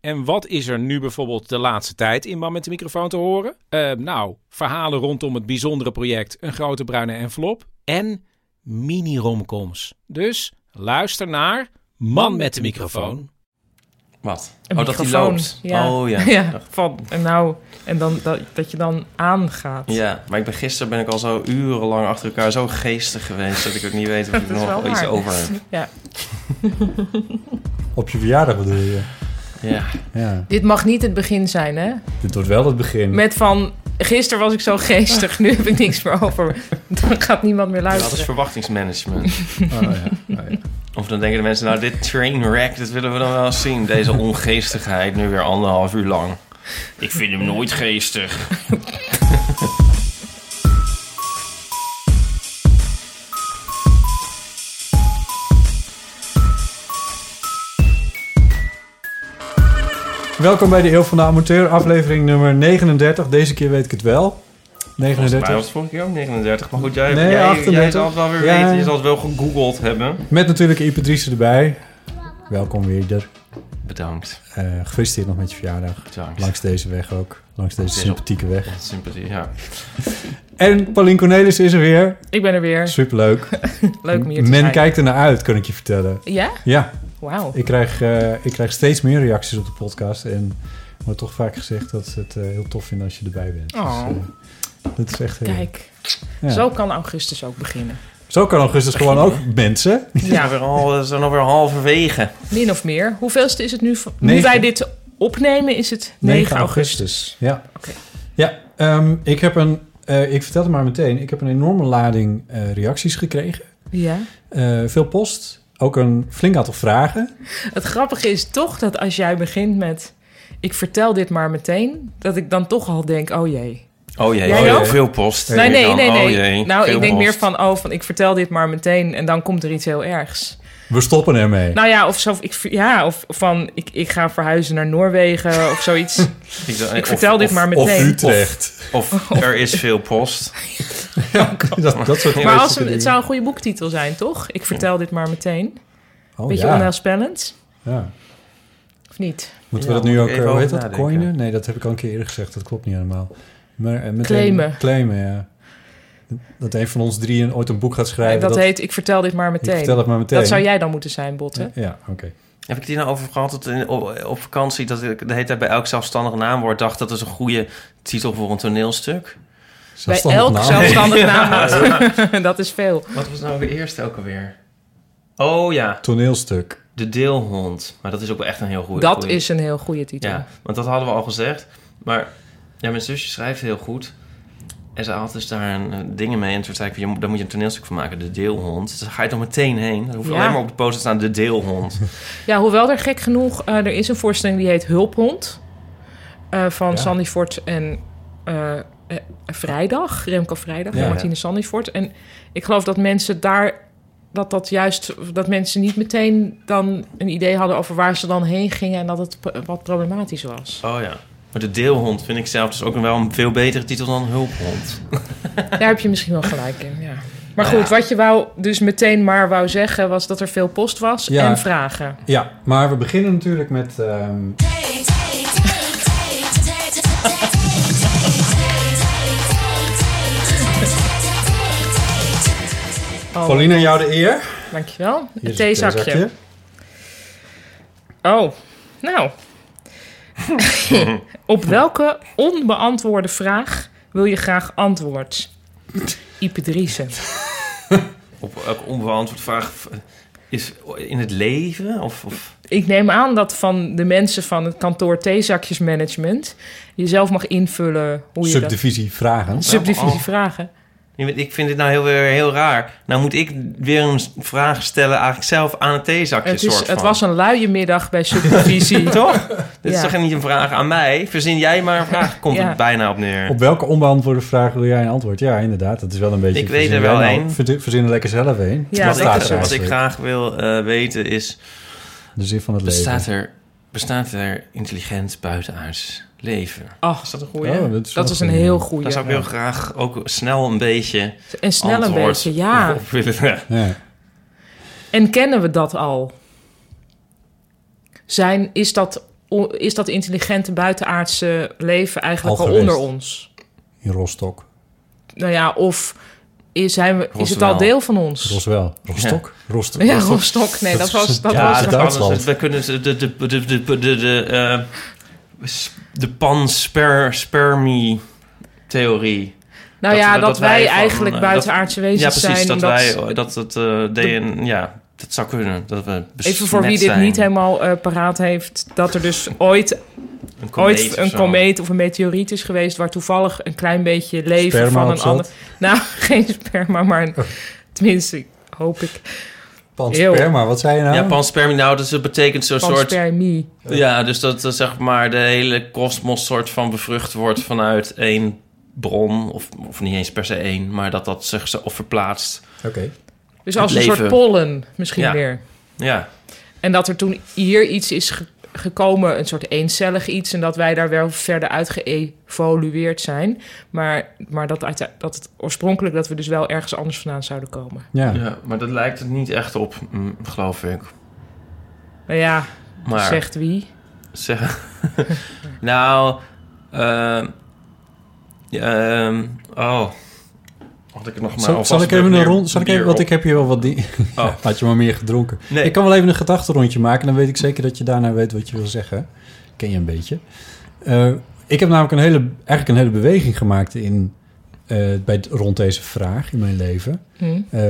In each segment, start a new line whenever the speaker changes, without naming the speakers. En wat is er nu bijvoorbeeld de laatste tijd in Man met de microfoon te horen? Eh, nou, verhalen rondom het bijzondere project Een Grote Bruine Envelop en mini-romcoms. Dus luister naar Man met de microfoon.
Wat?
Een
oh, dat die
microfoon,
loopt.
ja.
Oh ja.
Ja, van, en nou, en dan dat, dat je dan aangaat.
Ja, maar ik ben, gisteren ben ik al zo urenlang achter elkaar zo geestig geweest... dat ik ook niet weet of ik
Dat is
nog
wel
iets
waar.
over heb.
Ja.
Op je verjaardag bedoel je?
Ja.
Ja.
Dit mag niet het begin zijn, hè?
Dit wordt wel het begin.
Met van, gisteren was ik zo geestig, nu heb ik niks meer over. Dan gaat niemand meer
Dat is
luisteren.
verwachtingsmanagement.
Oh, ja. Oh, ja.
Of dan denken de mensen, nou dit trainwreck, dat willen we dan wel eens zien. Deze ongeestigheid, nu weer anderhalf uur lang. Ik vind hem nooit geestig.
Welkom bij de Eeuw van de Amateur, aflevering nummer 39. Deze keer weet ik het wel.
Mij
39.
was vorige keer ook 39. Maar goed, jij,
Nee,
jij, jij
38.
zal het wel weer
Ja.
weten. Je zal het wel gegoogeld hebben.
Met natuurlijk Ipatrice erbij. Welkom weer.
Bedankt.
Eh gefeliciteerd nog met je verjaardag.
Bedankt.
Langs deze weg ook. Langs deze
is
sympathieke weg.
Sympathie, ja.
En Paulien Cornelis is er weer.
Ik ben er weer.
Superleuk.
Leuk om hier te
Men
zijn.
kijkt er naar uit, kan ik je vertellen.
Ja?
Ja,
Wauw.
ik krijg, eh, ik krijg steeds meer reacties op de podcast. En er wordt toch vaak gezegd dat ze het eh, heel tof vinden als je erbij bent.
Oh.
Dus, eh, dat is echt heel
Kijk,
Ja.
zo kan augustus ook beginnen.
Zo kan augustus gewoon ook mensen.
Ja, we
Ja,
zijn alweer halverwege.
min of meer. Hoeveelste is het nu? van- Nu
Negen.
wij dit opnemen is het 9 augustus.
Ja.
Oké.
Ja, ehm, ik heb een... eh, ik vertel het maar meteen. Ik heb een enorme lading eh, reacties gekregen.
Ja.
Eh, veel post. Ook een flink aantal vragen.
Het grappige is toch dat als jij begint met... ik vertel dit maar meteen... dat ik dan toch al denk, oh jee.
Oh jee,
Jij
heel
ook?
veel post.
Nee, nee,
Dan,
nee. nee.
oh jee,
nou,
veel
ik denk meer
post.
van, oh, van ik vertel dit maar meteen... en dan komt er iets heel ergs.
We stoppen ermee.
Nou ja, of, zo, ik, ver- ja, of van ik, ik ga verhuizen naar Noorwegen of zoiets. ik
Ik, dacht, of-
vertel dit
of-
maar
of
meteen.
Utrecht.
Of er is veel post.
dat, dat soort
maar als we,
vreselijke
het
dingen.
zou een goede boektitel zijn, toch? Ik vertel dit maar meteen.
Oh,
Beetje
ja.
onheilspellend,
Ja.
of niet?
Moeten
Ja,
we dat nu
moet
ook...
ik even
eh, Hoe heet
over
dat?
nadenken.
Coinen? Nee, dat heb ik al een keer eerder gezegd. Dat klopt niet helemaal. Maar, eh, meteen-
Claimen.
Claimen, ja. Dat een van ons drieën ooit een boek gaat schrijven.
dat, heet ik vertel dit maar meteen.
Ik vertel het maar meteen.
Dat zou jij dan moeten zijn, Botte.
Ja, oké.
Heb ik het hier nou over gehad dat in, op, op vakantie... dat ik de hele tijd bij elk zelfstandig naamwoord dacht... dat is een goede titel voor een toneelstuk?
Bij
Zelfstandig
elk
naam.
zelfstandig naamwoord. dat is veel.
Wat was nou de eerste ook alweer? Oh ja,
Toneelstuk.
de deelhond. Maar dat is ook wel echt een heel goede.
dat
goeie.
is een heel goede titel.
Ja, want dat hadden we al gezegd. Maar ja, mijn zusje schrijft heel goed. En ze had dus daar een, eh, dingen mee. En toen zei ik, je moet- daar moet je een toneelstuk van maken. De deelhond. Dus daar ga je toch meteen heen. Dan hoef je
Ja.
alleen maar op de poster te staan. De deelhond.
Ja, hoewel er gek genoeg... eh, er is een voorstelling die heet Hulphond. eh, van
Ja.
Sandy Fort en eh, eh, Vrijdag. Remco Vrijdag
Ja,
en
ja.
Martine Sandy Fort. En ik geloof dat mensen daar... Dat dat juist, dat mensen niet meteen dan een idee hadden over waar ze dan heen gingen en dat het p- wat problematisch was.
Oh ja. Maar de deelhond vind ik zelf dus ook wel een veel betere titel dan hulphond.
Daar heb je misschien wel gelijk in. Ja. Maar
Nou
goed, wat je wou dus meteen maar wou zeggen was dat er veel post was
Ja.
en vragen.
Ja, maar we beginnen natuurlijk met... ehm,
Oh,
Paulien, aan jou de eer.
Dankjewel.
Hier
Een
is het eh,
theezakje. Oh, nou. Op welke onbeantwoorde vraag wil je graag antwoord? Ipedrice.
op elke onbeantwoord vraag v- is in het leven? Of, of
Ik neem aan dat van de mensen van het kantoor theezakjesmanagement... je zelf mag invullen hoe je dat...
Subdivisie vragen.
Subdivisie
Oh.
vragen.
Je weet, ik vind dit nou heel, weer heel raar. Nou moet ik weer een s- vraag stellen eigenlijk zelf aan het theezakje
Het, is,
soort
het
van.
was een luie middag bij subdivisie.
Toch? Dit is
Ja.
toch niet een vraag aan mij? Verzin jij maar een vraag, komt
Ja.
het bijna op neer.
Op welke onbeantwoorde vraag wil jij een antwoord? Ja, inderdaad. Dat is wel een beetje...
Ik weet er
verzin
wel
jij nou-
één.
verdi- Verzin er lekker zelf een.
Ja,
Wat
wat,
dat
staat
is
ik,
er
zo.
wat ik
eigenlijk?
graag wil eh, weten is...
De zin van het leven.
Bestaat er, bestaat er intelligent buitenaards leven?
Ach,
Is dat een
goeie.
Oh, dat
dat
is
is,
wel
een
een goeie.
heel
Daar zou
goede.
ik heel graag ook snel een beetje
En snel een
antwoord
beetje, ja.
op willen.
Ja.
En kennen we dat al? Zijn, is, dat, o- is dat intelligente buitenaardse leven eigenlijk
Al
al,
geweest.
onder ons?
In Rostock.
Nou ja, of is, zijn we, is het
Roswell.
al deel van ons?
Roswel. Rostock? Rostock.
Ja, Rostok. Nee, dat was... Dat
Ja,
was
dat-
kan
Duitsland.
dus- We kunnen de, de, de, de, de, de, de, eh, s- de panspermie-theorie...
nou
dat-
ja,
dat-
dat,
dat wij
wij
van,
eigenlijk
eh,
buitenaardse wezens
Ja, precies.
zijn.
dat
omdat-
wij dat het eh, DNA... Ja, dat zou kunnen. Dat we besmet
even voor wie dit
dus zijn.
niet helemaal eh, paraat heeft... dat er dus ooit,
Een komeet
ooit
of
een
zo.
komeet of een meteoriet is geweest... waar toevallig een klein beetje leven
Sperma
van
op
een
zat?
ander... Nou, geen sperma, maar een- tenminste, hoop ik...
Pansperma, wat zei je nou?
Ja, panspermie, nou, dus dat betekent zo'n
van
soort...
spermie.
Ja, dus dat eh, zeg maar de hele kosmos soort van bevrucht wordt vanuit één bron. Of, of niet eens per se één, maar dat dat zich zo- of verplaatst.
Oké.
Dus als
Het
een soort
leven.
pollen misschien
Ja.
weer.
Ja,
En dat er toen hier iets is ge- gekomen, een soort eencellig iets... en dat wij daar wel verder uit geëvolueerd zijn. Maar, maar dat, uite- dat het oorspronkelijk dat we dus wel ergens anders vandaan zouden komen.
Ja.
ja, maar dat lijkt het niet echt op, mm, geloof ik.
Nou ja,
Maar
zegt wie?
zeg- nou, ehm, ehm, oh, had ik het nog maar.
Zal,
alvast
zal ik even
weer
een rond... Zal ik
bier
even, want
op?
ik heb hier wel wat... Die,
Oh.
had je maar meer gedronken.
Nee.
Ik kan wel even een gedachtenrondje maken. Dan weet ik zeker dat je daarna weet wat je wil zeggen. Ken je een beetje. Eh, ik heb namelijk een hele, eigenlijk een hele beweging gemaakt in, eh, bij, rond deze vraag in mijn leven.
Hm?
Eh,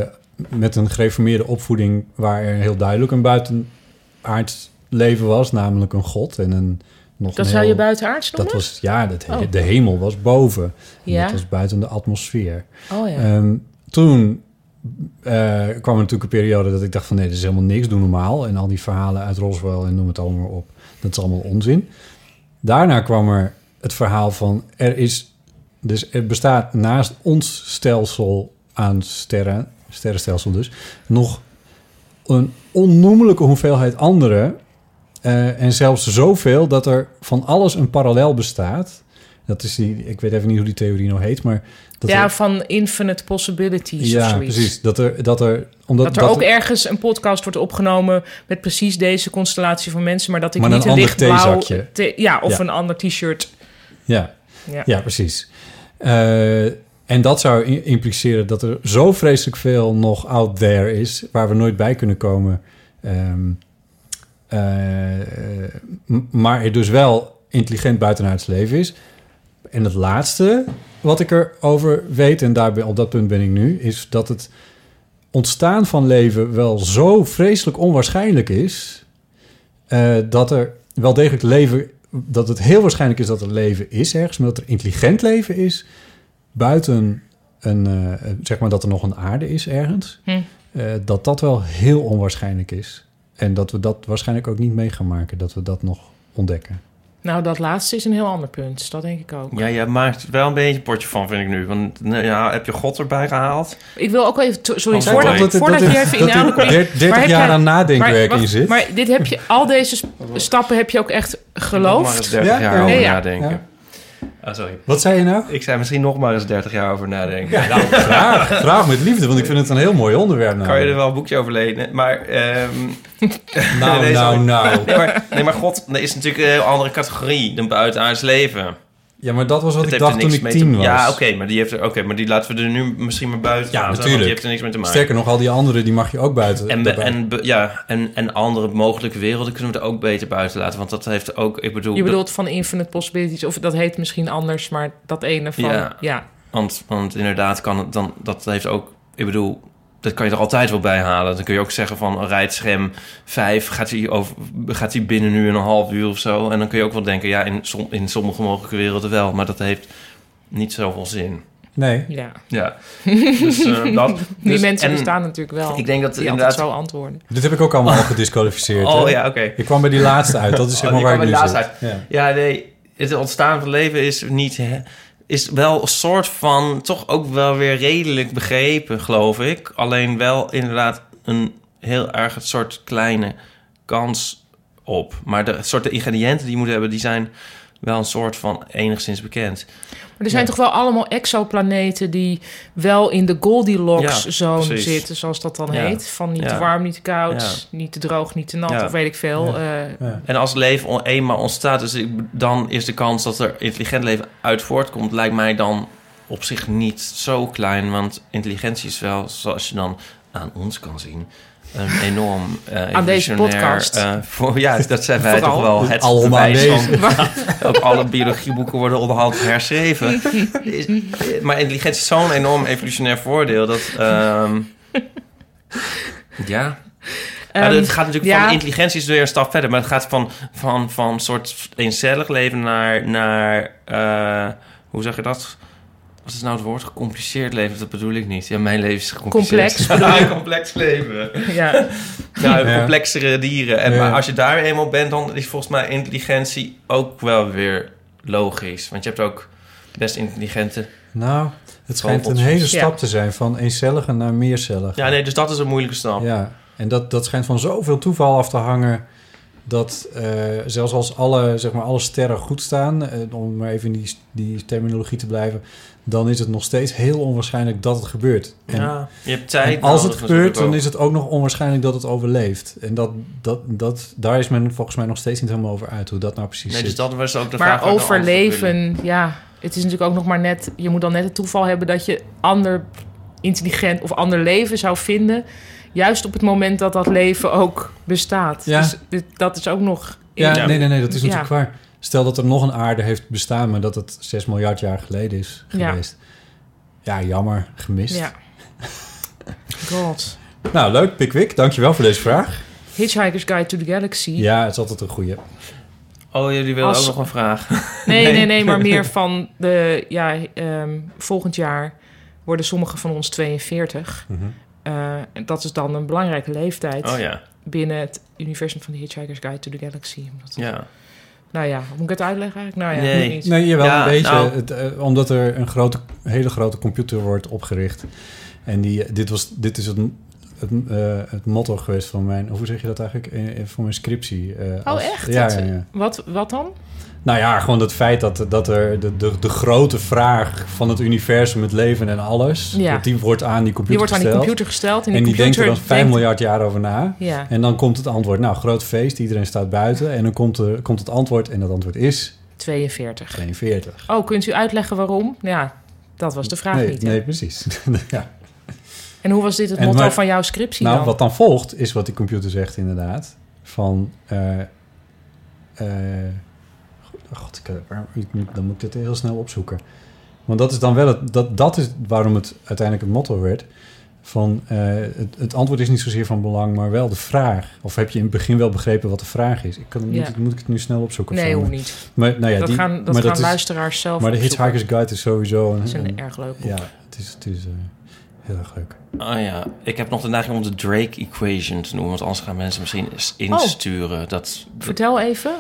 met een gereformeerde opvoeding waar er heel duidelijk een buitenaards leven was. Namelijk een god en een... Nog
Dat
een
zou
heel-
je buitenaards
Dat
noemen?
was, ja, dat he-
Oh.
de hemel was boven. En
Ja?
Dat was buiten de atmosfeer.
Oh ja.
Ehm, toen eh, kwam er natuurlijk een periode dat ik dacht van nee, dat is helemaal niks, doe normaal. En al die verhalen uit Roswell en noem het allemaal maar op, dat is allemaal onzin. Daarna kwam er het verhaal van er is, dus er bestaat naast ons stelsel aan sterren, sterrenstelsel dus, nog een onnoemelijke hoeveelheid andere. eh, en zelfs zoveel dat er van alles een parallel bestaat. Dat is die, ik weet even niet hoe die theorie nou heet, maar... Dat
ja,
er-
van infinite possibilities of
ja,
zoiets.
precies. Dat er, dat er, omdat,
Dat er ook ergens een podcast wordt opgenomen met precies deze constellatie van mensen, maar dat ik
Maar
niet
een
een,
ander
lichtblauw
theezakje.
the- ja, of
Ja.
een ander t-shirt.
ja,
Ja.
ja, precies. Eh, en dat zou i- impliceren dat er zo vreselijk veel nog out there is... waar we nooit bij kunnen komen. Ehm, eh, m- maar er dus wel intelligent buitenaards leven is. En het laatste wat ik erover weet... en daar ben, op dat punt ben ik nu... is dat het ontstaan van leven wel zo vreselijk onwaarschijnlijk is... eh, dat er wel degelijk leven... dat het heel waarschijnlijk is dat er leven is ergens... maar dat er intelligent leven is buiten een... eh, zeg maar dat er nog een aarde is ergens...
Hm.
eh, dat dat wel heel onwaarschijnlijk is. En dat we dat waarschijnlijk ook niet mee gaan maken... dat we dat nog ontdekken.
Nou, dat laatste is een heel ander punt. Dat denk ik ook.
Ja, jij maakt er wel een beetje een potje van, vind ik nu. Want nou ja, heb je God erbij gehaald?
Ik wil ook wel even... to- Sorry,
Oh,
voordat,
sorry.
voordat je even in de aandacht komt-
der- 30
Maar heb
jaar
jij-
aan
maar,
nadenkwerk in
wacht,
zit.
maar dit heb je, al deze sp- stappen heb je ook echt
Nog maar eens
geloofd.
30
Ja,
jaar
ja.
over
Nee, ja.
nadenken.
Ja.
Ah, sorry.
Wat zei je nou?
Ik zei misschien nog maar eens 30 jaar over nadenken.
Graag, graag met liefde, want ik vind het een heel mooi onderwerp.
Kan je er
namelijk.
wel een boekje over lenen? Maar, ehm,
Nou,
Nee,
nou, nou.
nee, maar, nee, maar God dat is natuurlijk een heel andere categorie dan buitenaards leven.
Ja, maar dat was wat
Dat
ik
heeft er
dacht toen
niks
ik
mee
tien
te-
was.
Ja, oké, maar die heeft er, oké, maar die laten we er nu misschien maar buiten.
Ja,
laten, want
natuurlijk.
Die heeft er niks mee te maken.
Sterker nog, al die anderen die mag je ook buiten.
en, be-
daarbij.
en, be- ja, en, en andere mogelijke werelden kunnen we er ook beter buiten laten. Want dat heeft ook, ik bedoel...
Je
dat-
bedoelt van Infinite Possibilities, of dat heet misschien anders, maar dat ene van...
Ja.
Ja,
want, want inderdaad kan het dan... Dat heeft ook, ik bedoel... Dat kan je er altijd wel bij halen. Dan kun je ook zeggen van rijdt scherm 5, gaat hij, over, gaat hij binnen nu een half uur of zo. En dan kun je ook wel denken, ja, in, som, in sommige mogelijke werelden wel. Maar dat heeft niet zoveel zin.
Nee.
Ja.
Ja, dus eh, dat.
Die
Dus-
mensen
en
bestaan natuurlijk wel.
Ik denk dat
die
inderdaad...
altijd zo antwoorden.
Dit heb ik ook allemaal al gedisqualificeerd.
Oh
hè?
ja, oké.
Ik kwam bij die laatste uit. Dat is zeg
Oh,
maar
die
waar
kwam
ik nu
bij
zit.
de laatste
Ja.
Ja, nee. Het ontstaan van leven is niet... Hè, is wel een soort van... toch ook wel weer redelijk begrepen, geloof ik. Alleen wel inderdaad een heel erg het soort kleine kans op. Maar de soorten ingrediënten die je moet hebben... die zijn wel een soort van enigszins bekend.
Maar er zijn toch wel allemaal exoplaneten die wel in de
Ja,
Goldilocks-zone
precies.
zitten, zoals dat dan
Ja.
heet. Van niet te
Ja.
warm, niet te koud, niet te droog, niet te nat,
Ja.
of weet ik veel. Eh,
En als leven on- eenmaal ontstaat... Dus ik- dan is de kans dat er intelligent leven uit voortkomt... lijkt mij dan op zich niet zo klein. Want intelligentie is wel, zoals je dan aan ons kan zien... een enorm eh,
Aan deze
evolutionair,
podcast.
eh, voor, ja, dat zijn wij
Vooral.
toch wel het
Allemaal
bewijs van-
deze.
ook alle biologieboeken worden onderhand herschreven. Is- eh, maar intelligentie is zo'n enorm evolutionair voordeel dat. ehm, ja. Maar
Ehm,
het gaat natuurlijk
ja.
van intelligentie is weer een stap verder. Maar het gaat van, van, van soort eencellig leven naar. naar eh, hoe zeg je dat? Wat is nou het woord? Gecompliceerd leven? Dat bedoel ik niet. Ja, mijn leven is gecompliceerd.
Complex, bedoel je?
complex leven.
ja.
Nou,
Ja.
complexere dieren. En
Ja.
maar als je daar eenmaal bent, dan is volgens mij intelligentie ook wel weer logisch. Want je hebt ook best intelligente.
Nou, het schijnt een
Vogeltjes.
hele
Ja.
stap te zijn van eencellige naar meercellige.
Ja, nee, dus dat is een moeilijke stap.
Ja, en dat, dat schijnt van zoveel toeval af te hangen. Dat eh, zelfs als alle, zeg maar, alle sterren goed staan, eh, om maar even in die, die terminologie te blijven, dan is het nog steeds heel onwaarschijnlijk dat het gebeurt. En,
Ja, Je hebt
en
tijd.
als
nodig
het
natuurlijk
gebeurt, dan
ook.
is het ook nog onwaarschijnlijk dat het overleeft. En dat, dat, dat, daar is men volgens mij nog steeds niet helemaal over uit hoe dat nou precies
Nee, dus
zit.
dat was ook de vraag.
Maar
waar ik een antwoord wilde.
overleven, ja. Het is natuurlijk ook nog maar net... Je moet dan net het toeval hebben dat je ander intelligent of ander leven zou vinden... juist op het moment dat dat leven ook bestaat.
Ja.
Dus dit, dat is ook nog...
Ja,
Ja.
nee, nee, nee, dat is natuurlijk
Ja.
waar. Stel dat er nog een aarde heeft bestaan, maar dat het 6 miljard jaar geleden is
Ja.
geweest. Ja, jammer, gemist.
Ja. God.
Nou, leuk, Pikwik. Dankjewel voor deze vraag.
Hitchhiker's Guide to the Galaxy.
Ja, het is altijd een goeie.
Oh, jullie willen
Als-
ook nog een vraag.
Nee, nee, nee, maar meer van de. Ja, ehm, volgend jaar worden sommigen van ons 42.
Mhm.
Eh, en dat is dan een belangrijke leeftijd
Oh ja.
binnen het universum van de Hitchhiker's Guide to the Galaxy. Omdat-
ja.
Nou ja, moet ik het uitleggen eigenlijk? Nou ja,
Nee.
moet niet.
Nee, jawel,
Ja,
een beetje.
nou.
Het, eh, omdat er een grote, hele grote computer wordt opgericht. En die, dit, was, dit is het, het, eh, het motto geweest van mijn... Hoe zeg je dat eigenlijk? Eh, eh, Voor mijn scriptie. eh,
Oh,
als-
echt?
Ja,
Dat-
ja, ja.
Wat, wat dan?
Nou ja, gewoon het feit dat, dat er de, de, de grote vraag van het universum, het leven en alles...
Ja.
dat die wordt aan die computer
Die wordt aan die
gesteld.
computer gesteld. En die,
en die denkt
computer
er dan 5
denkt-
miljard jaar over na.
Ja.
En dan komt het antwoord. Nou, groot feest, iedereen staat buiten. En dan komt, er, komt het antwoord en dat antwoord is
42.
42.
Oh, kunt u uitleggen waarom? Ja, dat was de vraag
nee,
niet. hè?
nee, precies. ja.
En hoe was dit het
En
motto
maar-
van jouw scriptie
Nou,
dan?
wat dan volgt is wat die computer zegt inderdaad. Van, eh, eh, god, ik, eh, waar- ik moet- dan moet ik dit heel snel opzoeken. Want dat is dan wel het, dat, dat is waarom het uiteindelijk het motto werd. Van, eh, het, het antwoord is niet zozeer van belang, maar wel de vraag. Of heb je in het begin wel begrepen wat de vraag is? Ik kan, moet,
Ja.
ik, moet ik het nu snel opzoeken? of
nee,
zo?
hoe niet.
Maar, nou ja,
dat
die,
gaan, dat
maar
gaan
dat is,
luisteraars zelf
Maar de
opzoeken.
Hitchhiker's Guide is sowieso een...
Dat is een
een-
erg leuk boek.
ja, het is, het is eh, heel erg leuk.
Oh ja. Ik heb nog de neiging om de Drake Equation te noemen. Want anders gaan mensen misschien eens
Oh.
insturen. Dat,
Vertel even.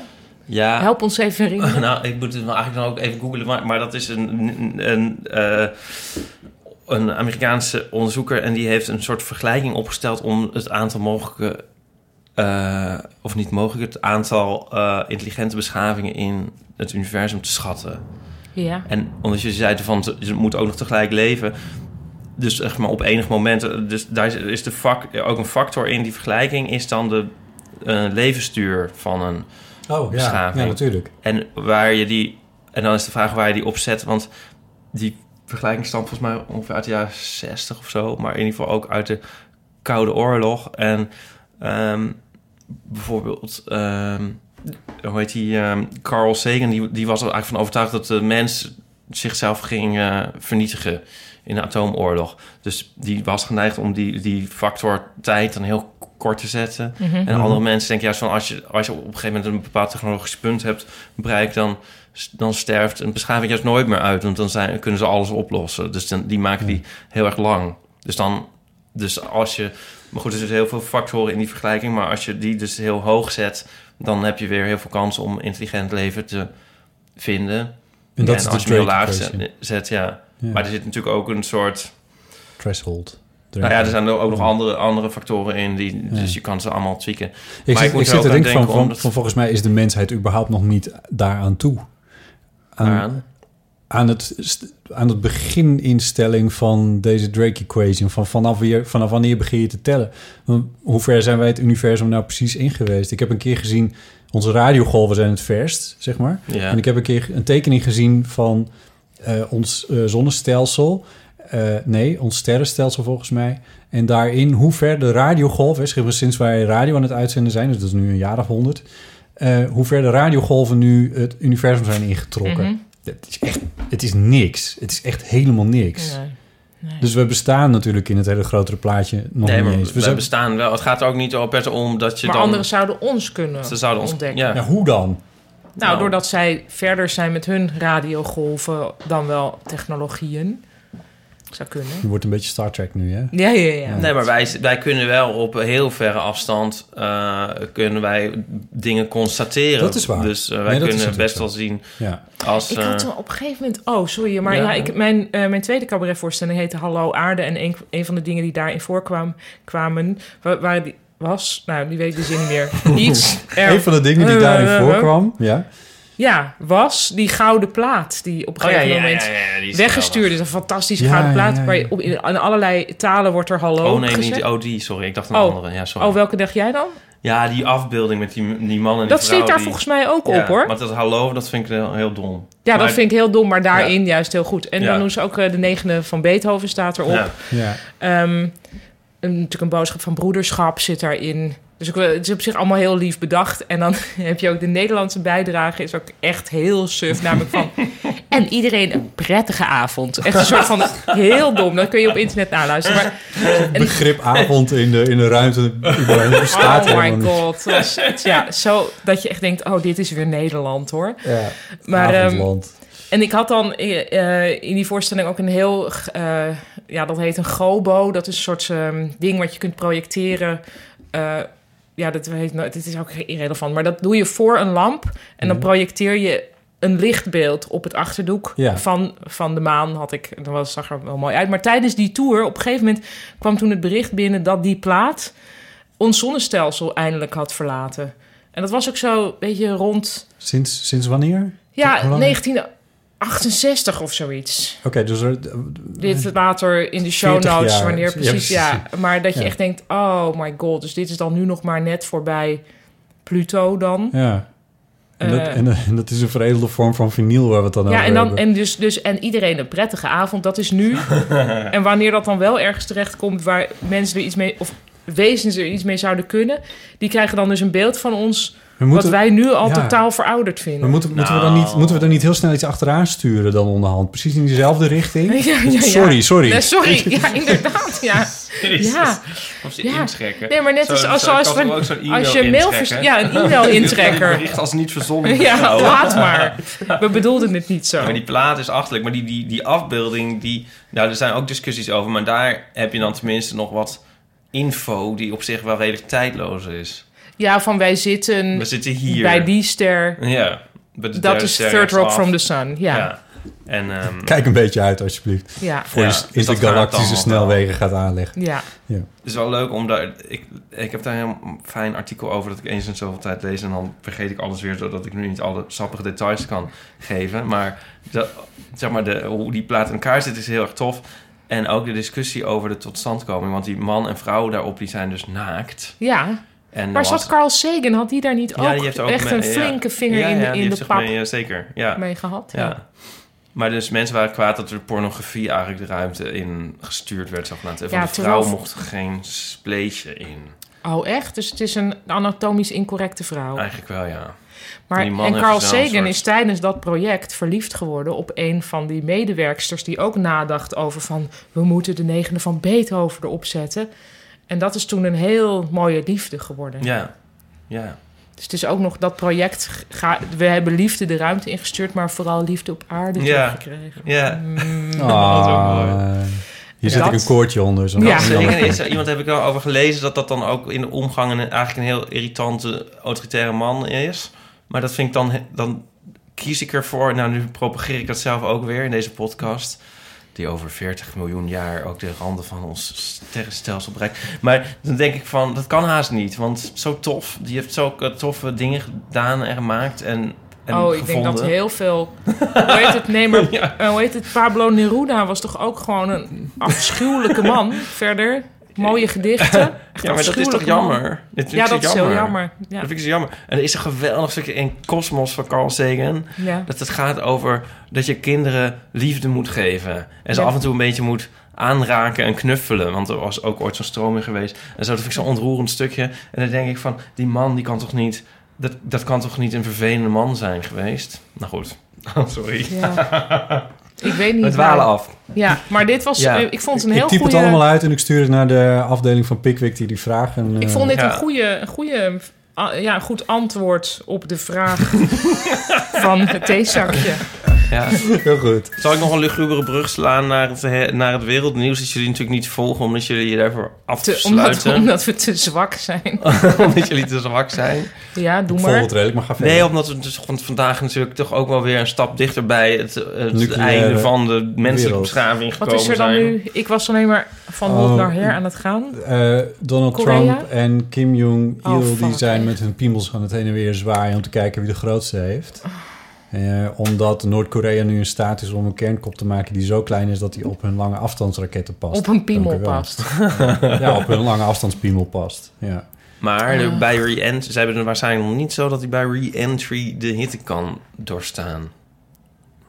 ja.
Help ons even herinneren.
Nou, ik moet het wel eigenlijk dan ook even googlen, maar, maar dat is een, een, een, eh, een Amerikaanse onderzoeker en die heeft een soort vergelijking opgesteld om het aantal mogelijke, eh, of niet mogelijk, het aantal eh, intelligente beschavingen in het universum te schatten.
Ja.
En omdat je zei van ze moeten ook nog tegelijk leven. Dus zeg maar op enig moment. eh, Dus daar is- is de vak, ook een factor in die vergelijking. Is dan de eh, levensduur van een
Oh, ja,
Beschaving.
ja natuurlijk.
en waar je die. En dan is de vraag waar je die op zet. Want die vergelijking stamt volgens mij ongeveer uit de jaren 60 of zo. Maar in ieder geval ook uit de Koude Oorlog. En ehm, bijvoorbeeld. ehm, hoe heet die? ehm, Carl Sagan. Die, die was er eigenlijk van overtuigd dat de mens zichzelf ging eh, vernietigen in de atoomoorlog. Dus die was geneigd om die, die factor tijd dan heel k- kort te zetten. En andere mensen denken juist van als je, als je op een gegeven moment een bepaald technologisch punt hebt bereikt, dan, dan sterft een beschaving juist nooit meer uit. Want dan zijn, kunnen ze alles oplossen. Dus dan, die maken die
Hmm.
heel erg lang. Dus dan, dus als je, maar goed, er zitten heel veel factoren in die vergelijking. Maar als je die dus heel hoog zet, dan heb je weer heel veel kans om intelligent leven te vinden.
En eh, dat is de
als je hem heel laag
trade
zet, zet, ja.
Ja.
Maar er zit natuurlijk ook een soort...
Threshold.
Nou ja, er zijn er ook nog andere, andere factoren in. Die, Dus je kan ze allemaal tweaken.
Ik
Maar
zit,
ik moet er
ik zit
ook
te
aan
denken van,
denken,
van,
omdat-
van volgens mij is de mensheid überhaupt nog niet daaraan toe. Aan,
Aan.
aan, het, st- aan het begininstelling van deze Drake equation. Van vanaf, weer, vanaf wanneer begin je te tellen? Want Hoe ver zijn wij het universum nou precies in geweest? Ik heb een keer gezien, onze radiogolven zijn het verst, zeg maar.
Ja.
En ik heb een keer een tekening gezien van eh, ons eh, zonnestelsel. Eh, nee, ons sterrenstelsel volgens mij. En daarin hoe ver de radiogolf is, sinds wij radio aan het uitzenden zijn, dus dat is nu een jaar of honderd, eh, hoe ver de radiogolven nu het universum zijn ingetrokken.
Mhm.
Het, is echt, het is niks. Het is echt helemaal niks.
Nee. Nee.
Dus we bestaan natuurlijk in het hele grotere plaatje nog
Nee, maar
niet eens.
we
We zijn,
bestaan wel. Het gaat er ook niet op het om dat je
maar
dan...
anderen zouden ons kunnen
ze zouden ons...
ontdekken.
Ja.
ja, hoe dan?
Nou, doordat zij verder zijn met hun radiogolven dan wel technologieën. Zou kunnen.
Hm.
Je wordt een beetje Star Trek nu, hè?
Ja, ja, ja.
Nee, maar wij, wij kunnen wel op heel verre afstand eh, kunnen wij dingen constateren.
Dat is waar.
Dus eh,
Nee,
wij
dat is
kunnen
natuurlijk
best
zo.
wel zien
Ja.
als...
Ik had
eh,
toen op een gegeven moment... Oh, sorry, maar
Ja.
ja. ik, mijn, eh, mijn tweede cabaretvoorstelling heette Hallo Aarde. En een, een van de dingen die daarin voorkwamen... Kwamen, wa- waar die was... Nou, die weet ik de zin niet meer. Iets er...
Een van de dingen die
Eh, eh,
daarin
eh.
voorkwam. Ja.
Ja, was die gouden plaat die op een
oh ja,
gegeven
ja, ja,
moment...
ja, ja, die is
Weggestuurd is een fantastische
Ja,
gouden
ja,
plaat.
ja, ja.
Waar je op, in, aan allerlei talen wordt er hallo
geweldig. Oh nee,
gezegd.
niet oh, die, sorry. Ik dacht een
Oh.
andere. Ja, sorry.
Oh, welke dacht jij dan?
Ja, die afbeelding met die, die man en die
dat
vrouw
zit daar
die-
volgens mij ook
Ja,
op hoor.
Maar dat hallo, dat vind ik heel, heel dom.
ja,
maar-
dat vind ik heel dom, maar daarin juist heel goed. En
Ja.
dan doen ze ook eh, de negende van Beethoven staat erop.
Ja.
ja.
Ehm, een, natuurlijk een boodschap van broederschap zit daarin. Dus ik, wil- het is op zich allemaal heel lief bedacht. En dan heb je ook de Nederlandse bijdrage, is ook echt heel suf. Namelijk van. en iedereen een prettige avond. Echt een soort van. Heel dom. Dat kun je op internet naluisteren. Maar
begrip avond in de, in de ruimte überhaupt bestaat
oh my
helemaal niet.
god. Dat is- ja, zo dat je echt denkt: oh, dit is weer Nederland hoor.
Ja,
Maar, ehm,
avondland.
En ik had dan eh, eh, in die voorstelling ook een heel, eh, ja, dat heet een gobo. Dat is een soort ehm, ding wat je kunt projecteren. Eh, ja, dat heet, nou, dit is ook irrelevant, maar dat doe je voor een lamp. En dan projecteer je een lichtbeeld op het achterdoek
Ja.
van, van de maan. Had ik, dat was, zag er wel mooi uit. Maar tijdens die tour, op een gegeven moment kwam toen het bericht binnen dat die plaat ons zonnestelsel eindelijk had verlaten. En dat was ook zo een beetje rond
sinds, sinds wanneer?
ja,
Hoe lang?
1968 of zoiets.
Oké, dus er,
Dit later in de show
40
notes,
jaar.
wanneer
Ja,
precies.
precies.
Ja, maar dat je
Ja.
echt denkt: oh my god, dus dit is dan nu nog maar net voorbij Pluto dan.
ja. En, dat,
Eh.
en, en dat is een veredelde vorm van vinyl waar we het dan
Ja,
over
en, dan,
hebben.
en, dus, dus, en iedereen een prettige avond, dat is nu. en wanneer dat dan wel ergens terechtkomt waar mensen er iets mee, of wezens er iets mee zouden kunnen, die krijgen dan dus een beeld van ons,
we moeten,
wat wij nu al
ja.
totaal verouderd
we
vinden.
moeten, moeten, we dan
Nou.
niet, moeten we dan niet heel snel iets achteraan sturen dan onderhand? Precies in diezelfde richting?
Ja, ja, ja.
Sorry, sorry.
Nee, sorry, ja, inderdaad. Ja.
Jezus.
ja.
Of ze
Ja.
intrekken.
Nee, maar net
Zo-
als- als-
zo kan
als-
toch ook zo'n e-mail
Als je een mail
intrekken?
verstuurt, ja, een e-mail-intrekker.
Bericht als niet verzonnen.
Ja,
Nou,
laat maar. We bedoelden het niet zo.
Ja, maar die plaat is achterlijk. Maar die, die, die afbeelding, die, nou, er zijn ook discussies over. Maar daar heb je dan tenminste nog wat info die op zich wel redelijk tijdloos is.
Ja, van wij zitten
We zitten hier.
Mm. bij die ster.
Ja. bij de
Dat
derde
is
ster
Third Rock
af.
from the Sun. Ja, ja.
Ja. En, ehm,
Kijk een beetje uit alsjeblieft.
ja.
Voor
Ja,
je
dus dat gaat
intergalactische
dan
snelwegen gaat aanleggen.
Het is wel leuk om daar... Ik, ik heb daar een heel fijn artikel over dat ik eens in zoveel tijd lees... en dan vergeet ik alles weer, zodat ik nu niet alle sappige details kan geven. Maar, dat, zeg maar de, hoe die plaat in elkaar zit is heel erg tof. En ook de discussie over de totstandkoming. Want die man en vrouw daarop, die zijn dus naakt.
Ja.
En
Maar
dan
zat
was-
Carl Sagan, had die daar niet ook,
Ja, die heeft ook
echt
me-
een
ja.
flinke vinger
Ja,
in, de-
ja, die
in
heeft
de
zich
pap
mee, eh, zeker, ja.
mee gehad? Ja.
ja. Maar dus mensen waren kwaad dat er pornografie eigenlijk de ruimte in gestuurd werd. Zogenaamd. En Van
Ja,
de vrouw
terwijl-
mocht geen spleetje in.
Oh, echt? Dus het is een anatomisch incorrecte vrouw.
Eigenlijk wel, ja.
Maar,
Die man
en
heeft
Carl
dus wel een
Sagan
soort-
is tijdens dat project verliefd geworden op een van die medewerksters die ook nadacht over van we moeten de negende van Beethoven erop zetten. En dat is toen een heel mooie liefde geworden.
Ja, ja.
Dus het is ook nog dat project. Ga, we hebben liefde de ruimte ingestuurd, maar vooral liefde op aarde Mm.
Ja.
gekregen.
ja.
Ah, hier zit
Dat-
ik een koortje onder. Zo.
Ja.
Dat soort dingen is, er- iemand heb ik wel over gelezen dat dat dan ook in de omgang een, eigenlijk een heel irritante, autoritaire man is. Maar dat vind ik dan, dan kies ik ervoor. Nou, nu propageer ik dat zelf ook weer in deze podcast. Die over 40 miljoen jaar ook de randen van ons sterrenstelsel bereikt. Maar dan denk ik van, dat kan haast niet. Want zo tof. Die heeft zulke toffe dingen gedaan en gemaakt en, en
oh, ik
gevonden.
denk dat heel veel. Hoe heet het? Nee, maar eh, hoe heet het? Pablo Neruda was toch ook gewoon een afschuwelijke man. Verder mooie gedichten. Echt
Ja, maar dat is toch
afschuwelijke man.
jammer? Dit vind
Ja,
ik zo
dat is heel jammer. Ja.
Dat vind ik zo jammer. En er is een geweldig stukje in Cosmos van Carl Sagan.
Ja.
Dat het gaat over dat je kinderen liefde moet geven. En ze
Ja.
af en toe een beetje moet aanraken en knuffelen. Want er was ook ooit zo'n stroming geweest. En zo, dat vind ik zo'n ontroerend stukje. En dan denk ik van, die man die kan toch niet... Dat, dat kan toch niet een vervelende man zijn geweest? Nou goed. Oh, sorry.
Ja. ik weet niet.
We dwalen
waar-
af.
Ja, maar dit was.
Ja.
eh, Ik vond het een
Ik
heel
typ
goede.
het allemaal uit en ik stuur het naar de afdeling van Pickwick die die vraag. En,
Ik
eh,
vond dit
Ja.
een goede, een goede, ah, ja, een goed antwoord op de vraag van het theezakje.
Ja.
heel goed.
Zal ik nog een lugubre brug slaan naar het, he- naar het wereldnieuws... dat jullie natuurlijk niet volgen omdat jullie je daarvoor
Te, omdat,
afsluiten?
omdat we te zwak zijn.
omdat jullie te zwak zijn.
Ja, doe
Ik volg
maar.
het redelijk, maar ga verder.
Nee, omdat we dus van vandaag natuurlijk toch ook wel weer een stap dichter bij het, het
Nucleaire
einde van de menselijke
wereld.
beschaving
Wat
gekomen
is er dan
zijn.
nu? Ik was alleen maar van
Oh.
hot naar her aan het gaan.
Eh, Donald
Korea?
Trump en Kim Jong-il
Oh,
die
fuck.
zijn met hun piemels aan het heen en weer zwaaien om te kijken wie de grootste heeft. Eh, omdat Noord-Korea nu in staat is om een kernkop te maken die zo klein is dat die op hun lange afstandsraketten past.
Op een piemel
Dank u wel.
past.
Ja, op hun lange afstandspiemel past. Ja.
Maar de- bij re-entry, ze hebben het waarschijnlijk nog niet zo dat hij bij re-entry de hitte kan doorstaan.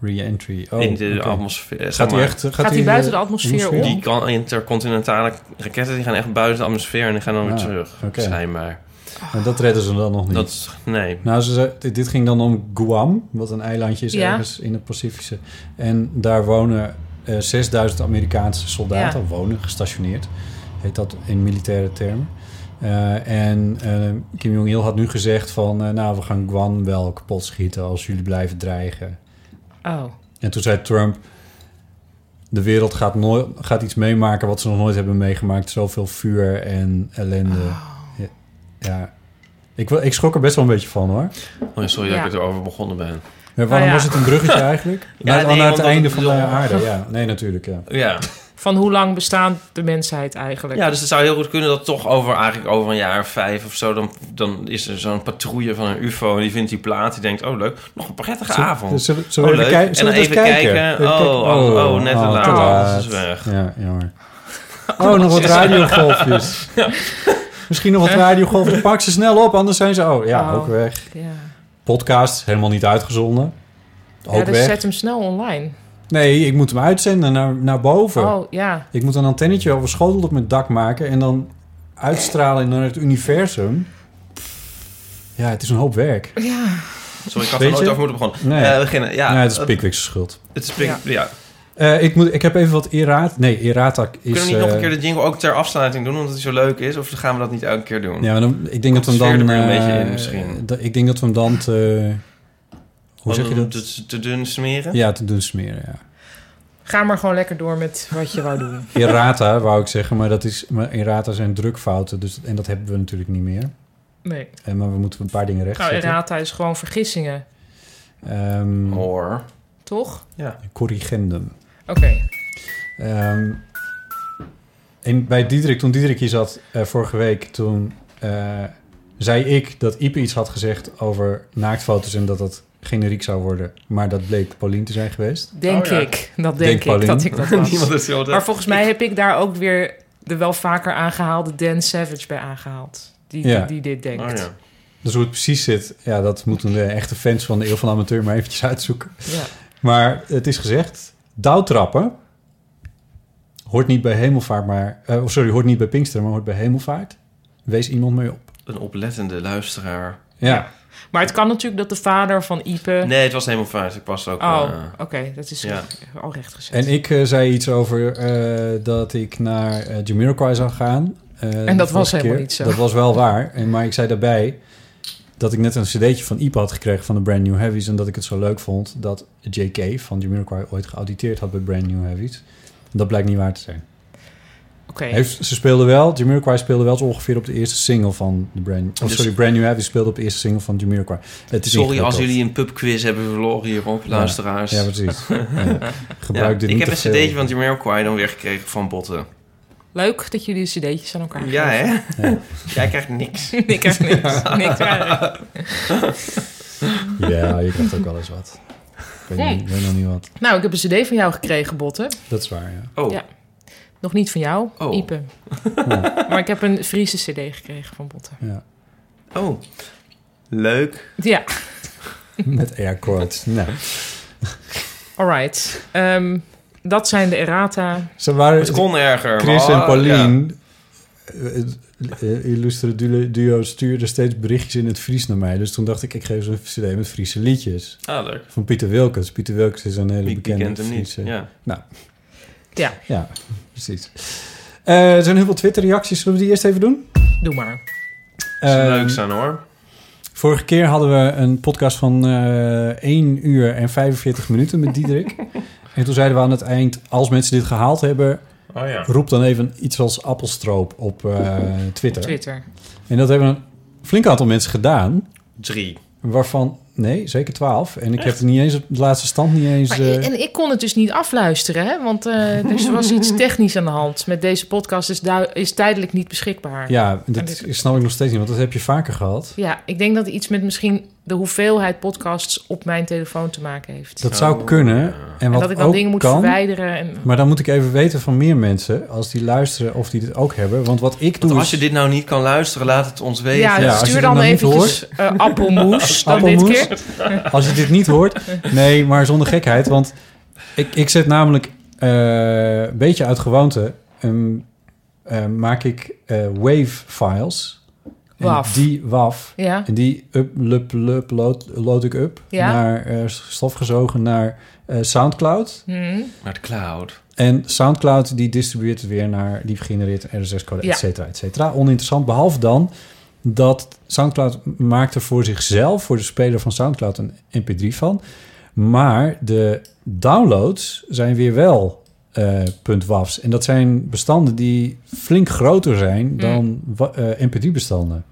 Re-entry. Oh,
in de
oké.
atmosfeer. zeg
Gaat hij
maar.
echt... Gaat,
Gaat hij
hij
buiten de
eh,
atmosfeer om?
Die kan, intercontinentale raketten die gaan echt buiten de atmosfeer en die gaan dan weer
Ah,
terug,
oké.
schijnbaar.
Maar nou, dat redden ze dan nog niet.
Dat is, nee.
Nou, ze zei- dit, dit ging dan om Guam, wat een eilandje is
Ja.
ergens in het Pacifische. En daar wonen eh, 6000 Amerikaanse soldaten,
Ja.
wonen, gestationeerd. Heet dat in militaire termen. Eh, en eh, Kim Jong-il had nu gezegd van... eh, nou, we gaan Guam wel kapot schieten als jullie blijven dreigen.
Oh.
En toen zei Trump... de wereld gaat, nooit, gaat iets meemaken wat ze nog nooit hebben meegemaakt. Zoveel vuur en ellende.
Oh.
Ja, ja. Ik, wel- ik schrok er best wel een beetje van, hoor.
Oh, ja, sorry
Ja.
dat ik erover begonnen ben.
Ja, waarom
Nou ja.
was het een bruggetje eigenlijk? naar,
nee,
naar het
omdat
einde
het
van de
zo-
aarde, ja. Nee, natuurlijk, ja.
Ja.
Van hoe lang bestaat de mensheid eigenlijk?
Ja, dus het zou heel goed kunnen dat toch over, eigenlijk over een jaar of vijf of zo... dan, dan is er zo'n patrouille van een ufo en die vindt die plaat. Die denkt, oh leuk, nog een prettige avond.
Zullen, zullen we
oh,
even,
leuk.
kijk- zullen we
en
eens
even
kijken?
kijken.
Even
Oh,
kijken.
oh, oh, net te
oh,
laat.
te
Oh, dat is weg.
Ja, jammer. Oh, nog wat radiogolfjes. Misschien nog wat radiogolfjes. Pak ze snel op, anders zijn ze... Oh, ja,
Oh.
ook weg.
Ja,
Podcast, helemaal niet uitgezonden. Ook
ja dus
weg.
zet hem snel online.
Nee, ik moet hem uitzenden naar, naar boven.
Oh, ja.
Ik moet een antennetje over schotel op mijn dak maken... en dan uitstralen naar het universum. Ja, het is een hoop werk.
Ja.
Sorry, ik had
Weet
er nooit
je?
over moeten begonnen.
Nee.
Nee. beginnen. Ja,
nee, het is
eh,
Pickwick's schuld.
het is pik-
Ja.
ja.
Eh, ik, moet, ik heb even wat errata... Nee, errata is...
Kunnen we niet nog een
eh,
keer de jingle ook ter afsluiting doen, omdat het zo leuk is? Of gaan we dat niet elke keer doen?
Ja, maar dan, ik denk dat we hem
Sfeer er
dan...
weer een beetje
eh,
in misschien.
dat- ik denk dat we hem dan te... Hoe
Want
zeg je
dan
dat?
Te, te dun smeren?
Ja, te doen smeren, ja.
Ga maar gewoon lekker door met wat je wou doen.
Errata, wou ik zeggen, maar, dat is, maar errata zijn drukfouten. Dus, en dat hebben we natuurlijk niet meer.
Nee.
Eh, maar we moeten een paar dingen
Nou,
rechtzetten.
errata is gewoon vergissingen,
Ehm,
Hoor.
toch?
corrigendum.
Oké.
Ehm, en bij Diederik, toen Diederik hier zat eh, vorige week, toen eh, zei ik dat Ipe iets had gezegd over naaktfoto's en dat dat generiek zou worden. Maar dat bleek Paulien te zijn geweest.
Denk
Oh, ja.
ik. Dat
Denk
denk, ik
Paulien.
dat ik dat was.
Niemand is zo
maar volgens mij heb ik daar ook weer de wel vaker aangehaalde Dan Savage bij aangehaald. Die,
Ja.
die, die dit denkt.
Oh, ja.
Dus hoe het precies zit, ja, dat moeten de echte fans van de Eeuw van de Amateur maar eventjes uitzoeken.
Ja.
Maar het is gezegd, douwtrappen oh, hoort niet bij hemelvaart, maar... eh, sorry, hoort niet bij Pinksteren, maar hoort bij hemelvaart. wees iemand mee op.
Een oplettende luisteraar.
Ja,
Maar het kan natuurlijk dat de vader van Ipe...
Nee, het was helemaal fout. Ik was ook...
Eh? Oh,
eh,
oké, dat is
ja.
al recht gezet.
en ik eh, zei iets over eh, dat ik naar eh, Jamiroquai zou gaan. eh, de
dat was
vorige
helemaal
keer.
niet zo.
Dat was wel waar, en, maar ik zei daarbij dat ik net een cd'tje van Ipe had gekregen van de Brand New Heavies... en dat ik het zo leuk vond dat J.K. van Jamiroquai ooit geauditeerd had bij Brand New Heavies. Dat blijkt niet waar te zijn.
Oké.
Heeft, ze speelden wel, Jamiroquai speelde wel zo ongeveer op de eerste single van de Brand... Of
Dus-
sorry, Brand New Heavy speelde op de eerste single van Jamiroquai. Het is
Sorry
ingewikkeld.
als jullie een pubquiz hebben verloren hierop, luisteraars.
Ja, precies. Ja. Gebruik
Ja,
dit
ik
niet
heb een
te veel.
cd'tje van Jamiroquai dan weer gekregen van Botten.
Leuk dat jullie de cd'tjes aan elkaar
Ja,
geven.
hè?
Ja.
Jij krijgt niks.
ik heb niks. niks eigenlijk.
Ja, je krijgt ook wel eens wat. Ik weet, niet, ik weet nog niet wat.
nou, ik heb een cd van jou gekregen, Botte.
Dat is waar, ja.
Oh,
Ja. Nog niet van jou,
Oh.
Ipe. Maar ik heb een Friese cd gekregen van Botte.
ja.
oh. Leuk.
Ja,
Met aircords. Nou,
alright. Ehm, dat zijn de errata.
ze waren...
Het kon erger.
Chris
maar-
en Pauline, eh, eh, illustre duo- duo, stuurden steeds berichtjes in het Fries naar mij. Dus toen dacht ik, ik geef ze een cd met Friese liedjes.
Ja. Ah, leuk.
Van Pieter Wilkens. Pieter Wilkens is een hele
Wie wie
bekende
kent hem niet?
Friese-
Ja.
Ja,
Ja, precies. Eh, er zijn heel veel Twitter-reacties. Zullen we die eerst even doen?
doe maar.
Zou
Ehm,
leuk zijn hoor.
Vorige keer hadden we een podcast van eh 1 uur en 45 minuten met Diederik. en toen zeiden we aan het eind, als mensen dit gehaald hebben...
Oh ja.
roep dan even iets als appelstroop op eh, Twitter.
Twitter.
En dat hebben een flink aantal mensen gedaan.
Drie.
Waarvan, nee, zeker 12. En ik heb niet eens, het laatste stand niet eens...
Maar,
eh,
en ik kon het dus niet afluisteren, hè? want eh, er was iets technisch aan de hand. Met deze podcast is, du- is tijdelijk niet beschikbaar.
ja,
en
dat
dit-
snap ik nog steeds niet, want dat heb je vaker gehad.
Ja, ik denk dat iets met misschien de hoeveelheid podcasts op mijn telefoon te maken heeft.
Dat zou kunnen. En
en
wat
dat ik dan
ook
dingen moet
kan,
verwijderen. En,
Maar dan moet ik even weten van meer mensen, als die luisteren of die dit ook hebben. Want wat ik doe
Want als
is-
je dit nou niet kan luisteren, laat het ons weten.
ja,
Ja, als je
stuur
het
dan,
dan niet
eventjes eh, appelmoes dan dit
Appelmoes?
keer.
Als je dit niet hoort. Nee, maar zonder gekheid. Want ik, ik zet namelijk eh, een beetje uit gewoonte. ehm, eh, maak ik eh, wave files. En
Waf.
Die WAF.
Ja,
En die up, lup, lup, load, load ik up.
Ja.
Naar eh, stofgezogen naar eh, Soundcloud.
Hm.
Naar de cloud.
En Soundcloud die distribueert het weer naar, die genereert een RSS-code,
Ja.
et cetera, et cetera. Oninteressant, behalve dan dat Soundcloud maakt er voor zichzelf, voor de speler van Soundcloud, een mp3 van. Maar de downloads zijn weer wel eh, .wafs. En dat zijn bestanden die flink groter
Mm.
zijn dan wa- eh, mp3-bestanden.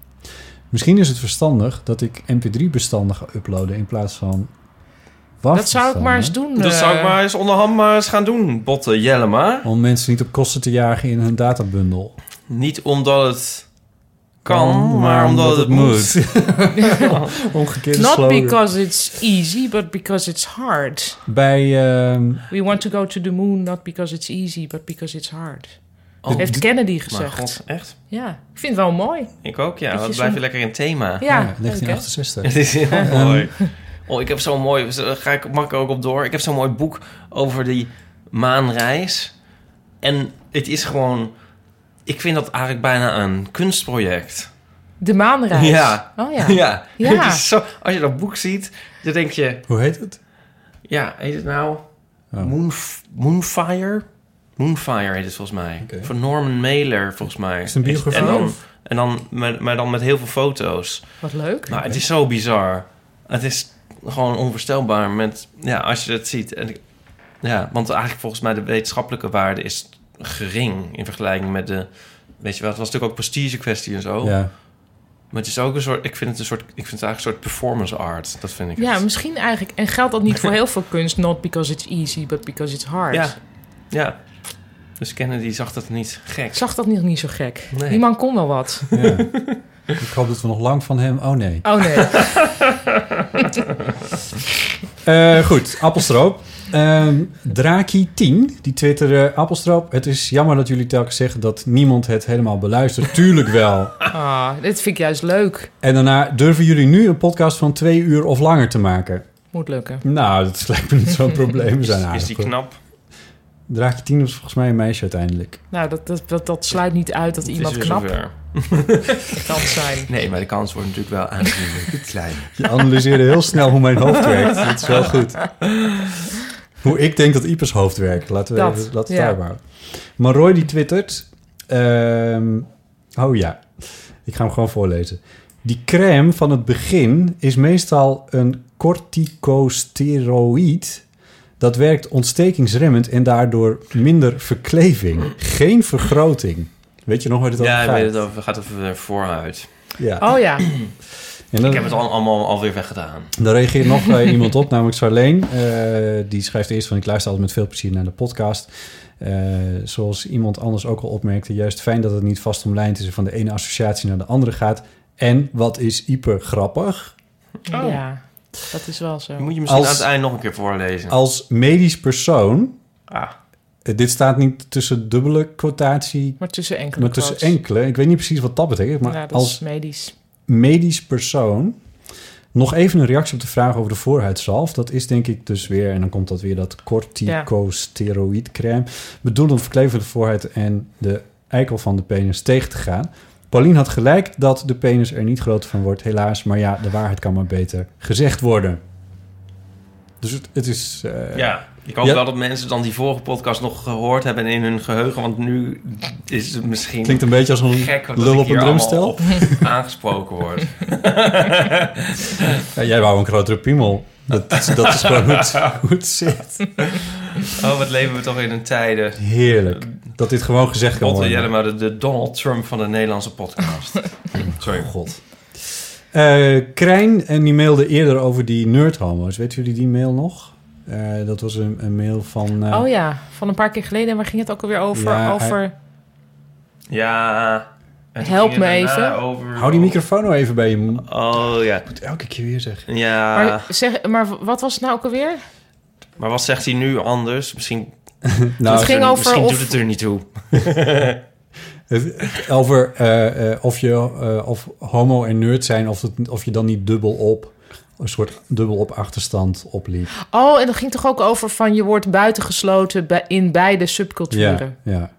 Misschien is het verstandig dat ik mp3-bestanden ga uploaden in plaats van waf
dat zou ik maar eens doen.
Dat
eh,
zou ik maar eens onderhand maar eens gaan doen, Botte Jellema.
Om mensen niet op kosten te jagen in hun databundel.
Niet omdat het kan,
Oh,
maar, omdat, het moet.
Omgekeerde
Not
slogan.
because it's easy, but because it's hard.
Bij, ehm,
We want to go to the moon, not because it's easy, but because it's hard.
Oh,
Heeft Kennedy
maar
gezegd.
god, echt?
Ja, ik vind het wel mooi.
Ik ook, ja.
Weet je,
Dat blijf je
zo'n-
lekker in thema.
Ja,
ja,
leuk, hè?
1968.
Het is heel mooi. Oh, ik heb zo'n mooi... daar Ga ik, mag ik er ook op door? Ik heb zo'n mooi boek over die maanreis. En het is gewoon... Ik vind dat eigenlijk bijna een kunstproject.
De maanreis.
Ja.
Oh ja.
Ja.
Ja.
Het is zo, als je dat boek ziet, dan denk je...
Hoe heet het?
Ja, heet het nou?
Oh.
Moon, Moonfire? Moonfire heet het volgens mij.
Oké.
Van Norman Mailer, volgens mij.
Is het een biografie?
En dan, en dan met, maar dan met heel veel foto's.
Wat leuk.
Nou, het is zo bizar. Het is gewoon onvoorstelbaar met, ja, als je dat ziet. En, ik- ja, want eigenlijk volgens mij de wetenschappelijke waarde is gering in vergelijking met de... Weet je wel, het was natuurlijk ook prestige kwestie en zo.
Ja.
Maar het is ook een soort... Ik vind het, een soort, ik vind het eigenlijk een soort performance art. Dat vind ik
Ja,
het.
misschien eigenlijk. En geldt dat niet voor heel veel kunst? Not because it's easy, but because it's hard.
Ja, ja. Dus Kennedy zag dat niet gek.
Ik zag dat nog niet zo gek.
Nee.
Die man kon wel wat.
ja. ik hoop dat we nog lang van hem... Oh, nee.
Oh nee.
Eh, goed, appelstroop. Ehm Draki10, die twitterde... Appelstroop, het is jammer dat jullie telkens zeggen... dat niemand het helemaal beluistert. Tuurlijk wel.
Ah, dit vind ik juist leuk.
En daarna durven jullie nu een podcast van twee uur of langer te maken.
Moet lukken.
Nou, dat lijkt me niet zo'n probleem. We zijn
Is
aardig,
die
hoor.
knap?
Draadje 10 was volgens mij een meisje uiteindelijk.
Nou, dat, dat, dat, dat sluit niet uit dat
Het
iemand
is weer
knap
zover.
kan zijn.
Nee, maar de kans wordt natuurlijk wel aanzienlijk klein.
Je analyseerde heel snel hoe mijn hoofd werkt. Dat is wel goed. Hoe ik denk dat Ipers hoofd werkt. Laten we
Dat,
even, laten we
ja.
het daarbij houden. Maar Roy die twittert... ehm, oh ja, ik ga hem gewoon voorlezen. Die crème van het begin is meestal een corticosteroïd... Dat werkt ontstekingsremmend en daardoor minder verkleving. Geen vergroting. Weet je nog waar dit over
Ja, ik
gaat?
weet het over. Het gaat over eh, voorhuid.
Ja.
Oh ja,
En dan-
Ik heb het al, allemaal alweer weggedaan.
Daar reageert nog eh, iemand op, namelijk Charleen. Eh, die schrijft eerst van... ik luister altijd met veel plezier naar de podcast. Eh, zoals iemand anders ook al opmerkte... juist fijn dat het niet vast omlijnd is... en van de ene associatie naar de andere gaat. En wat is hyper grappig?
Oh.
ja, dat is wel
Die
zo.
moet je misschien
Als-
aan het eind nog een keer voorlezen.
Als medisch persoon...
Ah.
eh, dit staat niet tussen dubbele quotatie...
Maar tussen enkele
maar tussen
quotes.
enkele. Ik weet niet precies wat dat betekent... maar
ja, dat
als
is medisch.
medisch persoon. Nog even een reactie op de vraag over de voorhuidzalf. Dat is denk ik dus weer, en dan komt dat weer dat corticosteroïdcrème. Bedoeld om verkleven van de voorhuid en de eikel van de penis tegen te gaan. Pauline had gelijk dat de penis er niet groter van wordt, helaas. Maar ja, de waarheid kan maar beter gezegd worden. Dus het, het is... eh,
Ja, ik hoop
Ja.
wel dat mensen dan die vorige podcast nog gehoord hebben en in hun geheugen. Want nu is het misschien
Klinkt een beetje als een
gek wat
lul
ik
op
hier
een drumstel.
allemaal op aangesproken wordt.
Ja, jij wou een grotere piemel. Dat, is- dat is gewoon hoe het, hoe het zit.
Oh, wat leven we toch in een tijden.
Heerlijk. Dat dit gewoon gezegd kan
Botte
worden.
Jellema, de, de Donald Trump van de Nederlandse podcast. Sorry.
God. Eh, Krijn, en die mailde eerder over die nerdhomo's. Weten jullie die mail nog? Eh, dat was een, een mail van... eh,
Oh ja, van een paar keer geleden. En waar ging het ook alweer over?
Ja, hij-
over
Ja. en toen
Help
ging het
me
daarna
even.
over-
Hou die microfoon nou even bij je mond.
Oh ja.
Elke keer weer zeggen.
Ja.
maar, zeg, maar wat was het nou ook alweer?
Maar wat zegt hij nu anders? Misschien,
Nou,
Het ging
er-
over
misschien
of-
doet het er niet toe.
het- over eh, eh, of je eh, of homo en nerd zijn... Of, het, of je dan niet dubbel op... een soort dubbel op achterstand opliep.
Oh, en dat ging toch ook over van je wordt buitengesloten bij- in beide subculturen.
Ja, ja.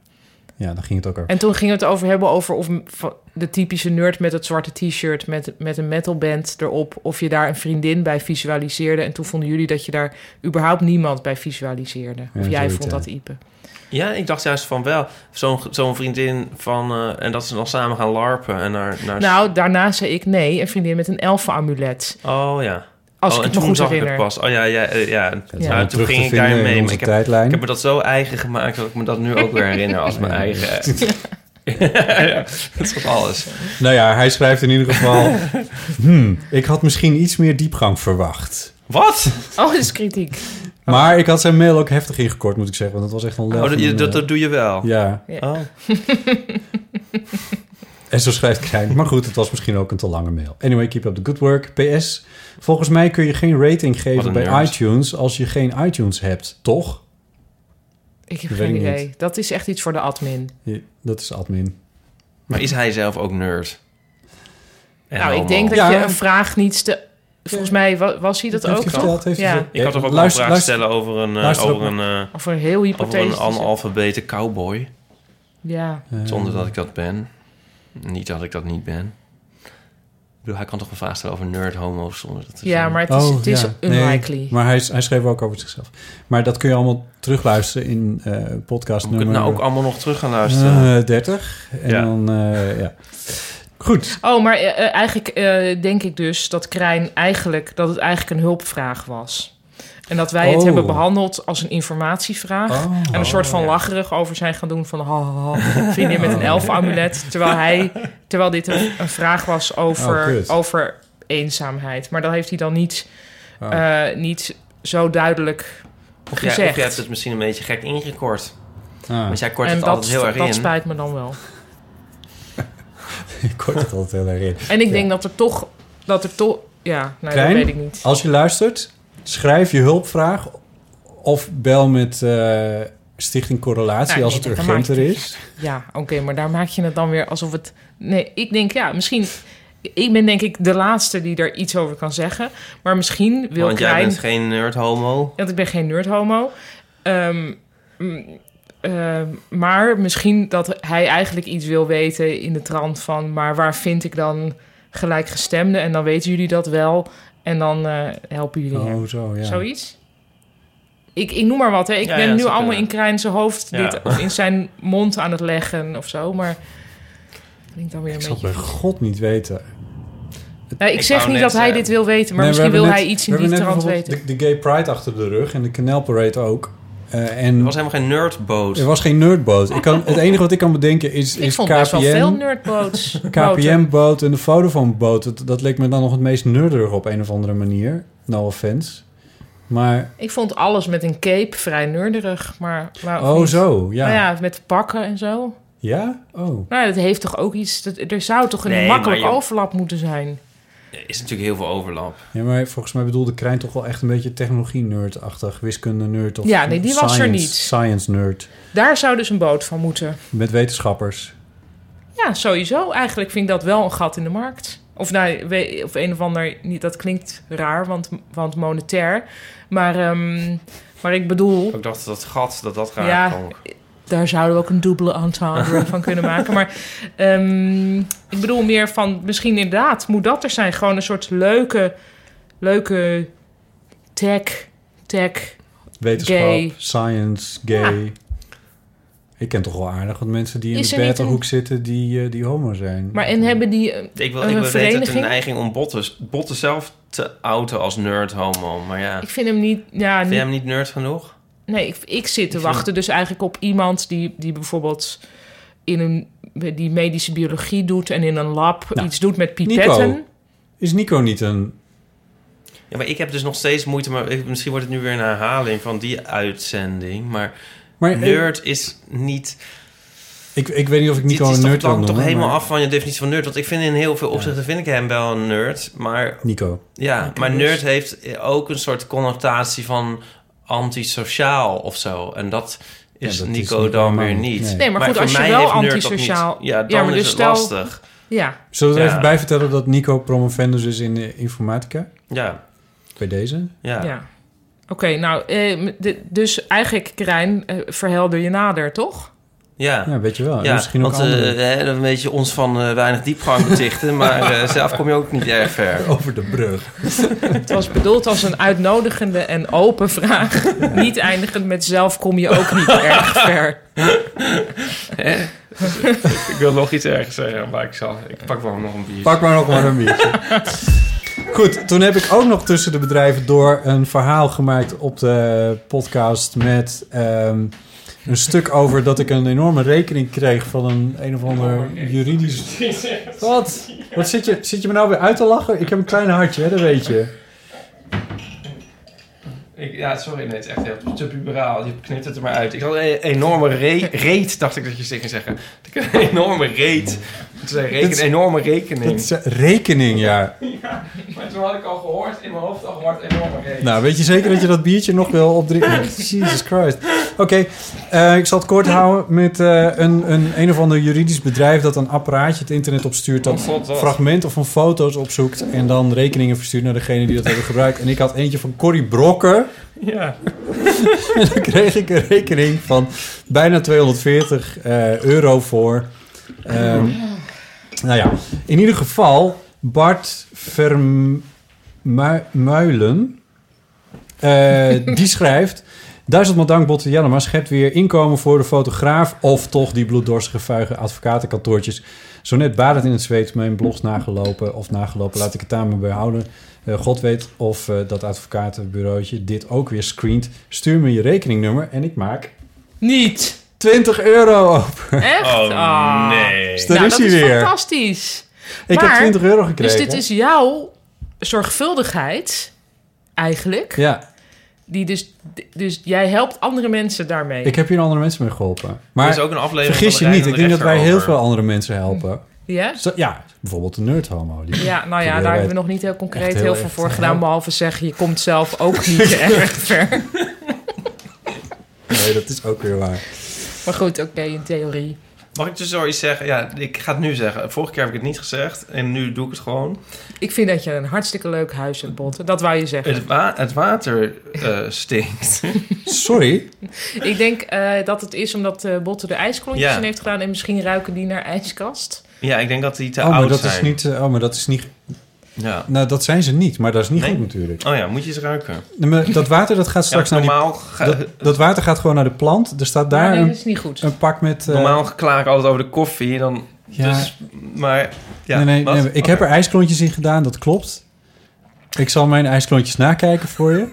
ja, dan ging het ook over.
En toen ging het over hebben over of m- van de typische nerd met het zwarte t-shirt met, met een metalband erop, of je daar een vriendin bij visualiseerde. En toen vonden jullie dat je daar überhaupt niemand bij visualiseerde. Of
Ja,
jij
zoiets,
vond
ja.
dat Ipe.
Ja, ik dacht juist van wel. Zo'n zo'n vriendin van... eh, en dat ze dan samen gaan larpen en naar... naar
Nou, daarna zei ik nee, een vriendin met een elfenamulet.
oh ja.
Als
oh,
ik
en
het me
toen
goed
zag ik
herinner.
het pas. Oh ja, ja, eh, ja.
Het
Ja.
allemaal
toen
terug
ging
te
ik daar
vinden
mee,
in
maar
onze
ik heb-
tijdlijn.
Ik heb me dat zo eigen gemaakt dat ik me dat nu ook weer herinner als mijn
Ja.
eigen. eh. Ja, dat is toch alles.
Nou ja, hij schrijft in ieder geval... hmm, ik had misschien iets meer diepgang verwacht.
Wat?
Oh, dat is kritiek.
Maar ik had zijn mail ook heftig ingekort, moet ik zeggen. Want dat was echt een lel
Oh, dat,
van
je-
een,
dat,
eh,
dat doe je wel.
Ja,
Oh.
en zo schrijft Krijn. Maar goed, het was misschien ook een te lange mail. Anyway, keep up the good work. PS, volgens mij kun je geen rating geven
een
bij
nerd.
iTunes... als je geen iTunes hebt, toch?
Ik heb
Weet
geen
ik niet.
idee. Dat is echt iets voor de admin.
Ja, Dat is admin.
Maar is hij zelf ook nerd? En
nou,
homo?
ik denk dat
Ja.
je een vraag niet te... Volgens mij wa- was hij dat,
heeft
ook
hij
al.
verteld, heeft hij
ja.
verteld.
Ik had toch ook
Luister-
wel een vraag
luister-
stellen over een, eh,
luister
over
ook
een, eh,
Of een heel
over een
hypothetisch.
analfabete cowboy.
ja.
eh,
Zonder dat ik dat ben. Niet dat ik dat niet ben. Ik bedoel, hij kan toch een vraag stellen over nerd homo's zonder dat te
ja,
zijn?
maar het is,
Oh,
het is
ja. Nee,
unlikely.
maar hij, hij schreef ook over zichzelf. Maar dat kun je allemaal terugluisteren in eh podcast
Moet ik het
nummer...
nou ook allemaal nog terug gaan luisteren?
eh, 30. En
Ja.
dan, eh, ja. Goed.
Oh, maar eh, eh, eigenlijk eh, denk ik dus dat Krijn eigenlijk dat het eigenlijk een hulpvraag was. En dat wij het
Oh.
hebben behandeld als een informatievraag.
Oh.
En een soort van
ja.
lacherig over zijn gaan doen van... ha, ha, ha, vriendin met een elfenamulet. Terwijl, hij, terwijl dit een, een vraag was
Oh,
over,
kut.
over eenzaamheid. Maar dat heeft hij dan niet,
Oh.
eh, niet zo duidelijk
Of jij,
gezegd.
of jij hebt het misschien een beetje gek ingekort.
Ah,
Want jij kort
en
het
dat,
altijd heel erg
dat
in.
spijt me dan wel.
ik kort het altijd heel erg in.
En ik
Ja.
denk dat er toch... Dat er toch ja, nou, dat
Krijn?
weet ik niet.
Als je luistert, schrijf je hulpvraag of bel met eh, Stichting Correlatie
Nou,
als
nee,
het
dat- dat maakt
urgenter is.
Ja, oké, maar daar maak je het dan weer alsof het... Nee, ik denk, ja, misschien... Ik ben denk ik de laatste die daar iets over kan zeggen. Maar misschien wil
Want jij
Krijn...
bent geen nerd homo.
Want ik ben geen nerd homo. Ehm, Mm, eh, maar misschien dat hij eigenlijk iets wil weten in de trant van... maar waar vind ik dan gelijkgestemden? En dan weten jullie dat wel en dan eh, helpen jullie hem.
Oh, zo, ja.
Zoiets? Ik, ik noem maar wat. Hè. Ik
Ja,
ben
ja,
nu
zou
allemaal in
kunnen.
Krijn zijn hoofd
Ja.
dit, of in zijn mond aan het leggen of zo. Maar klinkt dan weer een
Ik zal het
beetje...
bij god niet weten.
Nou, ik,
Ik
zeg
wou
niet
net
dat hij
zeggen.
dit wil weten, maar
Nee, we
misschien wil
hebben
hij
net-
iets
we
in die
hebben net
trant weten.
bijvoorbeeld De, de Gay Pride achter de rug en de Canal Parade ook. Eh, en
Er was helemaal geen nerdboot.
er was geen nerdboot. Ik kan, het enige wat ik kan bedenken is,
Ik
is
vond best wel veel
KPN,
nerdboats. boten.
KPN-boot en de Vodafone-boot. Dat, dat leek me dan nog het meest nerderig op een of andere manier. No offense. Maar,
Ik vond alles met een cape vrij nerderig, maar... maar
oh
niet.
zo, ja.
Nou
ja.
ja, met pakken en zo.
Oh.
Nou, ja, dat heeft toch ook iets... Dat, er zou toch een
Nee,
makkelijk
maar je-
overlap moeten zijn?
Er is natuurlijk heel veel overlap.
Ja, maar volgens mij bedoelde Krijn toch wel echt een beetje technologie-nerd-achtig. Wiskunde-nerd of
Ja, nee, die was er
science-
niet.
Science-nerd.
Daar zou dus een boot van moeten.
Met wetenschappers.
Ja, sowieso. Eigenlijk vind ik dat wel een gat in de markt. Of, nou, we- of een of ander... Niet, dat klinkt raar, want, want monetair. Maar, ehm, maar ik bedoel...
Ik dacht dat gat, dat dat raar
Ja.
klonk.
daar zouden we ook een dubbele entendre van kunnen maken. Maar ehm, ik bedoel meer van, misschien inderdaad moet dat er zijn. Gewoon een soort leuke, leuke tech, tech.
Wetenschap,
Gay.
science, gay. Ik ken toch wel aardig wat mensen die in
Is
de
er niet
Bertelhoek
een-
zitten die, eh, die homo zijn.
Maar en hebben die... eh,
Ik wil,
Een
ik wil weten dat
vereniging?
een neiging om botten, botten zelf te outen als nerd homo. Maar ja,
Ik vind hem niet... Ja,
vind jij
niet
hem niet nerd genoeg?
nee, ik, ik zit te wachten dus eigenlijk op iemand die, die bijvoorbeeld in een... die medische biologie doet en in een lab
Nou,
iets doet met pipetten.
Nico. Is Nico niet een...
Ja, maar ik heb dus nog steeds moeite. Maar ik- misschien wordt het nu weer een herhaling van die uitzending. Maar
Maar eh,
nerd is niet.
ik, ik weet niet of ik Nico
dit is
een
toch,
nerd wil
hangt toch
noemen.
helemaal
maar-
af van je definitie van nerd. Want ik vind in heel veel opzichten vind ik hem wel een nerd. Maar
Nico.
ja, maar
dus-
nerd heeft ook een soort connotatie van antisociaal of zo. En dat is
Ja, dat is
Nico
niet
dan
helemaal
weer
niet.
niet.
Nee.
Nee, maar goed,
voor
als je
mij
wel
heeft nerd dat
antisociaal-
niet. Ja,
Ja,
dan
maar
is
dus
het
stel-
lastig.
Ja,
Zullen we er
Ja.
even bij vertellen dat Nico promovendus is in eh, informatica?
Ja,
Bij deze?
ja.
Ja. Oké, nou, eh, de- dus eigenlijk, Krijn, eh, verhelder je nader, toch?
Ja.
Ja, weet je wel. En
Ja,
misschien ook
want eh,
andere
hè, dan weet je ons van eh, weinig diepgang betichten, maar eh, zelf kom je ook niet erg ver.
over de brug.
Het was bedoeld als een uitnodigende en open vraag. Niet eindigend met zelf kom je ook niet erg ver.
Ik wil nog iets ergens zeggen, maar ik, zal, ik pak wel nog een bier.
Pak maar nog maar een biertje. Goed, toen heb ik ook nog tussen de bedrijven door een verhaal gemaakt op de podcast met ehm, een stuk over dat ik een enorme rekening kreeg van een een of ander juridisch. Wat? Wat zit je, zit je me nou weer uit te lachen? Ik heb een klein hartje, hè, dat weet je.
ja, sorry, nee, het is echt heel te puberaal. Je knipt het er maar uit. Ik had een enorme re- reet, dacht ik dat je zeker zeggen. Ik had een enorme reet. Het is een, reken-
Dat-
enorme
Dat
rekening.
is, eh, rekening, ja.
Maar toen had ik al gehoord, in mijn hoofd al gehoord, enorme reet.
Nou, weet je zeker dat je dat biertje nog wil opdrinken? Jesus Christ. Oké, eh, ik zal het kort houden met eh, een, een een of ander juridisch bedrijf dat een apparaatje het internet opstuurt dat
Oh, god, wat.
fragmenten van foto's opzoekt en dan rekeningen verstuurt naar degene die dat hebben gebruikt. En ik had eentje van Corrie Brokker.
Ja.
En dan kreeg ik een rekening van bijna 240 eh, euro voor. Ehm, nou ja, in ieder geval Bart Vermuilen, eh, die schrijft... Duizendmaal dank Botte Jellema schept weer inkomen voor de fotograaf... of toch die bloeddorstige vuige advocatenkantoortjes. Zo net badend in het zweet mijn blogs nagelopen of nagelopen. Laat ik het daar maar bij houden. Eh, God weet of eh, dat advocatenbureautje dit ook weer screent. Stuur me je rekeningnummer en ik maak
Niet.
20 euro over.
Echt?
Oh,
Ah.
nee.
Dus Daar
Nou,
is
dat
hij
is
weer.
fantastisch.
Ik heb
Maar,
20 euro gekregen.
Dus dit is jouw zorgvuldigheid, eigenlijk.
Ja,
Die dus, dus jij helpt andere mensen daarmee.
ik heb hier andere mensen mee geholpen.
Er
Maar
is ook een aflevering
vergis
van
je
de
niet, ik
Rijdende
denk dat wij heel
Rechter
veel
over.
andere mensen helpen.
Ja?
Zo- ja, bijvoorbeeld de nerdhomo. Die
Ja, nou ja,
Probeer
daar
wij
hebben we nog niet heel concreet
echt
heel,
heel
veel
echt
voor
te
gedaan.
helpen.
Behalve zeggen, je komt zelf ook niet erg ver.
Nee, dat is ook weer waar.
Maar goed, oké, in theorie.
Mag ik dus zoiets zeggen? Ja, ik ga het nu zeggen. Vorige keer heb ik het niet gezegd en nu doe ik het gewoon.
Ik vind dat je een hartstikke leuk huis hebt, Botte. Dat wou je zeggen.
Het, wa- het water eh, stinkt.
Sorry.
Ik denk eh, dat het is omdat eh Botte de ijsklontjes
Ja.
in heeft gedaan... en misschien ruiken die naar ijskast.
ja, ik denk dat die te
Oh, maar
oud
dat
zijn.
is niet. eh, Oh, maar dat is niet.
Ja.
Nou, dat zijn ze niet. Maar dat is niet
Nee.
goed natuurlijk.
Oh ja, moet je eens ruiken.
Nee, maar Dat water dat gaat straks
Ja,
naar die
normaal, ga-
Dat, dat water gaat gewoon naar de plant. Er staat daar
Maar nee,
een,
dat is niet goed.
een pak met. eh,
normaal klaag ik altijd over de koffie. Dan,
Ja.
dus, maar ja,
nee, nee,
wat?
nee, ik
Oké.
heb er ijsklontjes in gedaan, dat klopt. Ik zal mijn ijsklontjes nakijken voor je.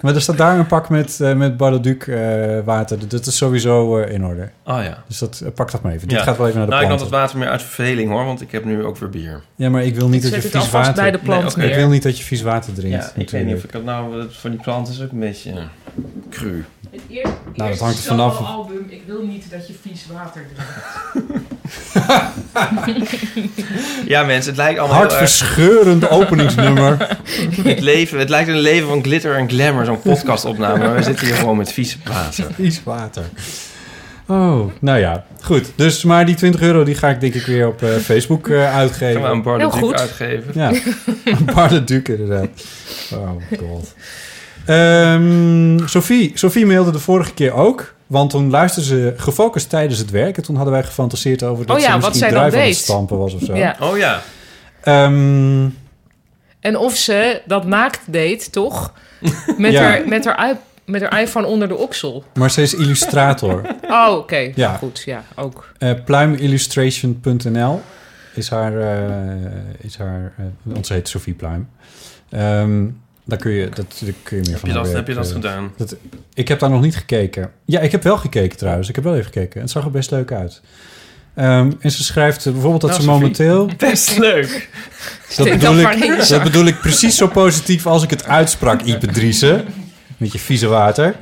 maar er staat daar een pak met, eh met Barleduc eh, water. Dat is sowieso eh, in orde.
Oh ja.
Dus dat, eh, pak dat maar even.
Ja.
Dit gaat wel even naar de
Nou, ik nam
plant.
dat water meer uit verveling hoor, want ik heb nu ook weer bier.
Ja, maar ik wil niet
Ik
dat
zet
je
het
vies
alvast
water...
bij de plant
Nee, oké.
Ik
neer.
wil niet dat je vies water drinkt.
Ja, ik weet
natuurlijk.
niet of ik dat nou... Van die plant is ook een beetje cru.
Het eer-
Nou, dat
eerste
hangt er vanaf.
solo-album, Ik wil niet dat je vies water drinkt.
Ja mensen, het lijkt allemaal heel erg...
Hartverscheurend openingsnummer.
Het, leven, het lijkt een leven van glitter en glamour, zo'n podcastopname. Maar we zitten hier gewoon met vieze praten.
Vies water. Oh, nou ja. Goed. Dus, maar die 20 euro die ga ik denk ik weer op eh, Facebook eh, uitgeven.
Gaan we een bar
Heel
natuurlijk
goed.
uitgeven?
Ja, Barle Duc inderdaad. Oh my god. Ehm, Sophie, Sophie mailde de vorige keer ook. Want toen luisterden ze gefocust tijdens het werk. En toen hadden wij gefantaseerd over dat
Oh ja,
ze
wat
misschien
zij dan
druiven aan het
deed.
stampen was of zo.
Ja.
Oh ja.
Ehm,
En of ze dat naakt deed, toch? Met,
Ja.
haar, met, haar, i- met haar iPhone onder de oksel.
maar ze is illustrator.
Oh, oké.
Ja.
Goed, ja, ook.
Eh, pluimillustration.nl is haar... eh, is haar eh, want ze heet Sophie Pluim. Ehm, daar kun je, dat, daar kun je meer
Heb
van
je
haar
dat, heb
werk,
je dat
eh,
gedaan?
Ik heb daar nog niet gekeken. Ja, ik heb wel gekeken trouwens. Ik heb wel even gekeken. Het zag er best leuk uit. Ehm, en ze schrijft eh, bijvoorbeeld dat
Nou,
ze
Sophie.
momenteel...
Best leuk.
Dat
Steek
bedoel,
dan maar in
ik,
je
dat
zak.
bedoel ik precies zo positief als ik het uitsprak, Ipe Driessen. Met je vieze water.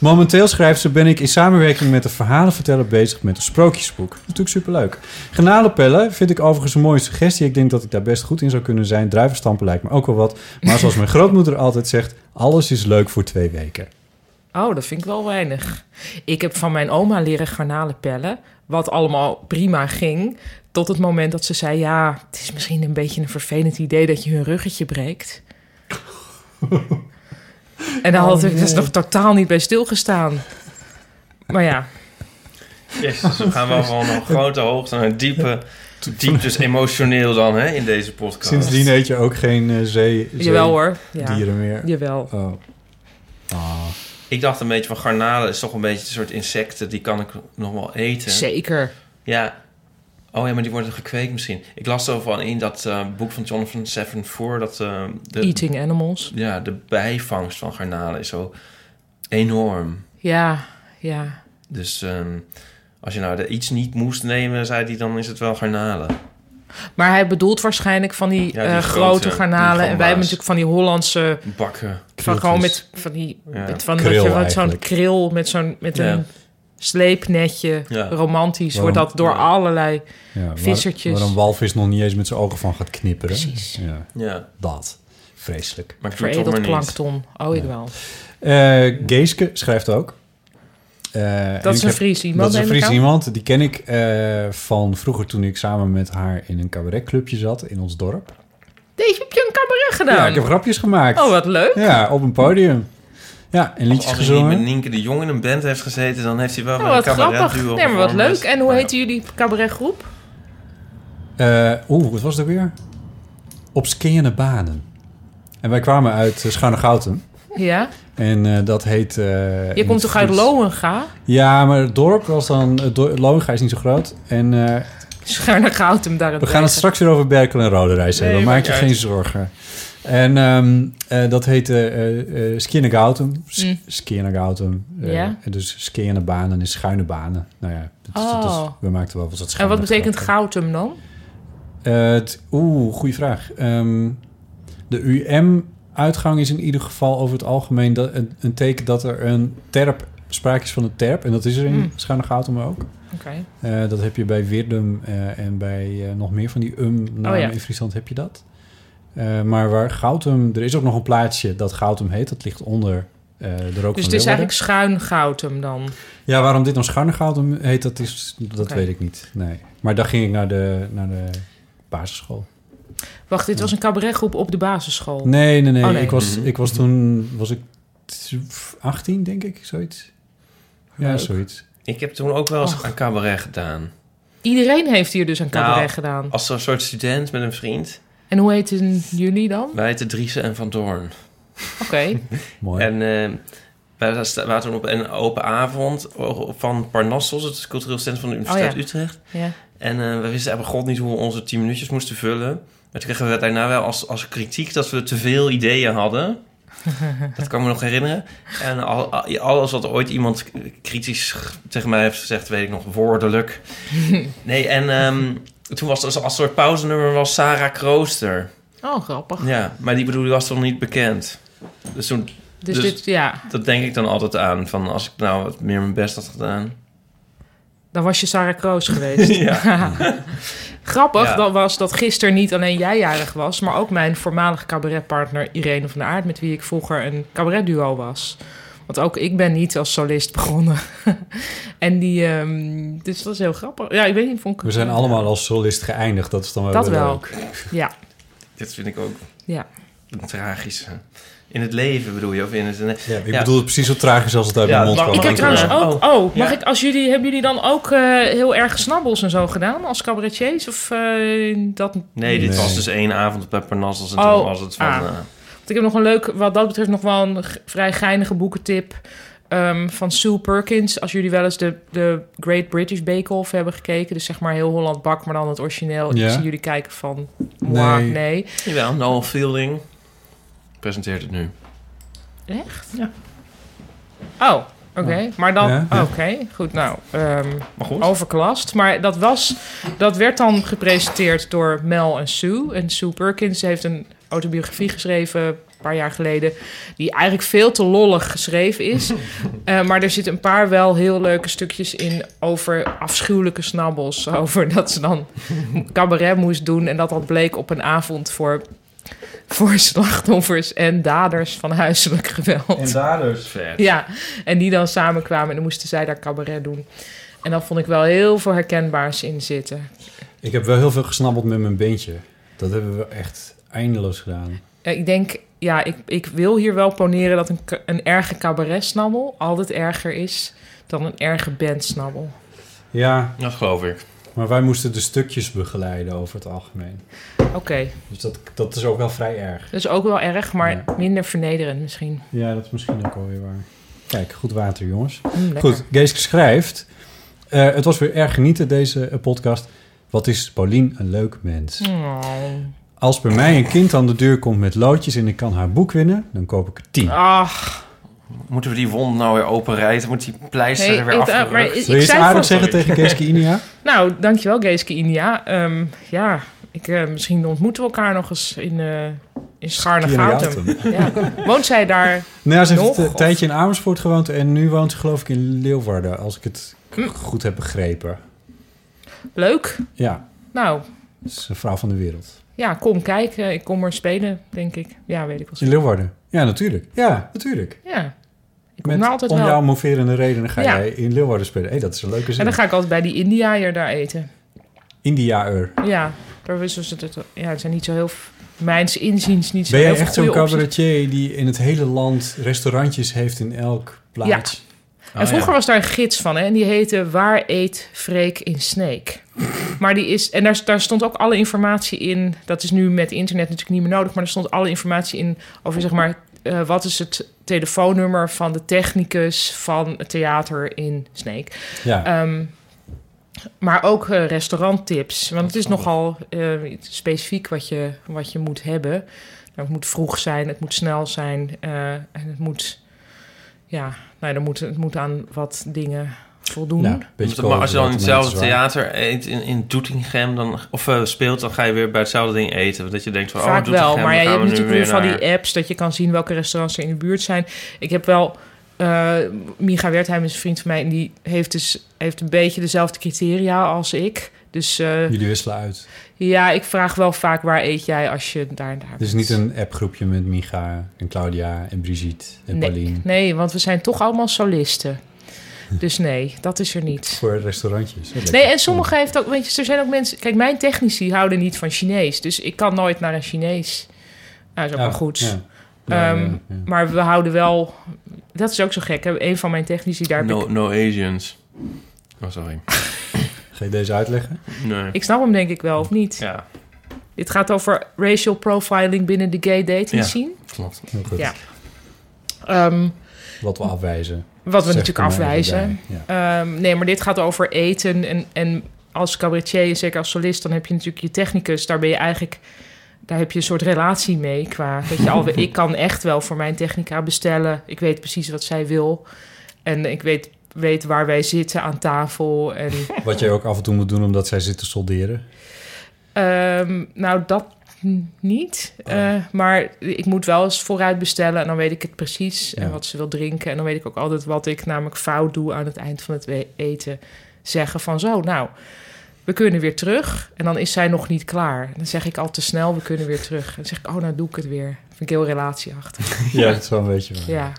Momenteel schrijft ze... ben ik in samenwerking met de verhalenverteller bezig met een sprookjesboek. Natuurlijk superleuk. Garnalenpellen vind ik overigens een mooie suggestie. Ik denk dat ik daar best goed in zou kunnen zijn. Druivenstampen lijkt me ook wel wat. Maar zoals mijn grootmoeder altijd zegt... alles is leuk voor twee weken.
Oh, dat vind ik wel weinig. Ik heb van mijn oma leren garnalen pellen, wat allemaal prima ging. Tot het moment dat ze zei: Ja, het is misschien een beetje een vervelend idee dat je hun ruggetje breekt. en daar had ik dus nog totaal niet bij stilgestaan. Maar ja,
Jezus, we gaan wel van een grote hoogte naar een diepe... Diep dus emotioneel dan, hè, in deze podcast.
Sindsdien eet je ook geen eh, zee, zee-
jawel hoor. Ja.
dieren meer.
Jawel.
Oh. Ah.
Ik dacht een beetje van garnalen is toch een beetje een soort insecten. Die kan ik nog wel eten.
Zeker.
Ja. Oh ja, maar die worden gekweekt misschien. Ik las ervan in dat eh, boek van Jonathan Seven voor dat eh, de,
Eating animals.
ja, de bijvangst van garnalen is zo enorm.
Ja, ja.
Dus ehm, als je nou er iets niet moest nemen, zei hij, dan is het wel garnalen.
Maar hij bedoelt waarschijnlijk van
Ja,
die,
die
eh,
grote,
grote
die
garnalen. En wij hebben
gamba's.
natuurlijk van die Hollandse
Bakken.
Van
Krieltjes.
gewoon met van die
Ja.
met van dat
Kril
je wat zo'n
eigenlijk.
kril met zo'n met
Ja.
een sleepnetje
Ja.
romantisch
Waarom-
wordt dat door
Ja.
allerlei
Ja, waar-
vissertjes.
Waar, een walvis nog niet eens met zijn ogen van gaat knipperen.
Precies.
Ja,
Ja,
dat. Vreselijk.
maar ik doe het toch
veredeld
maar niet.
plankton. Oh, ik
Ja.
wel.
Eh, Geeske schrijft ook. Eh, en
Dat is
ik
een
heb-
Fries iemand.
Dat is een
neem ik
Fries
aan.
iemand. Die ken ik eh, van vroeger toen ik samen met haar in een cabaretclubje zat in ons dorp.
Deze heb je een cabaret
Ja,
gedaan.
ik heb grapjes gemaakt.
Nou, Oh, wat leuk.
Ja, op een podium. Ja, en
Als,
liedjes
als hij niet
gezongen.
met Nienke de Jong in een band heeft gezeten, dan heeft hij wel
Oh,
wel een
wat
cabaret
grappig.
duo.
Nee, maar wat
gevormd.
leuk. En hoe
Ja.
heten jullie cabaretgroep?
Eh, Oeh, wat was dat weer? Op skiënde banen. En wij kwamen uit eh, Scharnegouten.
Ja.
En eh, dat heet... eh, in
Je
het
komt toch uit
Fries-
Lohenga?
Ja, maar het dorp was dan... Het dorp, Lohenga is niet zo groot. En eh,
Schernergoutum daar
we gaan het straks weer over Berkel en Rode Reis
Nee,
hebben. Maak
maakt
je
niet
geen
uit.
zorgen. En ehm, eh, dat heet eh eh, eh, Skiënnegouten. S-
Mm.
Skiënnegouten. Eh,
Ja.
Dus skiënde banen is schuine banen. Nou ja, dat is- dat is-
Oh.
we maakten wel wat dat
En
schuine
wat betekent
grappen.
Goutum dan?
Eh, het- Oeh, goede vraag. Ehm, de UM-uitgang is in ieder geval over het algemeen dat, een, een teken dat er een terp, sprake is van een terp. En dat is er in
Mm.
mm. Schuine ook.
Oké. Dus
Eh, dat heb je bij Wirdum eh, en bij eh, nog meer van die um-namen
Oh ja.
in Friesland heb je dat. Eh, maar waar Goutum, er is ook nog een plaatsje dat Goutum heet. Dat ligt onder eh, er ook van
Dus
wil
het is
worden.
eigenlijk schuin goudem dan.
Ja, waarom dit dan Scharnegoud heet, dat, is, dat
Oké.
weet ik niet. Nee. Maar daar ging ik naar de, naar de basisschool.
Wacht, dit was een cabaretgroep op de basisschool.
Nee, nee, nee.
Oh, nee.
Ik, was,
Mhm.
ik was toen, was ik t- 18, denk ik, zoiets. Ja,
Leuk.
zoiets.
Ik heb toen ook wel eens
Och.
een cabaret gedaan.
Iedereen heeft hier dus een cabaret
Nou.
gedaan.
Als een soort student met een vriend.
En hoe heten jullie dan?
Wij heten Driessen en Van Doorn.
Oké.
Mooi.
En eh, wij sta- waren toen op een open avond van Parnassos, het cultureel centrum van de Universiteit
Oh ja.
Utrecht.
Ja.
En eh, we wisten eigenlijk god niet hoe we onze 10 minuutjes moesten vullen. Maar toen kregen we daarna wel als, als kritiek dat we te veel ideeën hadden. dat kan me nog herinneren. En al, al- alles wat ooit iemand k- kritisch g- tegen mij heeft gezegd, weet ik nog woordelijk. nee, en ehm, toen was er als soort pauzenummer was Sarah Krooster.
Oh, grappig.
Ja, maar die bedoel die was nog niet bekend. Dus toen,
Dus,
Dus-
dit, ja,
dat denk ik dan altijd aan. Van als ik nou wat meer mijn best had gedaan.
dan was je Sarah Kroos geweest.
ja.
Grappig
Ja.
dat was dat gisteren niet alleen jij jarig was, maar ook mijn voormalige cabaretpartner Irene van der Aert, met wie ik vroeger een cabaretduo was. Want ook ik ben niet als solist begonnen. en die, ehm, dus dat is heel grappig. Ja, ik weet niet, vond ik.
We zijn allemaal als solist geëindigd. Dat is dan wel
Dat
weer
wel.
leuk.
Ja,
Dit vind ik ook
ja.
Een tragische. In het leven bedoel je? Of in het...
Ja, ik
Ja.
bedoel het precies zo tragisch als het uit
Ja,
mijn mond
maar-
kwam.
Ik heb
ik
trouwens
wel.
ook. Oh, mag
Ja.
ik als jullie hebben jullie dan ook eh, heel erg snabbels en zo gedaan als cabaretiers of eh, dat?
Nee, dit
Nee.
was dus één avond bij Parnassus en
Oh,
toen was het van...
ah.
eh,
Want ik heb nog een leuk, wat dat betreft, nog wel een g- vrij geinige boekentip ehm, van Sue Perkins. Als jullie wel eens de, de Great British Bake Off hebben gekeken, dus zeg maar heel Holland bak, maar dan het origineel.
Ja.
Ik zie jullie kijken van, "Mwah,
Nee.
nee.
Jawel, Noel Fielding presenteert het nu.
Echt? Oh, oké. Maar dan,
Ja, ja.
oké, goed. Nou, ehm,
Maar goed.
overklast. Maar dat, was, dat werd dan gepresenteerd door Mel en Sue. En Sue Perkins heeft een autobiografie geschreven een paar jaar geleden... die eigenlijk veel te lollig geschreven is. Eh, maar er zitten een paar wel heel leuke stukjes in... over afschuwelijke snabbels. Over dat ze dan cabaret moest doen... en dat dat bleek op een avond voor, voor slachtoffers en daders van huiselijk geweld.
daar dus.
Vet.
Ja, en die dan samenkwamen en dan moesten zij daar cabaret doen. En dan vond ik wel heel veel herkenbaars in zitten.
Ik heb wel heel veel gesnabbeld met mijn beentje. Dat hebben we echt eindeloos gedaan.
Eh, Ik denk, ja, ik, ik wil hier wel poneren dat een, ka- een erge cabaret-snabbel altijd erger is dan een erge band-snabbel.
Ja,
Dat geloof ik.
maar wij moesten de stukjes begeleiden over het algemeen.
Oké,
Dus dat, dat is ook wel vrij erg.
dat is ook wel erg, maar
Ja.
minder vernederend misschien.
Ja, dat is misschien ook alweer waar. Kijk, goed water, jongens.
Hm, lekker.
Goed, Geeske schrijft... eh, het was weer erg genieten, deze eh, podcast. Wat is Paulien een leuk mens.
Oh.
Als bij mij een kind aan de deur komt met loodjes... en ik kan haar boek winnen, dan koop ik er tien.
Ach,
Moeten we die wond nou weer openrijden? Moet die pleister
nee,
er weer
ik- eh, maar
afgerukt?
ik,
Wil je
ik
iets
zei
aardig
voor-
zeggen tegen Geeske Inia?
Nou, dankjewel Geeske India. Ehm, ja, ik, eh, misschien ontmoeten we elkaar nog eens in, eh in Scharnegoutem.
Inia
Ja. Woont zij daar
Nou, ja, ze heeft
Nog,
een
of-
tijdje in Amersfoort gewoond en nu woont ze geloof ik in Leeuwarden, als ik het k-
Hm.
goed heb begrepen.
Leuk.
Ja,
Nou,
ze is een vrouw van de wereld.
ja, kom kijken. Ik kom er spelen, denk ik. Ja, weet ik wel.
In Leeuwarden? Ja, natuurlijk. Ja, natuurlijk.
Ja. Ik kom
Met
er altijd
om
wel.
jouw moverende redenen ga
Ja.
jij in Leeuwarden spelen. Hé, dat is een leuke
En
zin.
dan ga ik altijd bij die Indiaaier daar eten.
India-ur.
Ja, daar wisten ze het. Ja, het zijn niet zo heel... f- Mijns inziens niet zo
Ben jij
heel veel
echt zo'n
goede opties.
cabaretier die in het hele land restaurantjes heeft in elk plaats?
Oh,
en vroeger
ja.
was daar een gids van, hè, en die heette Waar eet Freek in Sneek? maar die is, en daar, daar stond ook alle informatie in. Dat is nu met internet natuurlijk niet meer nodig, maar er stond alle informatie in over zeg maar. eh, wat is het telefoonnummer van de technicus van het theater in Sneek?
Ja.
Ehm, maar ook eh, restauranttips. Want het is nogal eh, specifiek wat je, wat je moet hebben. Nou, het moet vroeg zijn, het moet snel zijn. eh, en het moet, ja, nou, er moet, het moet aan wat dingen voldoen.
Ja, een beetje
maar
kolen,
als je dan in
dat
hetzelfde
mensen waar-
theater eet in, in Doetinchem dan, of eh, speelt, dan ga je weer bij hetzelfde ding eten. Want Dat je denkt van,
Vaak
oh,
wel,
Doetinchem,
maar ja,
dan
je
gaan we
hebt
nu
natuurlijk
weer
weer van
naar-
die apps dat je kan zien welke restaurants er in de buurt zijn. Ik heb wel, eh Micha Wertheim is een vriend van mij en die heeft dus heeft een beetje dezelfde criteria als ik. Dus eh,
Jullie wisselen uit.
ja, ik vraag wel vaak waar eet jij als je daar en daar
Het is
bent.
Dus niet een appgroepje met Micha en Claudia en Brigitte en Pauline.
Nee, want we zijn toch allemaal solisten. Dus nee, dat is er niet.
Voor restaurantjes. Lekker.
Nee, en sommige heeft ook, weet je, er zijn ook mensen. Kijk, mijn technici houden niet van Chinees, dus ik kan nooit naar een Chinees. Nou, is ook
Ja,
wel goed.
ja. Ja,
Ehm,
ja, ja.
Maar we houden wel. Dat is ook zo gek. Hè? Een van mijn technici daar. eh, heb
No,
ik,
no Asians. Oh, sorry.
Ga je deze uitleggen?
Nee.
ik snap hem denk ik wel of niet.
Ja,
Dit gaat over racial profiling binnen de gay dating
Ja.
scene.
klopt.
Heel goed.
Ja. Ehm, wat
Wat we afwijzen.
we
Zeg
natuurlijk
er maar even
afwijzen.
bij. Ja.
Ehm, nee, maar dit gaat over eten. En, en als cabaretier, zeker als solist, dan heb je natuurlijk je technicus. Daar ben je eigenlijk. Daar heb je een soort relatie mee. Qua dat je al, ik kan echt wel voor mijn technica bestellen. Ik weet precies wat zij wil. En ik weet, weet waar wij zitten aan tafel. En,
Wat jij ook af en toe moet doen omdat zij zit te solderen.
ehm, nou, dat n- niet.
Oh.
Eh, maar ik moet wel eens vooruit bestellen. En dan weet ik het precies.
Ja.
En wat ze wil drinken. En dan weet ik ook altijd wat ik namelijk fout doe aan het eind van het we- eten. zeggen van zo, nou, we kunnen weer terug. En dan is zij nog niet klaar. En dan zeg ik al te snel, we kunnen weer terug. En dan zeg ik, oh, nou doe ik het weer. Vind ik heel relatieachtig.
Ja, dat is wel een beetje waar.
Ja.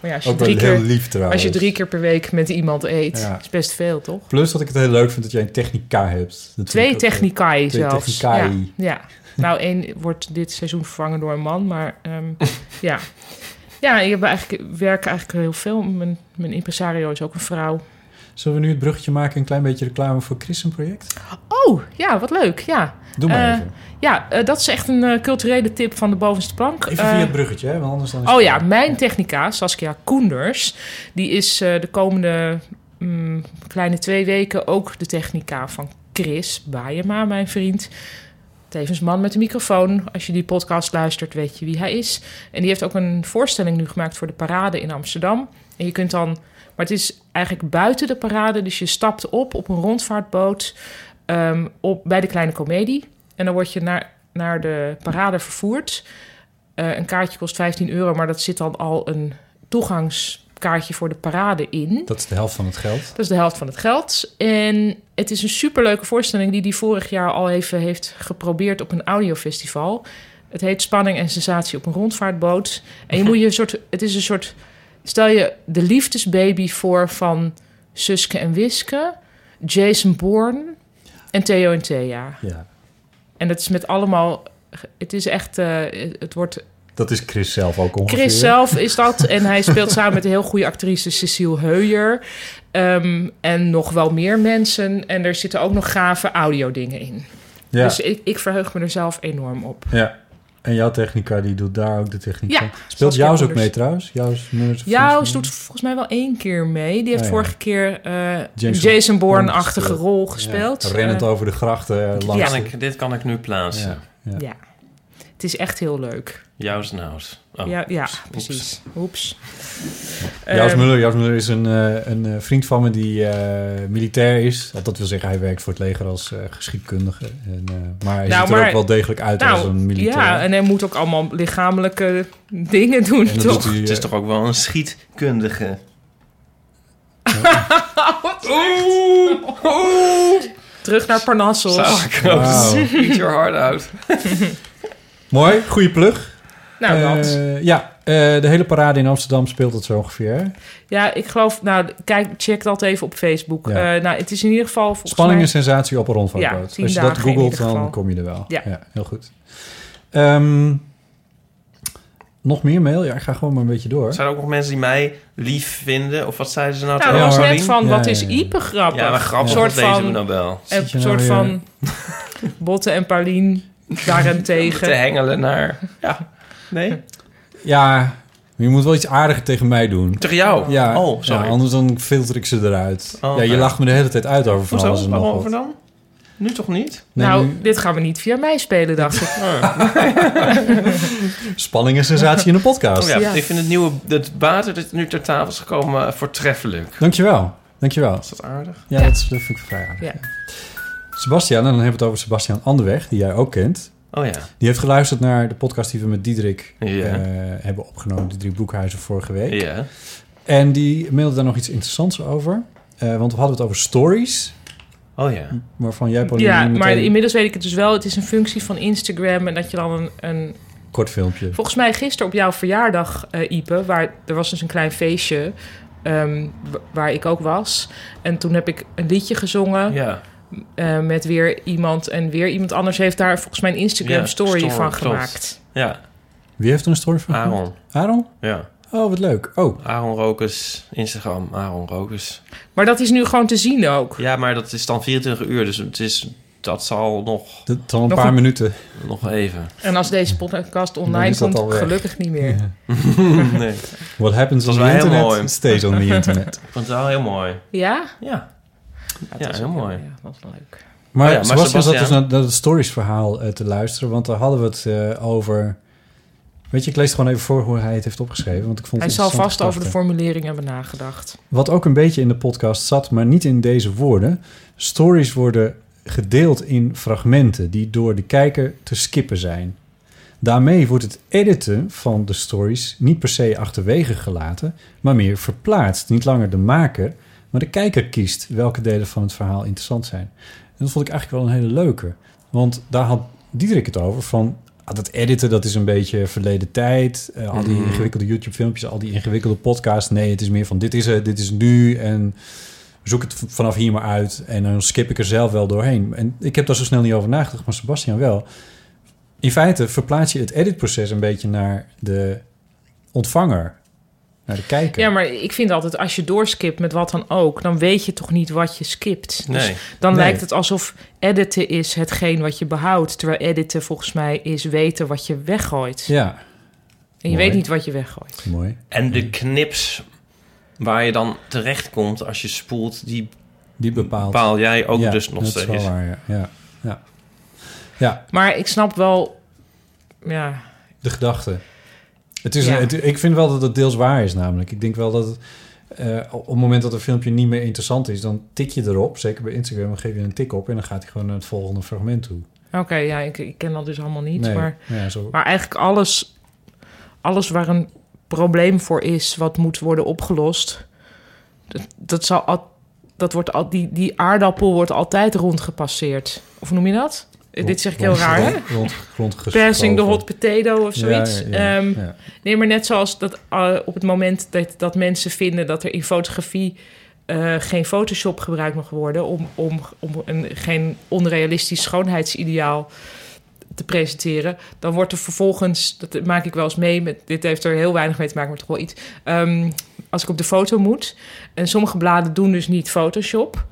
Maar ja, als je,
Ook wel
drie
heel
keer,
lief trouwens.
als je drie keer per week met iemand eet,
Ja.
is best veel, toch?
Plus dat ik het heel leuk vind dat jij een technica hebt. Dat
Twee
vind ik ook, eh,
technicaai
Twee
zelfs.
technicaai.
Ja, ja. Nou, één wordt dit seizoen vervangen door een man, maar ehm, ja. Ja, ik heb eigenlijk, werk eigenlijk heel veel. Mijn, mijn impresario is ook een vrouw.
Zullen we nu het bruggetje maken, een klein beetje reclame voor Chris een project?
Oh, ja, wat leuk. Ja,
Doe maar
Eh,
even.
ja eh, dat is echt een eh, culturele tip van de bovenste plank.
Even
Eh,
via het bruggetje, hè? want anders dan is
Oh
het-
ja, mijn technica, Saskia Koenders, die is eh, de komende mm, kleine twee weken ook de technica van Chris Baaiema, mijn vriend. Tevens man met een microfoon. Als je die podcast luistert, weet je wie hij is. En die heeft ook een voorstelling nu gemaakt voor de parade in Amsterdam. En je kunt dan, maar het is eigenlijk buiten de parade, dus je stapt op op een rondvaartboot ehm, op, bij de kleine komedie. En dan word je naar, naar de parade vervoerd. Eh, een kaartje kost 15 euro, maar dat zit dan al een toegangskaartje voor de parade in.
Dat is de helft van het geld.
Dat is de helft van het geld. En het is een superleuke voorstelling die hij vorig jaar al even heeft geprobeerd op een audiofestival. Het heet Spanning en Sensatie op een rondvaartboot. En je moet je een soort, het is een soort, stel je de liefdesbaby voor van Suske en Wiske, Jason Bourne en Theo en Thea.
Ja.
En dat is met allemaal, het is echt, eh, het wordt
Dat is Chris zelf ook ongeveer.
Chris zelf is dat. En hij speelt samen met een heel goede actrice Cecile Heuier. Ehm, en nog wel meer mensen. En er zitten ook nog gave audiodingen in.
Ja.
Dus ik, ik verheug me er zelf enorm op.
ja. En jouw technica, die doet daar ook de technica.
Ja,
Speelt
Saskia
Jouws ook
Koenders.
mee trouwens? Jouws nummers-
Jouws doet volgens mij wel één keer mee. Die heeft
Ah, ja.
vorige keer eh, een
Jason
Jason Bourne-achtige
Bourne
rol gespeeld.
Ja, rennend
Eh,
over de grachten eh, langs.
Kan ik, dit kan ik nu plaatsen.
Ja. Ja.
ja. Het is echt heel leuk.
Jouw is naus. Oh.
ja, ja
oeps, oeps.
precies. Oeps.
Jaus
Ehm,
Muller, Jaus Muller is een, eh, een eh, vriend van me die eh, militair is. Dat wil zeggen, hij werkt voor het leger als eh, geschiedkundige. En, eh, maar hij
Nou,
ziet er
maar-
ook wel degelijk uit als een
nou,
militair.
ja, en hij moet ook allemaal lichamelijke dingen doen,
En dat
toch?
doet hij,
Het
eh,
is toch ook wel een schietkundige.
Terug naar Parnassos.
Wauw.
Eat your heart out.
Mooi, goede plug.
Nou, dat.
Eh, ja, eh, de hele parade in Amsterdam speelt het zo ongeveer. hè?
Ja, ik geloof... Nou, kijk, check dat even op Facebook.
Ja.
Eh, nou, het is in ieder geval volgens
Spanning
mij...
en sensatie op een
Ja,
rondvaartboot.
tien
Als je dat
dagen in
googelt,
ieder
dan
geval.
kom je er wel. Ja,
Ja.
heel goed. Ehm, nog meer mail? Ja, ik ga gewoon maar een beetje door.
Zijn er ook nog mensen die mij lief vinden? Of wat zeiden ze nou
Nou,
Ja,
dat was
trouwens,
hoor.
net
Paulien?
van,
Ja,
wat
ja,
is
ja.
Ipe grappig?
Ja, maar grappig
Een soort
dat deze
van-
we dan wel.
Zit je
Een
nou
soort
weer-
van... Botten en Paulien
Te
daarentegen.
hengelen naar... Ja. Nee?
Ja, je moet wel iets aardiger tegen mij doen.
Tegen jou?
Ja,
Oh, sorry.
ja, anders dan filter ik ze eruit.
Oh,
ja, je
ja.
lacht me de hele tijd uit over van
Hoezo?
alles en nog
Waarover
wat.
dan? Nu toch niet? Oh,
Nee,
nou,
nu-
dit gaan we niet via mij spelen, dacht ik.
spanning en sensatie in de podcast.
Oh ja,
Ja.
ik vind het nieuwe, het water dat nu ter tafel is gekomen, eh, voortreffelijk.
Dankjewel, dankjewel.
Is dat aardig?
Ja,
Ja.
Dat, is- dat vind ik vrij aardig.
Ja.
Sebastian, en dan hebben we het over Sebastian Anderweg, die jij ook kent.
Oh ja.
Die heeft geluisterd naar de podcast die we met Diederik
Ja.
eh, hebben opgenomen. Diederik Broekhuizen vorige week.
Ja.
En die mailde daar nog iets interessants over. Eh, want we hadden het over stories.
Oh ja.
Waarvan jij Pauline
Ja,
nu
maar
meteen
inmiddels weet ik het dus wel. Het is een functie van Instagram en dat je dan een... een
kort filmpje.
volgens mij gisteren op jouw verjaardag, eh, Ipe, waar, er was dus een klein feestje ehm, w- waar ik ook was. En toen heb ik een liedje gezongen
Ja.
eh, met weer iemand. En weer iemand anders heeft daar volgens mij een Instagram
Ja,
story,
story,
van
klopt.
gemaakt.
Ja.
Wie heeft er een story van? gemaakt?
Aaron.
Aaron?
Ja.
Oh, wat leuk. Oh,
Aaron Rokers. Instagram. Aaron Rokers.
Maar dat is nu gewoon te zien ook.
Ja, maar dat is dan 24 uur. Dus het is, dat zal nog,
dat is al een
Nog
paar
een-
minuten.
nog even.
En als deze podcast
Dan
online
is dat
komt,
al weg.
gelukkig niet meer.
Hm.
nee. Ik
What happens
Dat
on the
is wel heel
internet
mooi.
stays on the internet.
vond het wel heel mooi.
Ja?
Ja.
dat
Ja,
is
heel
ook-
mooi.
Ja, dat is leuk.
Maar
Oh ja, maar
Sebastian zat
Sebastian-
dus naar, naar het stories verhaal eh, te luisteren, want daar hadden we het eh, over... Weet je, ik lees het gewoon even voor hoe hij het heeft opgeschreven, want ik vond
Hij
het
zal
interessante
vast over de
gedachte.
formulering hebben nagedacht.
Wat ook een beetje in de podcast zat, maar niet in deze woorden. Stories worden gedeeld in fragmenten die door de kijker te skippen zijn. Daarmee wordt het editen van de stories niet per se achterwege gelaten, maar meer verplaatst. Niet langer de maker, maar de kijker kiest welke delen van het verhaal interessant zijn. En dat vond ik eigenlijk wel een hele leuke. Want daar had Diederik het over van... ah, dat editen, dat is een beetje verleden tijd. Eh, al die
Mm.
ingewikkelde YouTube-filmpjes, al die ingewikkelde podcasts. Nee, het is meer van dit is het, dit is nu en zoek het v- vanaf hier maar uit. En dan skip ik er zelf wel doorheen. En ik heb daar zo snel niet over nagedacht, maar Sebastian wel. In feite verplaats je het editproces een beetje naar de ontvanger. Naar de kijker.
Ja, maar ik vind altijd, als je doorskipt met wat dan ook... dan weet je toch niet wat je skipt. Dus
Nee.
dan
Nee.
lijkt het alsof editen is hetgeen wat je behoudt... terwijl editen volgens mij is weten wat je weggooit.
ja,
en je
mooi.
weet niet wat je weggooit.
mooi.
En de knips waar je dan terecht komt als je spoelt, die
Die bepaalt.
bepaal jij ook
Ja,
dus nog
dat is wel
steeds.
waar, ja. ja. ja. Ja,
Maar ik snap wel... Ja,
de gedachte. Het is
Ja.
een- het- ik vind wel dat het deels waar is namelijk. Ik denk wel dat het, eh, op het moment dat een filmpje niet meer interessant is... dan tik je erop, zeker bij Instagram, dan geef je een tik op... en dan gaat hij gewoon naar het volgende fragment toe.
oké, ja, ik, ik ken dat dus allemaal niet.
nee,
Maar,
ja, zo,
maar eigenlijk alles, alles waar een probleem voor is... wat moet worden opgelost... dat, dat zal al... Dat wordt al, die, die aardappel wordt altijd rondgepasseerd. Of hoe noem je dat? Eh, Dit zeg ik heel
rond-
raar, hè?
rond- rond- rondgeschoven.
Passing the hot potato of
Ja,
zoiets.
ja, ja,
Ehm,
ja.
Nee, maar net zoals dat eh, op het moment dat, dat mensen vinden dat er in fotografie eh, geen Photoshop gebruikt mag worden om, om, om een, geen onrealistisch schoonheidsideaal te presenteren, dan wordt er vervolgens, dat maak ik wel eens mee, met, dit heeft er heel weinig mee te maken, maar toch wel iets. ehm, als ik op de foto moet, en sommige bladen doen dus niet Photoshop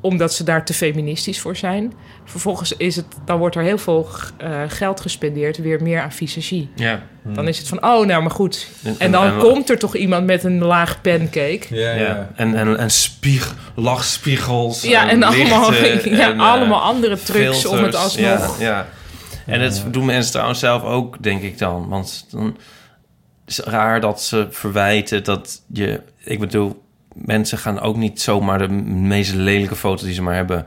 omdat ze daar te feministisch voor zijn. Vervolgens is het, dan wordt er heel veel eh, geld gespendeerd, weer meer aan visagie.
Ja.
Dan is het van, oh, nou maar goed. En dan
en-
komt er toch iemand met een laag pancake.
Ja, ja.
Ja, en, en, en spieg, lachspiegels.
Ja, en allemaal,
lichten
ja,
en, eh,
allemaal andere trucs om het
filters.
alsnog...
Ja, ja. En dat doen mensen trouwens zelf ook, denk ik dan. Want dan is het raar dat ze verwijten dat je... Ik bedoel, mensen gaan ook niet zomaar de meest lelijke foto die ze maar hebben...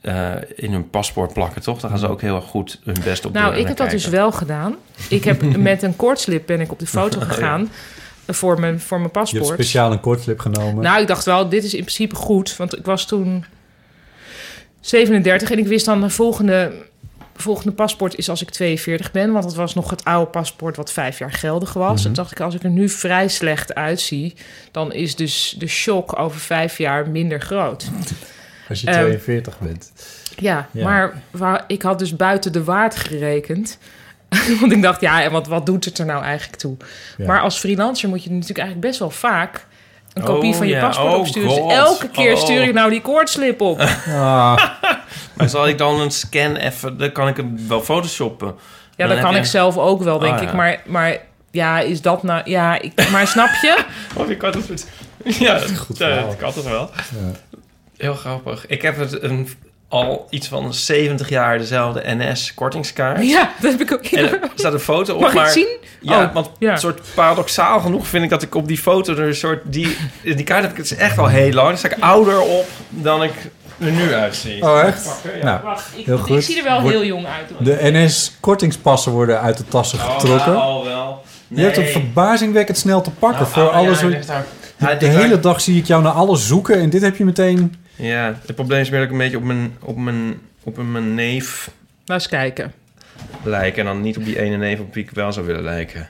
eh, in hun paspoort plakken, toch? Daar gaan
Mm.
ze ook heel erg goed hun best op
Nou,
doen
ik
en
heb dat dus
kijken.
wel gedaan. Ik heb met een koortslip ben ik op de foto
Oh,
gegaan voor, mijn, voor mijn
Je hebt
paspoort.
speciaal een kortslip genomen.
Nou, ik dacht wel, dit is in principe goed. Want ik was toen 37 en ik wist dan de volgende, volgende paspoort is als ik 42 ben. Want dat was nog het oude paspoort wat vijf jaar geldig was. En toen dacht ik, als ik er nu vrij slecht uitzie... dan is dus de shock over vijf jaar minder groot.
als je
ehm,
42 bent.
Ja,
Ja.
maar waar, ik had dus buiten de waard gerekend... Want ik dacht, ja, en wat, wat doet het er nou eigenlijk toe?
Ja.
Maar als freelancer moet je natuurlijk eigenlijk best wel vaak een kopie
Oh,
van je
ja.
paspoort
Oh,
opsturen. Dus
God.
elke keer
Oh.
stuur ik nou die koortslip op.
Ah,
Maar zal ik dan een scan even... Dan kan ik hem wel photoshoppen.
Ja,
Dan
dat
heb
kan
je-
ik zelf ook wel, denk
Ah,
ik.
ja.
Maar, maar ja, is dat nou... Ja, ik, maar snap je?
Of ik had het... Ja, dat,
verhaal.
ik had het wel.
ja.
Heel grappig. Ik heb het een, al iets van 70 jaar dezelfde NS-kortingskaart.
Ja, dat heb ik ook.
En er staat een foto op,
Mag ik
maar...
het zien?
Ja,
Oh,
want
ja.
een soort paradoxaal genoeg vind ik dat ik op die foto er een soort... Die, die kaart heb ik het is echt al heel lang. Daar sta ik ouder op dan ik er nu uitzie.
Oh, echt? Nou,
Wacht, ik,
Heel goed.
ik zie er wel
Wordt-
heel jong uit. hoor.
De
E
NS-kortingspassen worden uit de tassen
Oh,
getrokken.
ja, al wel.
Je hebt hem
Nee.
verbazingwekkend snel te pakken
Nou,
voor
ah, ja, Oh,
alles.
hij
wat-
ligt daar.
de
Hij
de
ligt
hele
daar-
dag zie ik jou naar alles zoeken en dit heb je meteen.
Ja, het probleem is meer dat ik een beetje op mijn, op mijn, op mijn neef
Laat eens kijken.
lijk. En dan niet op die ene neef op wie ik wel zou willen lijken.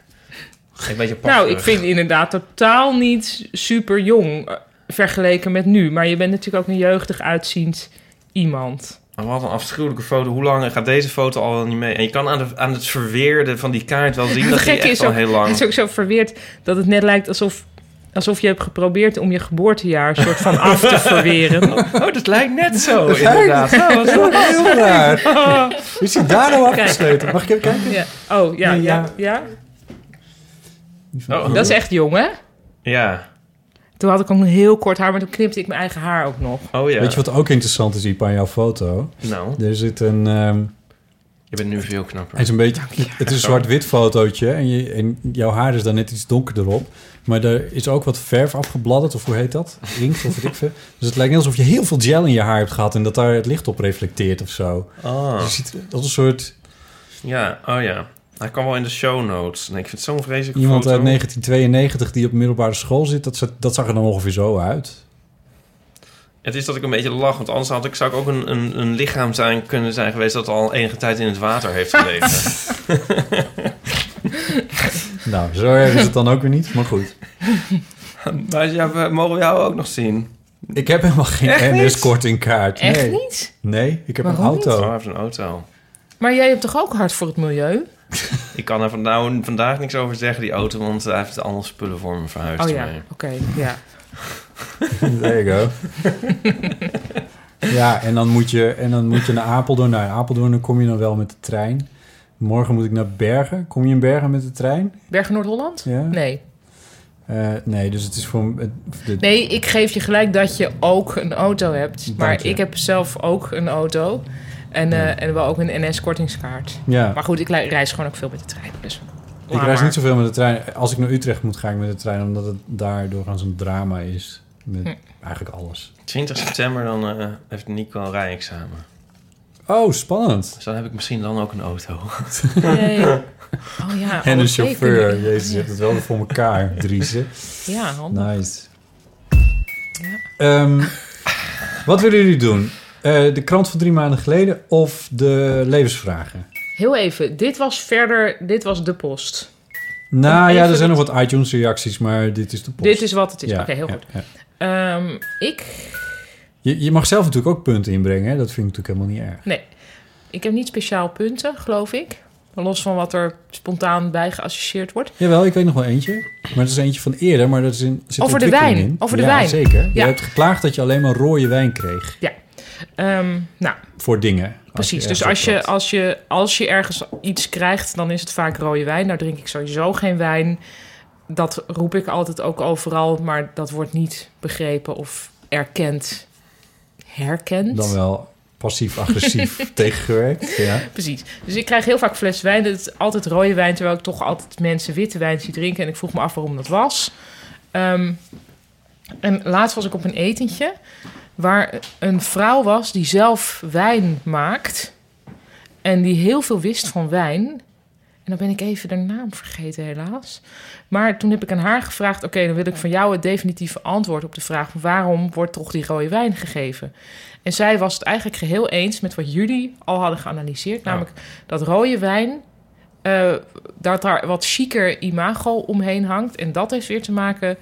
Een beetje pasterig.
Nou, ik vind inderdaad totaal niet super jong eh, vergeleken met nu. Maar je bent natuurlijk ook een jeugdig uitziend iemand.
Maar Wat een afschuwelijke foto. Hoe lang gaat deze foto al niet mee? En je kan aan, de, aan het verweerde van die kaart wel zien dat die
gekke
echt
is
al
ook-
heel
Het
lang...
is ook zo verweerd dat het net lijkt alsof, alsof je hebt geprobeerd om je geboortejaar soort van af te verweren.
Oh, dat lijkt net zo, inderdaad. Oh, wat
Dat is heel raar. Is hij daar nou afgesloten? Mag ik even kijken?
Ja. Oh ja, ja, ja.
Oh.
Dat is echt jong, hè?
Ja.
Toen had ik ook een heel kort haar, maar toen knipte ik mijn eigen haar ook nog.
Oh ja.
Weet je wat ook interessant is, Iep, aan jouw foto?
Nou,
Er zit een... ehm,
je bent nu veel
Hij
knapper.
is een beetje, het is een zwart-wit fotootje en, je, en jouw haar is daar net iets donkerder op. Maar er is ook wat verf afgebladderd, of hoe heet dat? Inkt of weet ik veel. Dus het lijkt net alsof je heel veel gel in je haar hebt gehad en dat daar het licht op reflecteert of zo. Dus
Oh.
je ziet dat een soort
Ja, oh ja. Hij kwam wel in de show notes. Nee, ik vind het zo'n vreselijke
iemand
foto.
uit 1992 die op middelbare school zit. Dat, zat- dat zag er dan ongeveer zo uit.
Het is dat ik een beetje lach, want anders had ik, zou ik ook een, een, een lichaam zijn, kunnen zijn geweest... dat al enige tijd in het water heeft geleefd.
Nou, zo erg is het dan ook weer niet, maar goed.
maar ja, we mogen jou ook nog zien.
Ik heb helemaal geen NS-kortingkaart.
Echt
Nee.
niet?
nee, ik heb een
Waarom niet?
auto.
Oh, hij heeft een auto.
Maar jij hebt toch ook hard voor het milieu?
Ik kan er vandaag, vandaag niks over zeggen, die auto, want hij heeft allemaal spullen voor me verhuisd.
Oh ja,
ermee.
oké, ja.
There you go. ja, en dan, moet je, en dan moet je naar Apeldoorn. Naar Apeldoorn dan kom je dan wel met de trein. Morgen moet ik naar Bergen. Kom je in Bergen met de trein?
Bergen Noord-Holland?
Ja.
Nee.
Eh, nee, dus het is voor... het- de-
Nee, ik geef je gelijk dat je ook een auto hebt.
Dank
Maar
je.
ik heb zelf ook een auto. En, eh, en wel ook een NS-kortingskaart.
Ja,
Maar goed, ik li- reis gewoon ook veel met de trein. Dus
ik reis niet zoveel met de trein. Als ik naar Utrecht moet, ga ik met de trein. Omdat het daar doorgaans een drama is. Met
Hm.
eigenlijk alles.
20 september dan eh, heeft Nico een rijexamen.
Oh, spannend.
Dus dan heb ik misschien dan ook een auto.
Nee. Oh ja. alle
En een
twee
chauffeur.
kunnen-
Jezus, je hebt het wel weer voor elkaar, Driesen.
Ja, handig.
Nice. Ehm, wat willen jullie doen? Eh, de krant van drie maanden geleden of de levensvragen?
Heel even. Dit was verder... Dit was de post.
Nou ja,
Even
er zijn
dit-
nog wat iTunes-reacties, maar dit is de post.
Dit is wat het is.
Ja,
Oké, heel
ja,
goed.
ja.
Ehm, ik...
Je, je mag zelf natuurlijk ook punten inbrengen, hè? dat vind ik natuurlijk helemaal niet erg.
Nee. Ik heb niet speciaal punten, geloof ik. Los van wat er spontaan bij geassocieerd wordt.
Jawel, ik weet nog wel eentje. Maar dat is eentje van eerder, maar dat is in, zit
Over de
ontwikkeling
wijn,
in.
over de
ja,
wijn.
zeker. Je
Ja.
hebt geklaagd dat je alleen maar rode wijn kreeg
Ehm, nou,
voor dingen. Als je
precies.
ergens
Dus als je,
optrad.
als, je, als je ergens iets krijgt, dan is het vaak rode wijn. Nou drink ik sowieso geen wijn. Dat roep ik altijd ook overal, maar dat wordt niet begrepen of erkend. Herkend?
Dan wel passief-agressief tegengewerkt. Ja.
Precies. Dus ik krijg heel vaak fles wijn. Dat is altijd rode wijn, terwijl ik toch altijd mensen witte wijn zie drinken. En ik vroeg me af waarom dat was. Ehm, en laatst was ik op een etentje waar een vrouw was die zelf wijn maakt. En die heel veel wist van wijn. En dan ben ik even de naam vergeten, helaas. Maar toen heb ik aan haar gevraagd: Oké, dan wil ik van jou het definitieve antwoord op de vraag: waarom wordt toch die rode wijn gegeven? En zij was het eigenlijk geheel eens met wat jullie al hadden geanalyseerd. Namelijk dat rode wijn, eh, dat daar wat chiquer imago omheen hangt. En dat heeft weer te maken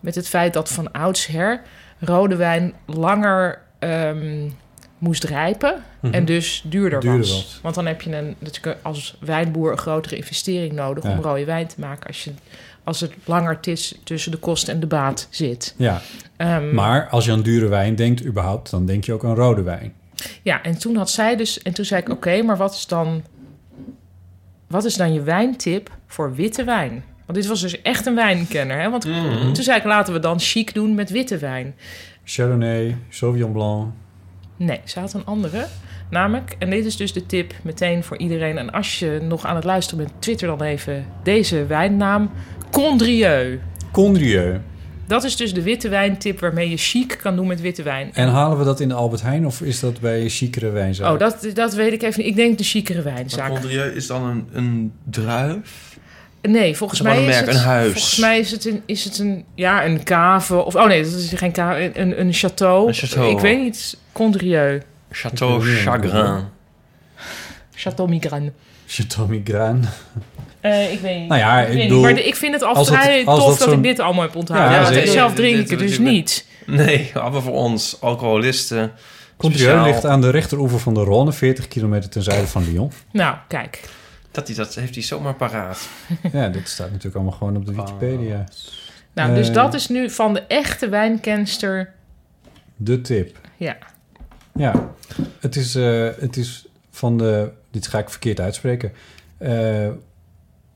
met het feit dat van oudsher rode wijn langer ehm, moest rijpen. En dus duurder,
Mhm. Duurder
was.
was.
Want dan heb je een, natuurlijk als wijnboer een grotere investering nodig
Ja.
om rode wijn te maken. Als, je, als het langer tis, tussen de kost en de baat zit.
ja.
Ehm,
Maar als je aan dure wijn denkt, überhaupt, dan denk je ook aan rode wijn.
Ja, en toen had zij dus. En toen zei ik: Oké, maar wat is dan. Wat is dan je wijntip voor witte wijn? Want dit was dus echt een wijnkenner. Hè? Want toen zei ik: laten we dan chic doen met witte wijn.
Chardonnay, Sauvignon Blanc.
Nee, ze had een andere. Namelijk, en dit is dus de tip meteen voor iedereen. En als je nog aan het luisteren bent, twitter dan even deze wijnnaam: Condrieu.
Condrieu.
Dat is dus de witte wijntip waarmee je chic kan doen met witte wijn.
En halen we dat in de Albert Heijn of is dat bij chicere wijnzaak?
Oh, dat, dat weet ik even niet. Ik denk de chicere
Maar
wijnzaak.
Condrieu is dan een, een druif?
Nee, volgens
Gewoon
mij
een
is
merk,
het...
een huis.
Volgens mij is het een, is het een, ja, een cave of... Oh nee, dat is geen cave, een, een château.
Een château.
Ik weet niet, Condrieu.
Chateau Chagrin.
Château Migraine.
Chateau Migraine.
Eh, ik weet niet.
Nou
ik,
ja, ik
weet niet.
bedoel,
Maar de- ik vind het al
als het-
vrij
als
tof
dat
dat,
zo'n-
ik dit allemaal heb onthouden.
Ja,
Ja,
zeker.
zelf
Dit-
drink ik
dit
het dus
natuurlijk-
niet.
Nee, allemaal voor ons, alcoholisten.
Contieu
Speciaal.
ligt aan de rechteroever van de Rhône, 40 kilometer ten zuiden van Lyon.
Nou, kijk.
Dat, die, dat heeft hij zomaar paraat.
Ja, dat staat natuurlijk allemaal gewoon op de Wikipedia.
Nou, dus
Eh.
dat is nu van de echte wijnkenster.
De tip.
Ja.
Ja, het is, eh, het is van de... Dit ga ik verkeerd uitspreken. Eh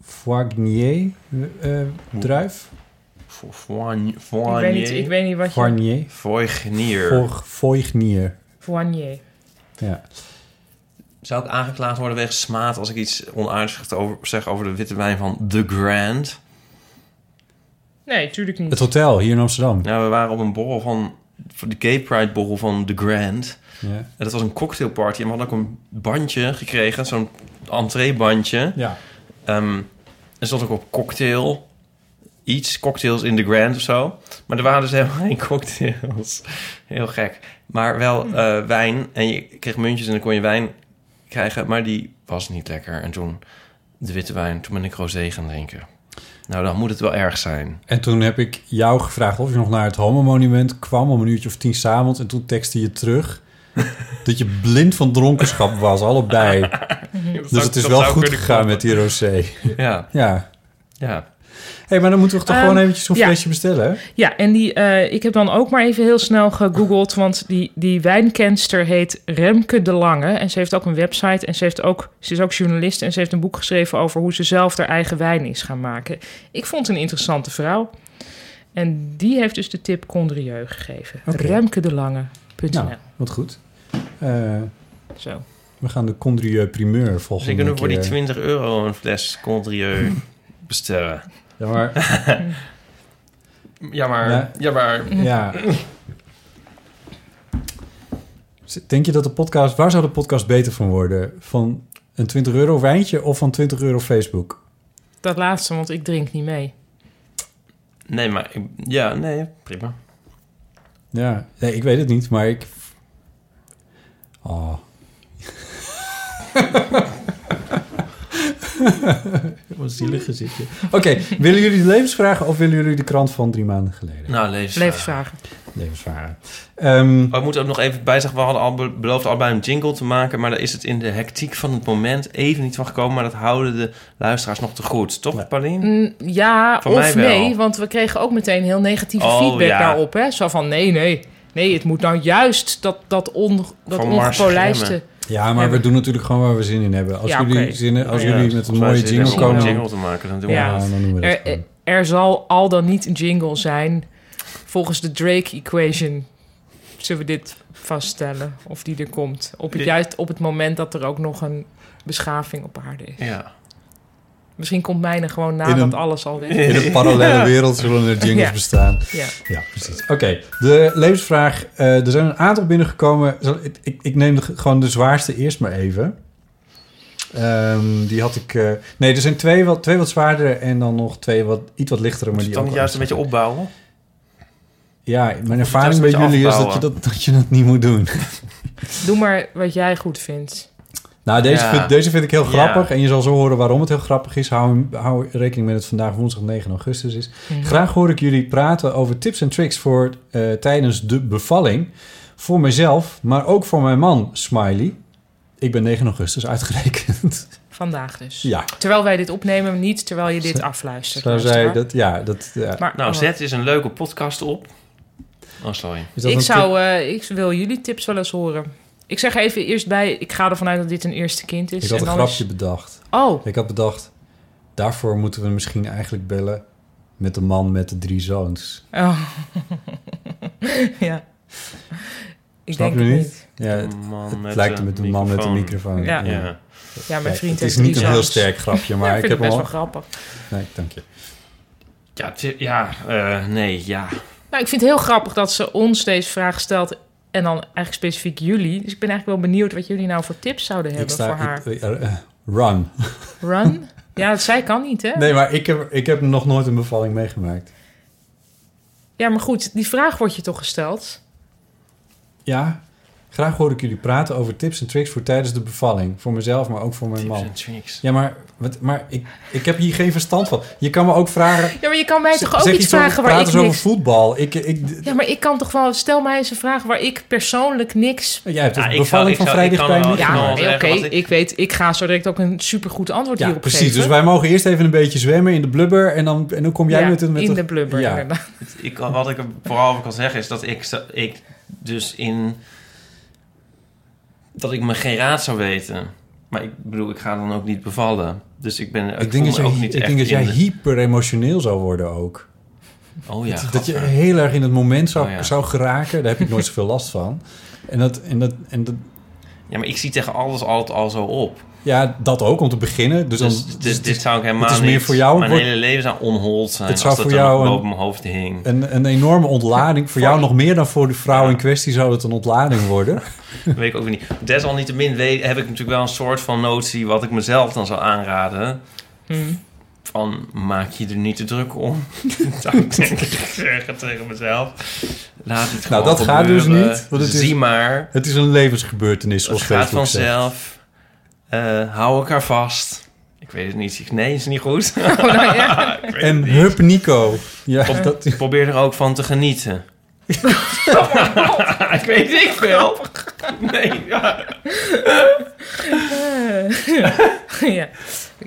Foignier eh, druif.
Voor Foign-
Ik weet, niet, ik
Foignier.
weet niet wat je...
Foignier.
Foignier.
Foig- Foignier.
Foignier.
Ja.
Zou ik aangeklaagd worden wegens smaad als ik iets onaardigs over, zeg over de witte wijn van The Grand?
Nee, tuurlijk
Het
niet.
hotel hier in Amsterdam.
Nou, we waren op een borrel van... voor De Gay Pride borrel van The Grand.
Ja.
En dat was een cocktailparty. En we hadden ook een bandje gekregen. Zo'n entreebandje.
ja.
Ehm er stond ook op cocktail. Iets, cocktails in the Grand of zo. Maar er waren dus helemaal geen cocktails. Heel gek. Maar
Hm.
wel eh, wijn. En je kreeg muntjes en dan kon je wijn krijgen. Maar die was niet lekker. En toen de witte wijn. Toen ben ik rosé gaan drinken. Nou, dan moet het wel erg zijn.
En toen heb ik jou gevraagd of je nog naar het homomonument kwam om een uurtje of tien 's avonds. En toen textte je terug dat je blind van dronkenschap was, allebei. Dus het is wel goed gegaan met die rosé.
Ja,
Ja.
ja.
hey, maar dan moeten we toch
Ehm,
gewoon eventjes een
ja.
flesje bestellen? hè?
Ja, en die, eh, ik heb dan ook maar even heel snel gegoogeld, want die, die wijnkenster heet Remke de Lange. En ze heeft ook een website en ze, heeft ook, ze is ook journalist en ze heeft een boek geschreven over hoe ze zelf haar eigen wijn is gaan maken. Ik vond het een interessante vrouw. En die heeft dus de tip Condrieu gegeven.
Oké.
Remke de Lange.nl.
Nou, wat goed. Eh,
Zo.
we gaan de Condrieu primeur
Dus ik
volgende
kan nu
keer.
voor die 20 euro een fles Condrieu bestellen.
Ja, maar,
Ja, maar...
Nee.
Ja, maar...
ja. Denk je dat de podcast... Waar zou de podcast beter van worden? Van een 20 euro wijntje of van 20 euro Facebook?
Dat laatste, want ik drink niet mee.
Nee, maar... ik- Ja, nee, prima.
Ja, nee, ik weet het niet, maar ik. Oh. Wat zielig gezichtje. Oké, willen jullie de levensvragen of willen jullie de krant van drie maanden geleden?
Nou, levensvraag.
Levensvragen.
Levensvragen. Ehm,
We moeten ook nog even bij zeggen, we hadden al be- beloofd allebei een jingle te maken, maar daar is het in de hectiek van het moment even niet van gekomen, maar dat houden de luisteraars nog te goed, toch
Ja.
Paulien?
Mm, Ja,
Van mij
of
wel.
nee, want we kregen ook meteen heel negatieve
Oh,
feedback
ja.
daarop. Hè? Zo van, nee, nee, nee, het moet nou juist dat, dat, on, dat
Van Mars
ongepolijste...
Gemmen.
ja, maar we doen natuurlijk gewoon waar we zin in hebben. Als
Ja,
jullie,
oké.
zinnen, als
Ja,
jullie
dus
met een
volgens mij
mooie
is het
jingle
helemaal
komen,
om een
dan,
jingle te maken, dan doen
Ja.
ja, dan doen we dat
Er,
gewoon.
er- er zal al dan niet een jingle zijn. Volgens de Drake equation zullen we dit vaststellen. Of die er komt. Op het,
Ja.
juist op het moment dat er ook nog een beschaving op aarde is.
we. Ja.
Misschien komt mijne gewoon
In een-
nadat alles al weg is.
In een parallele wereld zullen er jingles
Ja.
bestaan.
Ja.
Ja, precies. Oké, de levensvraag. eh, er zijn een aantal binnengekomen. Zal- Ik, ik, ik neem de, gewoon de zwaarste eerst maar even. Ehm, die had ik... eh, nee, er zijn twee wat, twee wat zwaardere en dan nog twee wat, iets wat lichtere. Maar
Moet je
die
het dan
ook
juist een
wel-
beetje opbouwen?
Ja, mijn
juist
ervaring
een
bij
beetje
jullie is dat
afbouwen?
je dat, dat je dat niet moet doen.
Doe maar wat jij goed vindt.
Nou, deze,
Ja.
vind, deze vind ik heel
Ja.
grappig. En je zal zo horen waarom het heel grappig is. Hou, hem- hou rekening met dat het vandaag woensdag 9 augustus is. Graag hoor ik jullie praten over tips en tricks voor eh, tijdens de bevalling. Voor mezelf, maar ook voor mijn man, Smiley. Ik ben 9 augustus uitgerekend.
Vandaag dus.
ja,
Terwijl wij dit opnemen, niet terwijl je dit
Zo-
afluistert.
zo zei
luisteraar.
dat. Ja, dat ja.
Maar,
Nou,
oh,
zet eens een leuke podcast op. Oh, sorry.
Is dat
ik,
een tip?
zou, eh, ik wil jullie tips wel eens horen. Ik zeg even eerst bij, ik ga ervan uit dat dit een eerste kind is.
Ik had
en
een
dan is-
grapje bedacht.
Oh,
Ik had bedacht, daarvoor moeten we misschien eigenlijk bellen met de man met de drie zoons.
Oh. ja. Ik
Snap
denk
je
het
niet?
niet.
Ja, het,
De man
Eh, het
met
lijkt
de
met een man met een microfoon.
Ja.
Ja. Ja.
Ja,
Nee,
mijn vriend
het is
heeft
niet
drie
een heel
zoons.
sterk grapje, maar
Ja,
ik,
vind
heb
het
hem
best
al...
wel grappig.
Nee, dank je.
Ja, ti- ja, eh, nee, ja.
Nou, ik vind het heel grappig dat ze ons deze vraag stelt en dan eigenlijk specifiek jullie. Dus ik ben eigenlijk wel benieuwd wat jullie nou voor tips zouden
Ik eh,
hebben
sta...
voor haar.
ik- eh, eh, run.
Run? Ja, zij kan niet, hè?
Nee, maar ik heb, ik heb nog nooit een bevalling meegemaakt.
Ja, maar goed, die vraag wordt je toch gesteld?
Ja, graag hoor ik jullie praten over tips en tricks voor tijdens de bevalling. Voor mezelf, maar ook voor mijn man.
tricks.
Ja, maar, wat, maar ik, ik heb hier geen verstand van. Je kan me ook vragen...
Ja, maar je kan mij toch ook
zeg
iets
iets over-
vragen
praat
waar ik
eens over
niks...
voetbal. Ik, ik,
Ja, maar ik kan toch wel... Stel mij eens een vraag waar ik persoonlijk niks...
jij hebt
Ja,
een
ik zou-
bevalling
ik
van
zou-
vrij
ik kan
dichtbij.
wel-
meegemaakt.
Ja,
nou,
nee,
zeg,
oké,
want ik-
ik weet... Ik ga zo direct ook een supergoed antwoord
Ja,
hierop
precies.
geven.
Dus wij mogen eerst even een beetje zwemmen in de blubber. En dan, en dan kom jij
Ja,
met een... Met
in
een-
de blubber,
Ja.
inderdaad.
Ik, wat ik er vooral over kan zeggen is dat ik, zo- ik dus in... Dat ik me geen raad zou weten. Maar ik bedoel, ik ga dan ook niet bevallen. Dus ik ben ik
Ik denk dat
voel me ook
jij,
niet
ik
echt
denk dat
in
jij
de-
hyper emotioneel zou worden ook.
Oh ja,
dat, dat
gadver.
je heel erg in het moment zou,
Oh ja.
zou geraken. Daar heb ik nooit zoveel last van. En dat, en dat, en dat,
ja, maar ik zie tegen alles altijd al zo op.
ja, dat ook om te beginnen. Dus,
Dus,
dan,
dit,
dus
dit zou ik helemaal
het is meer
niet-
voor jou-
Mijn
wordt-
hele leven zou onhold zijn
Het
als
zou
dat
voor
dan
jou een-
boven mijn hoofd hing.
een, een enorme ontlading. Voor jou nog meer dan voor de vrouw
Ja.
in kwestie zou het een ontlading worden.
Weet ik ook weer niet. Desalniettemin weet, heb ik natuurlijk wel een soort van notie wat ik mezelf dan zou aanraden.
Hmm.
Van maak je er niet te druk om. dat ik denk ik zeggen tegen mezelf. Laat het
Nou,
gewoon
dat gaat dus
gebeuren.
niet, want het is-
Zie maar.
Het is een levensgebeurtenis,
Het
zoals
gaat
Facebook zegt.
vanzelf. Eh, hou elkaar vast. Ik weet het niet. Nee, is niet goed.
Oh, nou ja.
Ik weet
En
het niet.
hup Nico. Ja,
Op-
dat,
Probeer er ook van te genieten. ik weet niet veel. Nee, ja.
Eh, ja.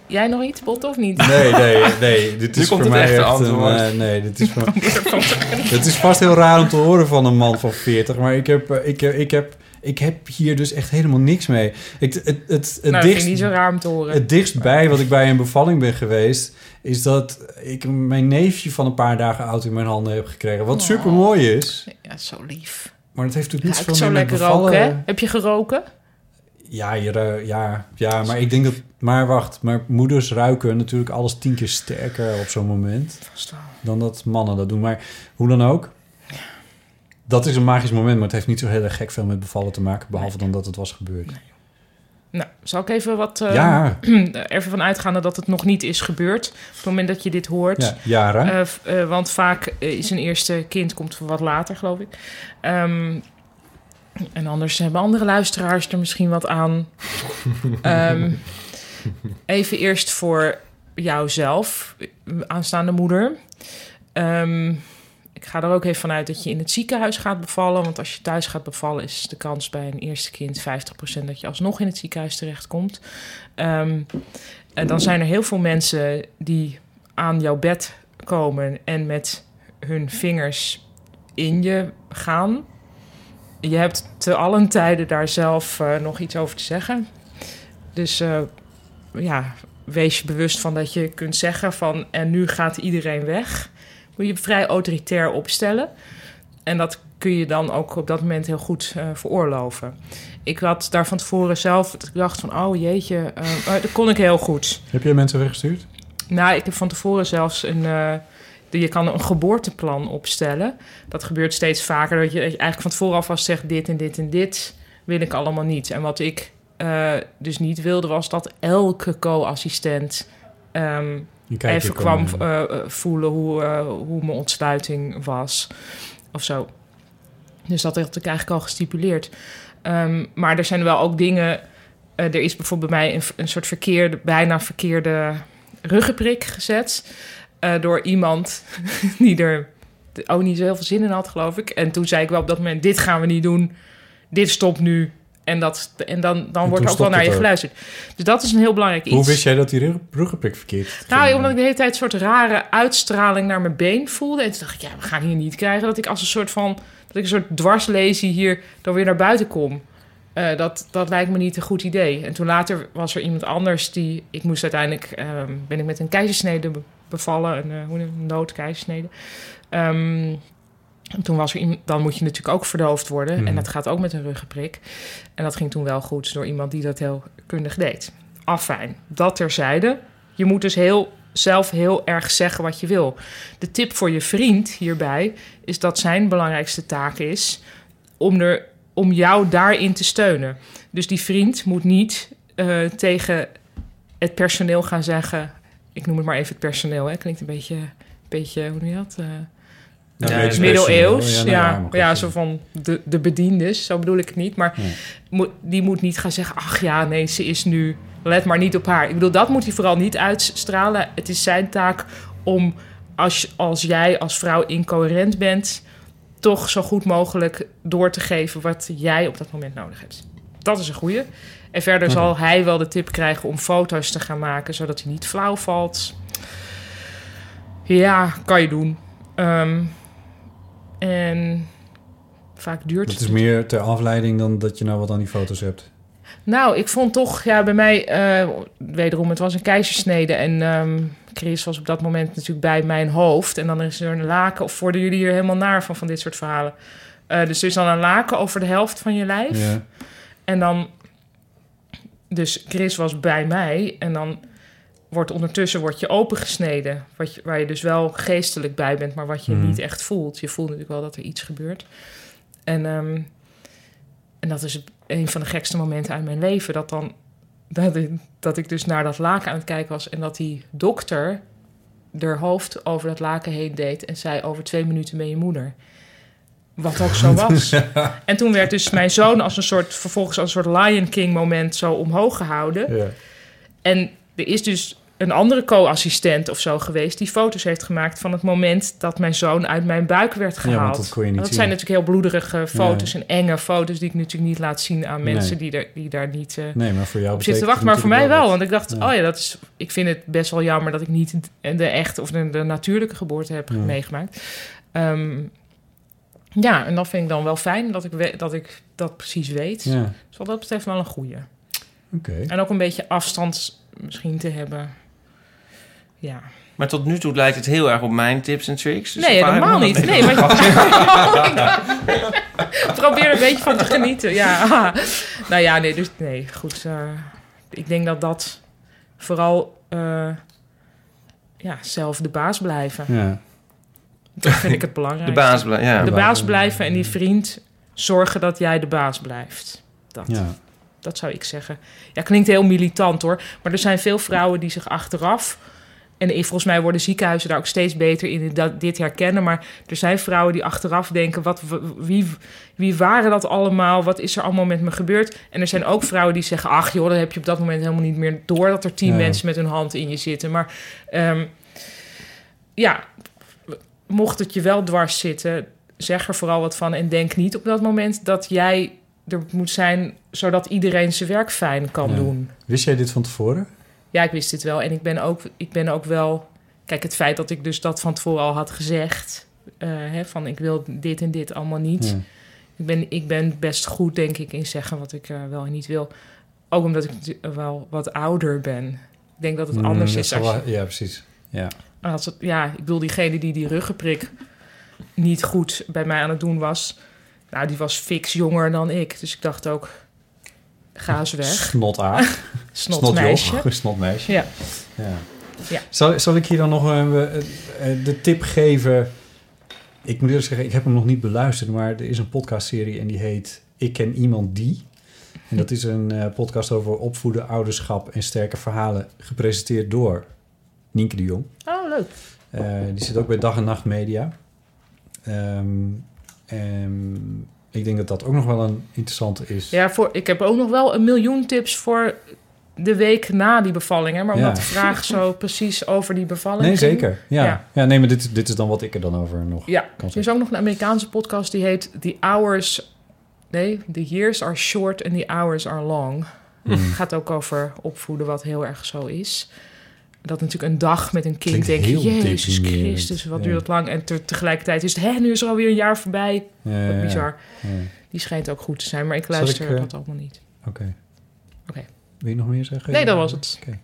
Jij nog iets, Bot, of niet?
nee, nee, nee. Dit
Nu
is
komt
voor
het
mij
echte
echt
antwoord.
een... eh, nee, dit is voor Het is vast heel raar om te horen van een man van 40, maar ik heb, eh, ik, eh, ik heb, ik heb hier dus echt helemaal niks mee. Ik, het, het, het,
nou, dat vind ik
dichtst,
niet zo raar om te horen.
het dichtst bij wat ik bij een bevalling ben geweest, is dat ik mijn neefje van een paar dagen oud in mijn handen heb gekregen. Wat
Oh.
super mooi is,
Ja, zo lief.
maar dat heeft natuurlijk niet
Ruikt
zoveel
zo
meer met
lekker
bevallen.
roken, hè? Heb je geroken?
Ja, je ru- ja, ja, maar ik denk dat. Maar wacht, maar moeders ruiken natuurlijk alles tien keer sterker op zo'n moment.
Vast wel.
dan dat mannen dat doen. Maar hoe dan ook, dat is een magisch moment, maar het heeft niet zo heel erg gek veel met bevallen te maken, behalve dan dat het was gebeurd.
Eh, Nou, zal ik even wat... eh,
ja,
ervan uitgaande dat het nog niet is gebeurd. Op het moment dat je dit hoort.
ja, Jara.
Eh, f- eh, want vaak eh, is een eerste kind komt wat later, geloof ik. Ehm, en anders hebben andere luisteraars er misschien wat aan. Ehm, even eerst voor jouzelf, eh, aanstaande moeder. Ehm, ik ga er ook even vanuit dat je in het ziekenhuis gaat bevallen. Want als je thuis gaat bevallen, is de kans bij een eerste kind 50% dat je alsnog in het ziekenhuis terechtkomt. Ehm, en dan zijn er heel veel mensen die aan jouw bed komen en met hun vingers in je gaan. Je hebt te allen tijden daar zelf eh, nog iets over te zeggen. Dus eh, ja, wees je bewust van dat je kunt zeggen van... en nu gaat iedereen weg. Moet je vrij autoritair opstellen. En dat kun je dan ook op dat moment heel goed eh, veroorloven. Ik had daar van tevoren zelf... dat ik dacht van, oh jeetje, eh, maar dat kon ik heel goed.
Heb jij mensen weggestuurd?
Nou, ik heb van tevoren zelfs een. eh, je kan een geboorteplan opstellen. Dat gebeurt steeds vaker. Dat je, dat je eigenlijk van tevoren alvast zegt: dit en dit en dit wil ik allemaal niet. En wat ik eh, dus niet wilde, was dat elke co-assistent ehm,
Je kijkt
even
hier
kwam
komen.
eh, eh, voelen hoe, eh, hoe mijn ontsluiting was. Of zo. Dus dat had ik eigenlijk al gestipuleerd. Ehm, maar er zijn wel ook dingen. eh, er is bijvoorbeeld bij mij een, een soort verkeerde, bijna verkeerde ruggenprik gezet. eh, door iemand die er ook niet zo heel veel zin in had, geloof ik. En toen zei ik wel op dat moment: Dit gaan we niet doen. Dit stopt nu. En, dat, en dan, dan wordt er ook wel
stopt
naar
het
je
ook.
geluisterd. Dus dat is een heel belangrijk iets.
Hoe wist jij dat die rug- ruggenprik verkeerd
Nou,
ging?
omdat ik de hele tijd een soort rare uitstraling naar mijn been voelde. En toen dacht ik, ja, we gaan hier niet krijgen. Dat ik als een soort van, dat ik een soort dwarslezie hier dan weer naar buiten kom. Eh, dat, dat lijkt me niet een goed idee. En toen later was er iemand anders die, ik moest uiteindelijk, ehm, ben ik met een keizersnede be- bevallen. Een, eh, hoe noem je het? een noodkeizersnede. Ehm, en toen was er iemand, dan moet je natuurlijk ook verdoofd worden.
Mhm.
En dat gaat ook met een ruggenprik. En dat ging toen wel goed door iemand die dat heel kundig deed. Afijn, dat terzijde. Je moet dus heel, zelf heel erg zeggen wat je wil. De tip voor je vriend hierbij is dat zijn belangrijkste taak is om, er, om jou daarin te steunen. Dus die vriend moet niet eh, tegen het personeel gaan zeggen: ik noem het maar even het personeel. Hè. Klinkt een beetje, beetje hoe noem je dat? Eh,
Ja,
weet je
middeleeuws.
best
Ja,
wel.
ja,
nou maar goed,
zo van de, de bediendes, zo bedoel ik het niet. Maar
Nee.
moet- die moet niet gaan zeggen: ach ja, nee, ze is nu. Let maar niet op haar. Ik bedoel, dat moet hij vooral niet uitstralen. Het is zijn taak om, als, als jij als vrouw incoherent bent, toch zo goed mogelijk door te geven wat jij op dat moment nodig hebt. Dat is een goeie. En verder zal hij wel de tip krijgen om foto's te gaan maken, zodat hij niet flauw valt. Ja, kan je doen. Ehm, en vaak duurt
Dat
het
is meer ter afleiding dan dat je nou wat aan die foto's hebt.
nou, ik vond toch, ja, bij mij, eh, wederom, het was een keizersnede. En ehm, Chris was op dat moment natuurlijk bij mijn hoofd. En dan is er een laken, of worden jullie hier helemaal naar van, van dit soort verhalen. Eh, dus er is dan een laken over de helft van je lijf.
Ja.
En dan, dus Chris was bij mij. En dan wordt ondertussen wordt je opengesneden. Wat je, waar je dus wel geestelijk bij bent, maar wat je
Mhm.
niet echt voelt. Je voelt natuurlijk wel dat er iets gebeurt. En, ehm, en dat is het- een van de gekste momenten uit mijn leven. Dat, dan, dat, ik- dat ik dus naar dat laken aan het kijken was. En dat die dokter haar hoofd over dat laken heen deed. En zei, over twee minuten ben je moeder. Wat ook zo was. En toen werd dus mijn zoon als een soort, vervolgens als een soort Lion King moment zo omhoog gehouden.
Ja.
En er is dus een andere co-assistent of zo geweest die foto's heeft gemaakt van het moment dat mijn zoon uit mijn buik werd
want
gehaald.
dat kon je niet
Want dat
zien.
zijn natuurlijk heel bloederige foto's en enge foto's die ik natuurlijk niet laat zien aan
Nee.
mensen die, er, die daar niet eh,
Nee, maar voor jou
op zitten te
betekent
wachten.
het
Maar voor mij
natuurlijk
wel, want ik dacht,
Ja.
oh ja, dat is, ik vind het best wel jammer dat ik niet de, de echte of de, de natuurlijke geboorte heb
Ja.
meegemaakt. Ehm, ja, en dat vind ik dan wel fijn dat ik, we- dat, ik dat precies weet.
wat- Ja,
Dus wat dat betreft wel een goeie.
oké.
En ook een beetje afstand misschien te hebben. Ja.
Maar tot nu toe lijkt het heel erg op mijn tips en tricks. Dus
nee,
een paar
helemaal niet.
helemaal-
Nee, want probeer er een beetje van te genieten. Ja. Nou ja, nee, dus nee, goed. eh, ik denk dat dat vooral eh, ja, zelf de baas blijven.
Ja.
Dat vind ik het belangrijk.
De baas blijft, ja.
De
Ja.
baas blijven en die vriend zorgen dat jij de baas blijft. Dat.
Ja.
Dat zou ik zeggen. Ja, klinkt heel militant hoor. Maar er zijn veel vrouwen die zich achteraf. En ik- volgens mij worden ziekenhuizen daar ook steeds beter in dat, dit herkennen. Maar er zijn vrouwen die achteraf denken: wat, w- wie, wie waren dat allemaal? Wat is er allemaal met me gebeurd? En er zijn ook vrouwen die zeggen: ach joh, dat heb je op dat moment helemaal niet meer door dat er tien
Ja.
mensen met hun hand in je zitten. Maar ehm, ja, mocht het je wel dwars zitten, zeg er vooral wat van. En denk niet op dat moment dat jij er moet zijn zodat iedereen zijn werk fijn kan
Ja.
doen.
Wist jij dit van tevoren?
Ja, ik wist dit wel. En ik ben ook, ik ben ook wel. Kijk, het feit dat ik dus dat van tevoren al had gezegd. eh, hè, van ik wil dit en dit allemaal niet.
Ja.
Ik, ben, ik ben best goed, denk ik, in zeggen wat ik eh, wel en niet wil. Ook omdat ik natu- wel wat ouder ben. Ik denk dat het
Mm,
anders
dat
is.
zal
Als je,
wel- Ja, precies. Ja.
als het, ja, ik bedoel, diegene die die ruggenprik niet goed bij mij aan het doen was... Nou, die was fix jonger dan ik. Dus ik dacht ook, ga eens weg.
Snotaar.
Snotmeisje.
Snotjoch. Snotmeisje.
Ja.
Ja.
Ja.
Zal, zal ik hier dan nog eh, eh, de tip geven? Ik moet eerlijk zeggen, ik heb hem nog niet beluisterd, maar er is een podcastserie en die heet Ik ken iemand die. En dat is een eh, podcast over opvoeden, ouderschap en sterke verhalen, gepresenteerd door Nienke de Jong.
Oh, leuk.
Eh, die zit ook bij Dag en Nacht Media. Ehm, ehm, ik denk dat dat ook nog wel een interessante is.
Ja, voor, ik heb ook nog wel een miljoen tips voor de week na die bevalling. Hè? Maar
Ja.
omdat de vraag zo precies over die bevalling
Nee,
ging.
zeker. Ja,
Ja.
ja. nee, maar dit, dit is dan wat ik er dan over nog
Ja,
kan
er is
zeggen.
ook nog een Amerikaanse podcast die heet The Hours... Nee, The Years Are Short and The Hours Are Long.
Hmm.
gaat ook over opvoeden, wat heel erg zo is. Dat natuurlijk een dag met een kind
Klinkt
denk je,
heel
Jezus
deprimerend.
Christus, wat
Ja.
duurt dat lang? En te- tegelijkertijd is het, hè, nu is er alweer een jaar voorbij.
Ja,
Wat
ja,
bizar.
ja. Ja.
Die schijnt ook goed te zijn, maar ik
Zal
luister
ik, eh,
dat allemaal niet.
Oké.
Oké.
Wil je nog meer zeggen?
Nee, dat was het.
Oké.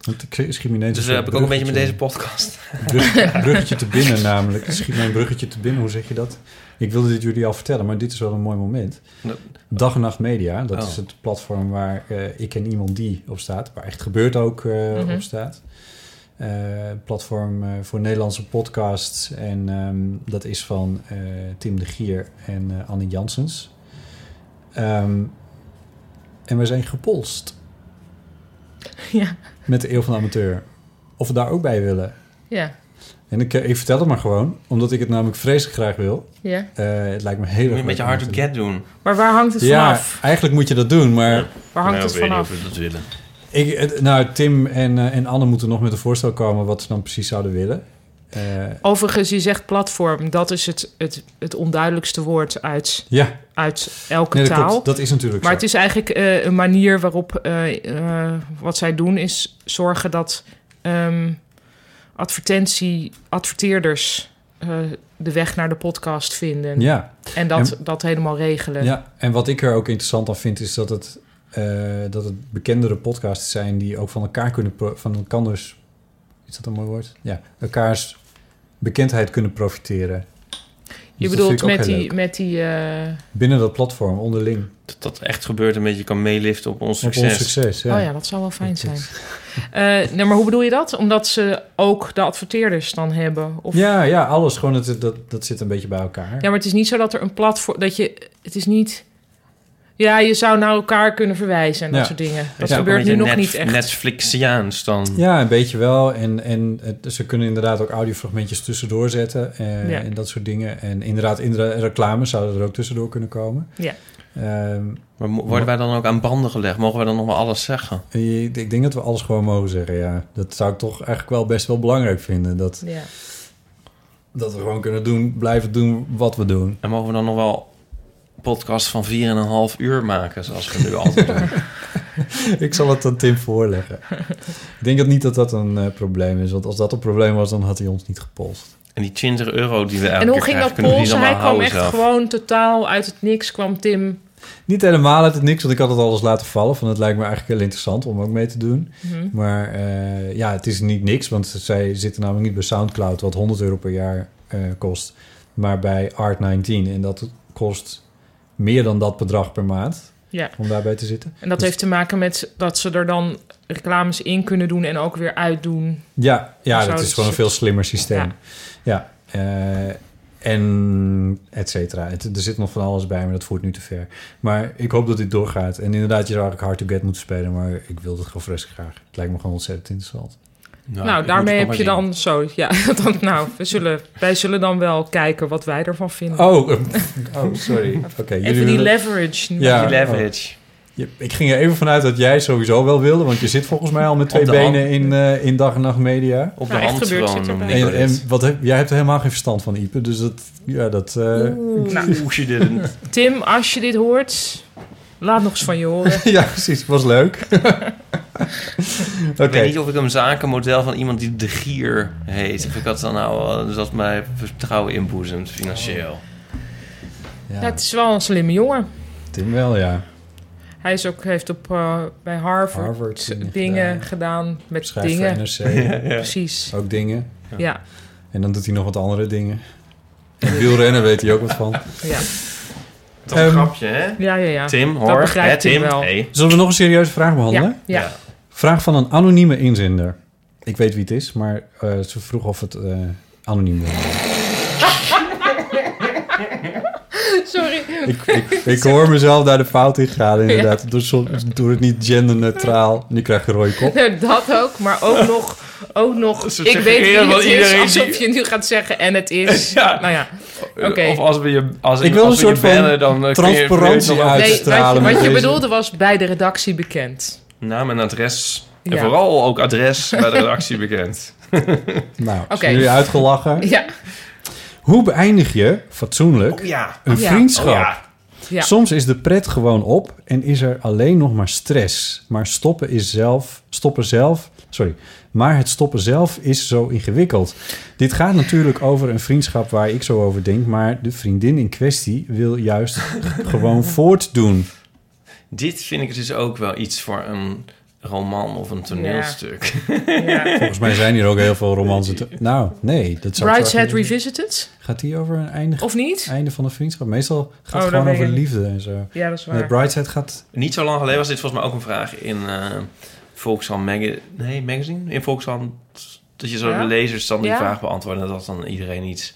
Want ik schiet me ineens
Dus
een
daar heb ik ook een beetje met deze
bruggetje-
podcast.
brug- bruggetje te binnen namelijk. Het schiet mij een bruggetje te binnen. Hoe zeg je dat? Ik wilde dit jullie al vertellen, maar dit is wel een mooi moment.
Dat-
Dag en Nacht Media, dat
Oh.
is het platform waar eh, ik en iemand die op staat. Waar echt gebeurt ook eh,
Mhm.
op staat. Eh, platform eh, voor Nederlandse podcasts. En ehm, dat is van eh, Tim de Gier en eh, Annie Janssens. Ehm, en we zijn gepolst
Ja.
met de Eeuw van de Amateur. of we daar ook bij willen.
Ja,
En ik, eh, ik vertel het maar gewoon, omdat ik het namelijk vreselijk graag wil.
ja.
Eh, het lijkt me
Moet je
heel erg
een
leuk
beetje
om
hard
te
to
doen.
get doen.
Maar waar hangt het
Ja,
vanaf?
eigenlijk moet je dat doen, maar...
Waar hangt het vanaf?
we dat willen.
Ik, het- nou, Tim en, eh, en Anne moeten nog met een voorstel komen wat ze dan precies zouden willen. Eh,
Overigens, je zegt platform. Dat is het, het, het onduidelijkste woord uit,
ja,
uit elke
nee, dat
taal.
klopt. Dat is natuurlijk
Maar
zo.
het is eigenlijk eh, een manier waarop eh, eh, wat zij doen is zorgen dat ehm, advertentie, adverteerders eh, de weg naar de podcast vinden.
Ja,
En dat, dat helemaal regelen.
ja, en wat ik er ook interessant aan vind is dat het, eh, dat het bekendere podcasts zijn die ook van elkaar kunnen... pro- van elkaars, is dat een mooi woord? Ja, elkaars bekendheid kunnen profiteren.
je
Dus dat
bedoelt
vind ik ook
met
heel
die,
leuk.
met die. eh,
Binnen dat platform, onderling.
Dat dat echt gebeurt en een beetje kan meeliften op ons
Op
succes.
ons succes, ja.
Oh ja, dat zou wel fijn
Dat
zijn.
is-
Eh, nee, maar hoe bedoel je dat? Omdat ze ook de adverteerders dan hebben? Of...
Ja, ja, alles. Gewoon, het, dat, dat zit een beetje bij elkaar.
Ja, maar het is niet zo dat er een platform... Dat je, het is niet... Ja, je zou naar elkaar kunnen verwijzen en dat
Ja.
soort dingen.
Is
Dat
ook een
gebeurt nu
beetje
nog
Net-
niet echt.
Netflixiaans dan.
Ja, een beetje wel. En, en het- ze kunnen inderdaad ook audiofragmentjes tussendoor zetten eh,
Ja.
en dat soort dingen. En inderdaad, in de reclame zouden er ook tussendoor kunnen komen.
Ja.
Ehm,
Maar mo- worden wij dan ook aan banden gelegd? Mogen wij dan nog maar alles zeggen?
ik, ik denk dat we alles gewoon mogen zeggen, ja. Dat zou ik toch eigenlijk wel best wel belangrijk vinden. Dat,
Ja.
dat we gewoon kunnen doen, blijven doen wat we doen.
En mogen we dan nog wel podcasts van 4,5 uur maken, zoals we nu altijd doen?
ik zal het aan Tim voorleggen. ik denk dat niet dat dat een eh, probleem is. Want als dat een probleem was, dan had hij ons niet gepolst.
En die 20 euro die we elke
En hoe
keer
ging
krijgen,
dat
kunnen we niet
polsen? Hij
allemaal
kwam
houden
echt
zelf.
gewoon totaal uit het niks, kwam Tim.
Niet helemaal uit het niks, want ik had het alles laten vallen. Van het lijkt me eigenlijk heel interessant om ook mee te doen.
Mhm.
Maar eh, ja, het is niet niks, want zij zitten namelijk niet bij SoundCloud, wat 100 euro per jaar eh, kost, maar bij Art19. En dat kost meer dan dat bedrag per maand
Ja.
om daarbij te zitten.
En dat
Dus
heeft te maken met dat ze er dan reclames in kunnen doen en ook weer uitdoen.
Ja, ja
Zo,
dat
dat
is gewoon een
is-
veel slimmer systeem.
Ja.
Ja, eh, en et cetera. Het- Er zit nog van alles bij, maar dat voert nu te ver. Maar ik hoop dat dit doorgaat. En inderdaad, je zou eigenlijk hard to get moeten spelen, maar ik wil het gewoon fris graag. Het lijkt me gewoon ontzettend
ik
interessant.
nou,
moet
daarmee
het nog
heb je
maar zien.
dan zo. Ja, dan, nou, we zullen, wij zullen dan wel kijken wat wij ervan vinden.
Oh, oh sorry. Oké, jullie
Even die
willen-
leverage.
Ja.
Die leverage.
Je- ik ging er even vanuit dat jij sowieso wel wilde, want je zit volgens mij al met twee
Op de hand.
benen in, eh, in dag en nacht media.
Op
Nou,
de
echt
hand
gebeurd
gewoon.
zit erbij.
noem ik
En,
dit.
en wat heb, jij hebt er helemaal geen verstand van, Ipe, dus dat, ja, dat, eh,
Nou,
Oeh, she didn't.
Tim, als je dit hoort, laat nog eens van je horen.
ja, precies, was leuk. Oké,
Ik weet niet of ik een zakenmodel van iemand die de gier heet. Of ik dat dan nou, eh, dus dat mij vertrouwen inboezemt financieel.
ja,
Ja, het is wel een slimme jongen.
Tim wel, ja.
Hij is ook, heeft op, eh, bij Harvard,
Harvard eh, dingen
dingen
eh,
gedaan.
gedaan met
Schrijft
dingen.
voor NRC,
Precies.
ook dingen.
Ja,
En dan doet hij nog wat andere dingen. En wielrennen weet hij ook wat van.
ja,
Dat is een
Ehm,
grapje, hè?
ja, ja. ja.
Tim, hoor.
begrijpt
Hè,
hij
Tim.
wel.
Hey.
Zullen we nog een serieuze vraag behandelen?
Ja, ja.
Vraag van een anonieme inzender. Ik weet wie het is, maar eh, ze vroeg of het eh, anoniem was.
Sorry.
ik, ik, ik hoor mezelf daar de fout in gaan, inderdaad. Door, soms- door het niet genderneutraal. Nu krijg je een rode kop.
Nee, Dat ook, maar ook nog, ook nog
Ze
ik weet
suggereren
wie
wel
het is,
iedereen
alsof je nu gaat zeggen en het is.
Ja.
Nou ja, oké.
Of als we je als
Ik wil
als
een
we je
soort van
bellen, dan, eh, kun je-
transparantie uit te
Nee, wat je,
stralen. met
wat je
deze-
bedoelde was bij de redactie bekend.
Naam en Nou, adres. En
Ja.
vooral ook adres bij de redactie bekend.
Nou,
Oké.
zijn jullie uitgelachen?
Ja,
Hoe beëindig je, fatsoenlijk,
ja.
een
Oh Ja.
vriendschap?
ja.
Soms is de pret gewoon op en is er alleen nog maar stress. Maar stoppen is zelf, stoppen zelf, sorry. Maar het stoppen zelf is zo ingewikkeld. Dit gaat natuurlijk over een vriendschap waar ik zo over denk, maar de vriendin in kwestie wil juist gewoon voortdoen.
Dit vind ik dus ook wel iets voor een roman of een toneelstuk.
ja.
Volgens mij zijn hier ook heel veel romansen. te- Nou, nee, dat zou
Bride's Head
het wel-
Revisited,
Gaat die over een einde,
of niet?
einde van een vriendschap? Meestal gaat
Oh,
het
dat
gewoon
weet
over
ik.
liefde en zo.
Ja, dat is waar.
Nee, Bride's Head gaat.
Niet zo lang geleden was dit volgens mij ook een vraag in eh, Volkshand Magazine. Nee, magazine? In Volkshand. Dat je zo
Ja?
de lezers dan die
Ja.
vraag beantwoorden. En dat dan iedereen iets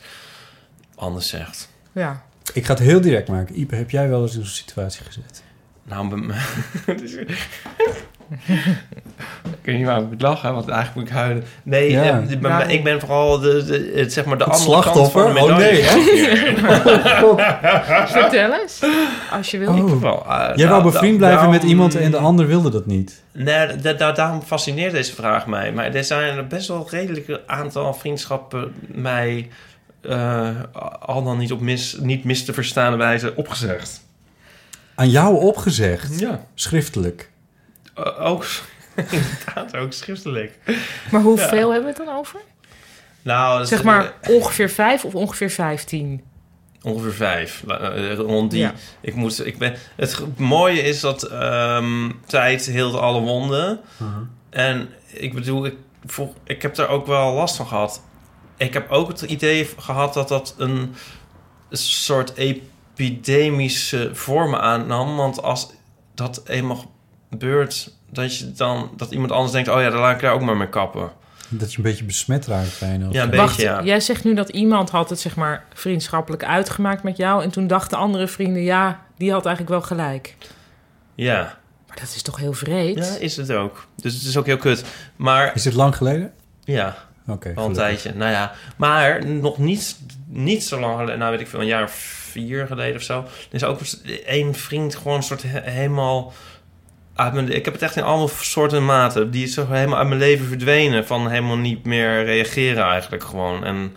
anders zegt.
Ja.
Ik ga het heel direct maken. Ipe, heb jij wel eens in zo'n situatie gezet?
Nou, bij mij- weet niet waar ik moet lachen, want eigenlijk moet ik huilen. Nee,
Ja.
eh, maar- maar
Ja.
ik ben vooral de, de, het, zeg maar de
Het
andere kant
slachtoffer?
van de
Oh,
medaille.
nee, hè?
Vertel eens. Als je wil.
Oh.
Wel, eh,
Jij wou
nou,
bevriend
da-
blijven met
daarom-
iemand en de ander wilde dat niet.
Nee, da- da- daarom fascineert deze vraag mij. Maar er zijn best wel een redelijk aantal vriendschappen mij eh, al dan niet op mis, niet mis te verstaande wijze opgezegd.
Aan jou opgezegd,
Ja.
schriftelijk.
Eh, ook, inderdaad, ook schriftelijk.
Maar hoeveel hebben we het dan over?
Nou, dat is,
Zeg maar ongeveer vijf of ongeveer vijftien.
Ongeveer vijf. la- eh, Rond die.
Ja.
Ik moet, ik ben, het g- mooie is dat ehm, tijd heelt alle wonden. En ik bedoel, ik, vroeg- ik heb daar ook wel last van gehad. Ik heb ook het idee gehad dat dat een soort epidemische vorm aannam. Want als dat eenmaal gebeurt, dat, je dan, dat iemand anders denkt... oh ja, dan laat ik daar ook maar mee kappen.
Dat je een beetje besmet raakt bijna. of
Ja,
zo.
een beetje.
Wacht,
ja.
jij zegt nu dat iemand had het zeg maar vriendschappelijk uitgemaakt met jou. En toen dachten andere vrienden, ja, die had eigenlijk wel gelijk.
Ja,
Maar dat is toch heel vreed?
ja is het ook. Dus het is ook heel kut. Maar
Is dit lang geleden?
ja...
Oké,
Wel een
gelukkig.
tijdje, nou ja. Maar nog niet, niet zo lang geleden, nou weet ik veel, een jaar of vier geleden of zo. Er is ook één vriend gewoon een soort he- helemaal... Uit mijn, ik heb het echt in allemaal soorten en maten. Die is zo helemaal uit mijn leven verdwenen. Van helemaal niet meer reageren eigenlijk gewoon. En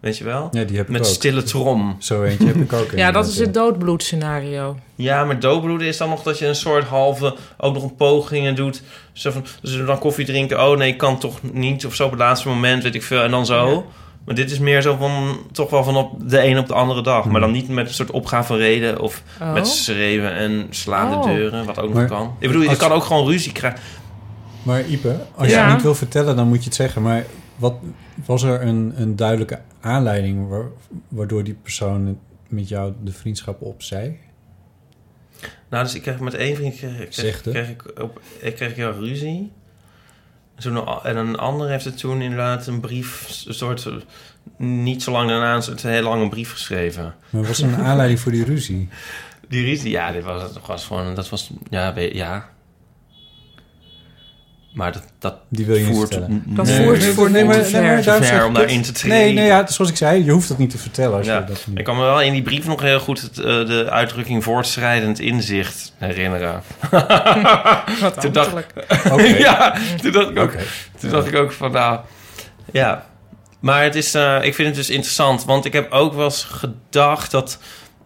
weet je wel?
Ja, die heb ik
Met
ook.
stille trom.
Zo eentje heb ik
Ja, dat
ook. inderdaad,
is het doodbloedscenario.
Ja, maar doodbloeden is dan nog dat je een soort halve... ook nog een pogingen doet. Zo van, dus dan koffie drinken. Oh nee, kan toch niet. Of zo op het laatste moment, weet ik veel. En dan zo. Maar dit is meer zo van... toch wel van op de een op de andere dag. Maar dan niet met een soort opgave reden... of
Hmm. Oh.
met schreeuwen en slaande
Oh.
deuren. Wat ook
Maar
nog kan. Ik bedoel, je
als-
kan ook gewoon ruzie krijgen.
Maar Ipe, als je
Ja.
het niet wil vertellen, dan moet je het zeggen. Maar wat, was er een, een duidelijke aanleiding wa- waardoor die persoon met jou de vriendschap opzij?
Nou, dus ik kreeg met één vriend... kreeg, kreeg,
Zegde.
kreeg ik, op, ik kreeg heel erg ruzie. En, toen, een a- en een ander heeft er toen inderdaad een brief... een soort... eh, niet zo lang daarna een soort heel lange brief geschreven.
Maar was er een aanleiding voor die ruzie?
Die ruzie, ja, dit was, dat was gewoon, dat was, ja, we- ja. Maar dat, dat
Die wil je niet
voert...
vertellen.
n-
Dat
nee.
voert voor
nee, maar,
te ver.
maar
Te
daarom
ver
zeg ik
om daarin
dit.
te treden.
Nee, nee ja, zoals ik zei, je hoeft dat niet te vertellen. Als
Ja,
je dat
ik
niet...
kan me wel in die brief nog heel goed het, eh, de uitdrukking voortschrijdend inzicht herinneren.
Wat
Toen dacht-
ambtelijk.
Oké,
ja, toen dacht ik ook,
oké.
toen dacht ik ook van, nou, ja. Maar het is, eh, ik vind het dus interessant, want ik heb ook wel eens gedacht dat,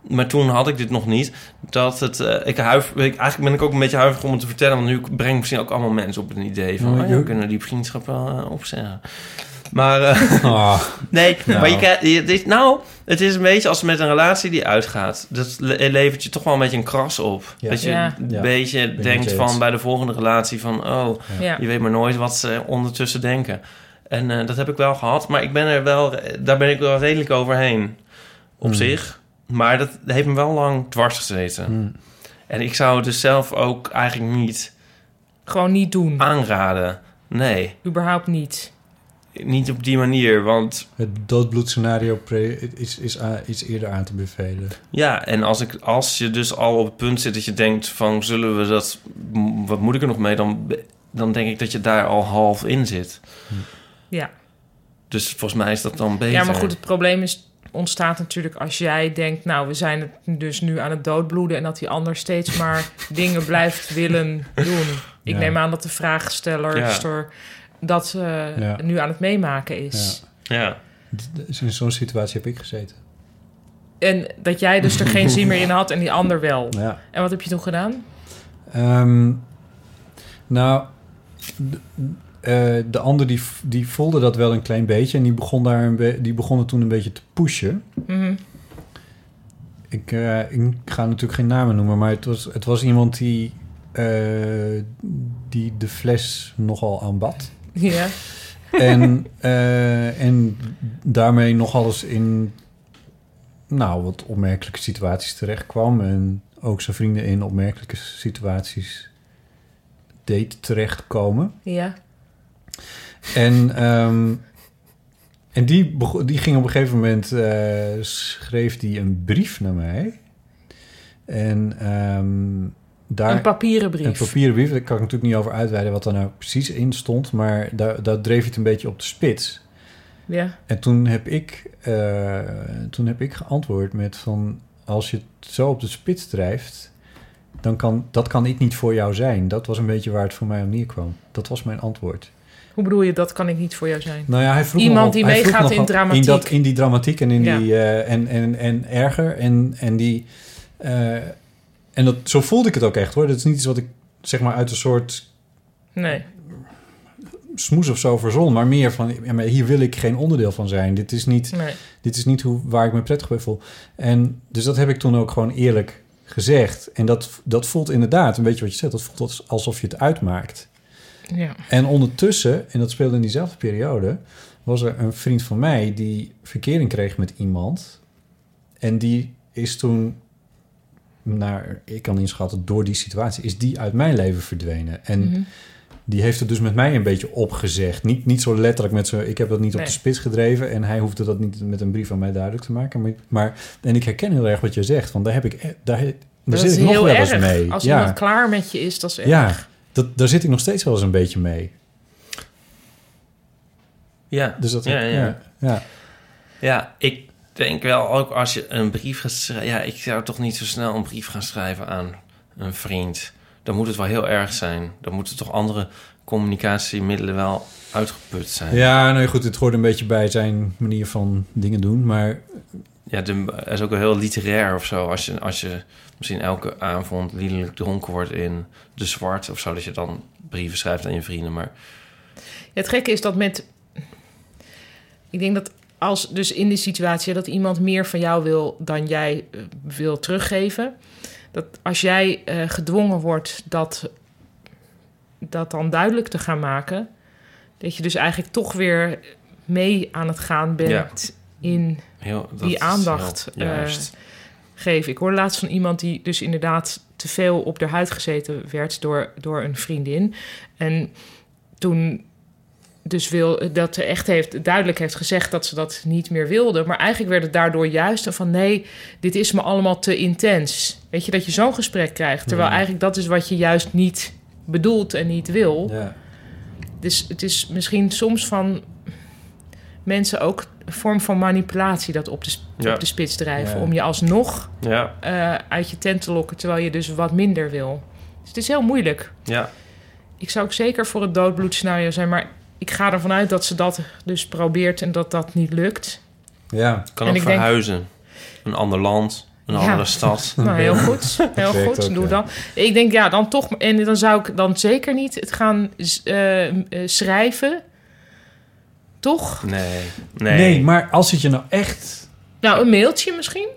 maar toen had ik dit nog niet, dat het, eh, ik huif, ik, eigenlijk ben ik ook een beetje huiverig om het te vertellen, want nu breng ik misschien ook allemaal mensen op een idee van,
Oh,
oh ja, we
joh.
kunnen die vriendschap wel eh, opzeggen. Maar, eh,
Ah,
nee,
Nou.
maar je krijgt, je- dit, nou, het is een beetje als met een relatie die uitgaat. Dat le- eh, levert je toch wel een beetje een kras op.
Ja.
Dat je
Ja.
een
Ja.
beetje
met
denkt
je
van
eens.
bij de volgende relatie van, oh,
Ja.
je weet maar nooit wat ze ondertussen denken. En eh, dat heb ik wel gehad, maar ik ben er wel, daar ben ik wel redelijk overheen op
Hmm.
zich. Maar dat heeft me wel lang dwars gezeten.
hmm.
En ik zou het dus zelf ook eigenlijk niet
Gewoon niet
Ah.
doen.
aanraden. Nee,
Überhaupt niet.
niet op die manier. Want
Het doodbloedscenario pre- is, is, a- is eerder aan te bevelen.
ja, en als, ik, als je dus al op het punt zit dat je denkt van... zullen we dat, m- wat moet ik er nog mee? Dan, dan denk ik dat je daar al half in zit.
Ja.
Dus volgens mij is dat dan beter.
ja, maar goed, het probleem is, ontstaat natuurlijk als jij denkt... nou, we zijn het dus nu aan het doodbloeden... en dat die ander steeds maar dingen blijft willen doen. Ik
Ja.
neem aan dat de vraagsteller
Ja.
Stor, dat eh,
Ja.
nu aan het meemaken is.
Ja.
Dus in zo'n situatie heb ik gezeten.
En dat jij dus er geen zin meer in had en die ander wel.
Ja.
En wat heb je toen gedaan?
Ehm, nou, de, eh, de ander die, v- die voelde dat wel een klein beetje en die begon, daar een be- die begon het toen een beetje te pushen.
Mhm.
Ik, eh, ik ga natuurlijk geen namen noemen, maar het was, het was iemand die, eh, die de fles nogal aanbad.
Ja.
en, eh, en daarmee nogal eens in nou, wat opmerkelijke situaties terechtkwam. En ook zijn vrienden in opmerkelijke situaties deed terechtkomen.
Ja.
En, ehm, en die, bego- die ging op een gegeven moment, eh, schreef die een brief naar mij. En ehm, daar
een papieren brief.
Een papieren brief, daar kan ik natuurlijk niet over uitweiden wat er nou precies in stond, maar daar, daar dreef je het een beetje op de spits.
ja.
En toen heb ik, eh, toen heb ik geantwoord met van, als je het zo op de spits drijft, dan kan, dat kan ik niet voor jou zijn. Dat was een beetje waar het voor mij om neerkwam. Dat was mijn antwoord.
Hoe bedoel je, dat kan ik niet voor jou zijn?
Nou ja, hij vroeg
Iemand
nogal-
die
hij vroeg
meegaat in
nogal
dramatiek.
In, dat, in die dramatiek en in
Ja.
die eh, en, en, en erger en, en die eh, en dat zo voelde ik het ook echt hoor. Dat is niet iets wat ik zeg maar uit een soort
Nee.
smoes of zo verzon, maar meer van ja, maar hier wil ik geen onderdeel van zijn. Dit is niet
nee.
dit is niet hoe, waar ik me prettig bij voel. En dus dat heb ik toen ook gewoon eerlijk gezegd. En dat, dat voelt inderdaad, een beetje wat je zegt, dat voelt als- alsof je het uitmaakt.
Ja.
En ondertussen, en dat speelde in diezelfde periode, was er een vriend van mij die verkering kreeg met iemand. En die is toen, naar, ik kan inschatten, door die situatie, is die uit mijn leven verdwenen. En
Mhm.
die heeft het dus met mij een beetje opgezegd. Niet, niet zo letterlijk met zijn... Ik heb dat niet op
Nee.
de spits gedreven... en hij hoefde dat niet met een brief aan mij duidelijk te maken. Maar, maar en ik herken heel erg wat je zegt. Want daar, heb ik, e- daar, daar
Dat
zit
is
ik nog
heel
wel eens
erg.
mee.
Als
ja,
iemand klaar met je is, dat is erg.
ja dat, daar zit ik nog steeds wel eens een beetje mee.
Ja.
Dus dat,
Ja, ja.
ja, ja.
Ja, ik denk wel ook als je een brief gaat schrijven... Ja, ik zou toch niet zo snel een brief gaan schrijven aan een vriend. Dan moet het wel heel erg zijn. Dan moeten toch andere communicatiemiddelen wel uitgeput zijn.
Ja, nou ja, goed, het hoort een beetje bij zijn manier van dingen doen. Maar
Ja, de, hij is ook wel heel literair of zo. Als je, als je misschien elke avond liederlijk dronken wordt in de zwart of zo... dat je dan brieven schrijft aan je vrienden. Maar
Het gekke is dat met. Ik denk dat als dus in die situatie dat iemand meer van jou wil dan jij eh, wil teruggeven. Dat als jij eh, gedwongen wordt dat, dat dan duidelijk te gaan maken. Dat je dus eigenlijk toch weer mee aan het gaan bent in
heel, dat
Die
is
aandacht,
heel
eh,
juist.
geven. Ik hoorde laatst van iemand die dus inderdaad te veel op de huid gezeten werd door, door een vriendin. En toen dus wil, dat ze echt heeft, duidelijk heeft gezegd dat ze dat niet meer wilde. Maar eigenlijk werd het daardoor juist een van nee, dit is me allemaal te intens. Weet je, dat je zo'n gesprek krijgt. Terwijl
Ja.
eigenlijk dat is wat je juist niet bedoelt en niet wil.
Oh.
ja.
Dus het is misschien soms van mensen ook een vorm van manipulatie dat op de, sp-
Ja.
op de spits drijven.
Ja.
Om je alsnog
ja,
eh, uit je tent te lokken, terwijl je dus wat minder wil. Dus het is heel moeilijk.
ja,
Ik zou ook zeker voor het doodbloed scenario zijn, maar ik ga ervan uit dat ze dat dus probeert en dat dat niet lukt.
ja.
kan
En
ook
ik denk-
verhuizen. Een ander land, een
Ja.
andere stad.
Nou, heel goed. Heel
werkt
goed.
ook,
Doe
ja.
dan. Ik denk, ja, dan toch. En dan zou ik dan zeker niet het gaan eh, eh, schrijven. Toch?
Nee,
Nee.
nee.
maar als het je nou echt...
Nou, een mailtje misschien?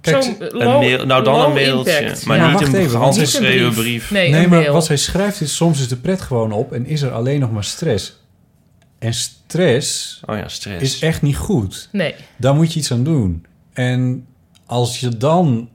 Kijk,
Zo'n eh,
Een
low-
mail, nou dan
low
een mailtje,
impact.
maar
Ja.
Maar
niet
wacht
een
even, want-
Niet een
handgeschreven
brief.
brief.
Nee,
nee,
een
maar
mail.
wat zij schrijft is... Soms is de pret gewoon op en is er alleen nog maar stress. En stress
Oh ja, stress.
is eh, echt niet goed.
Nee.
Daar moet je iets aan doen. En als je dan...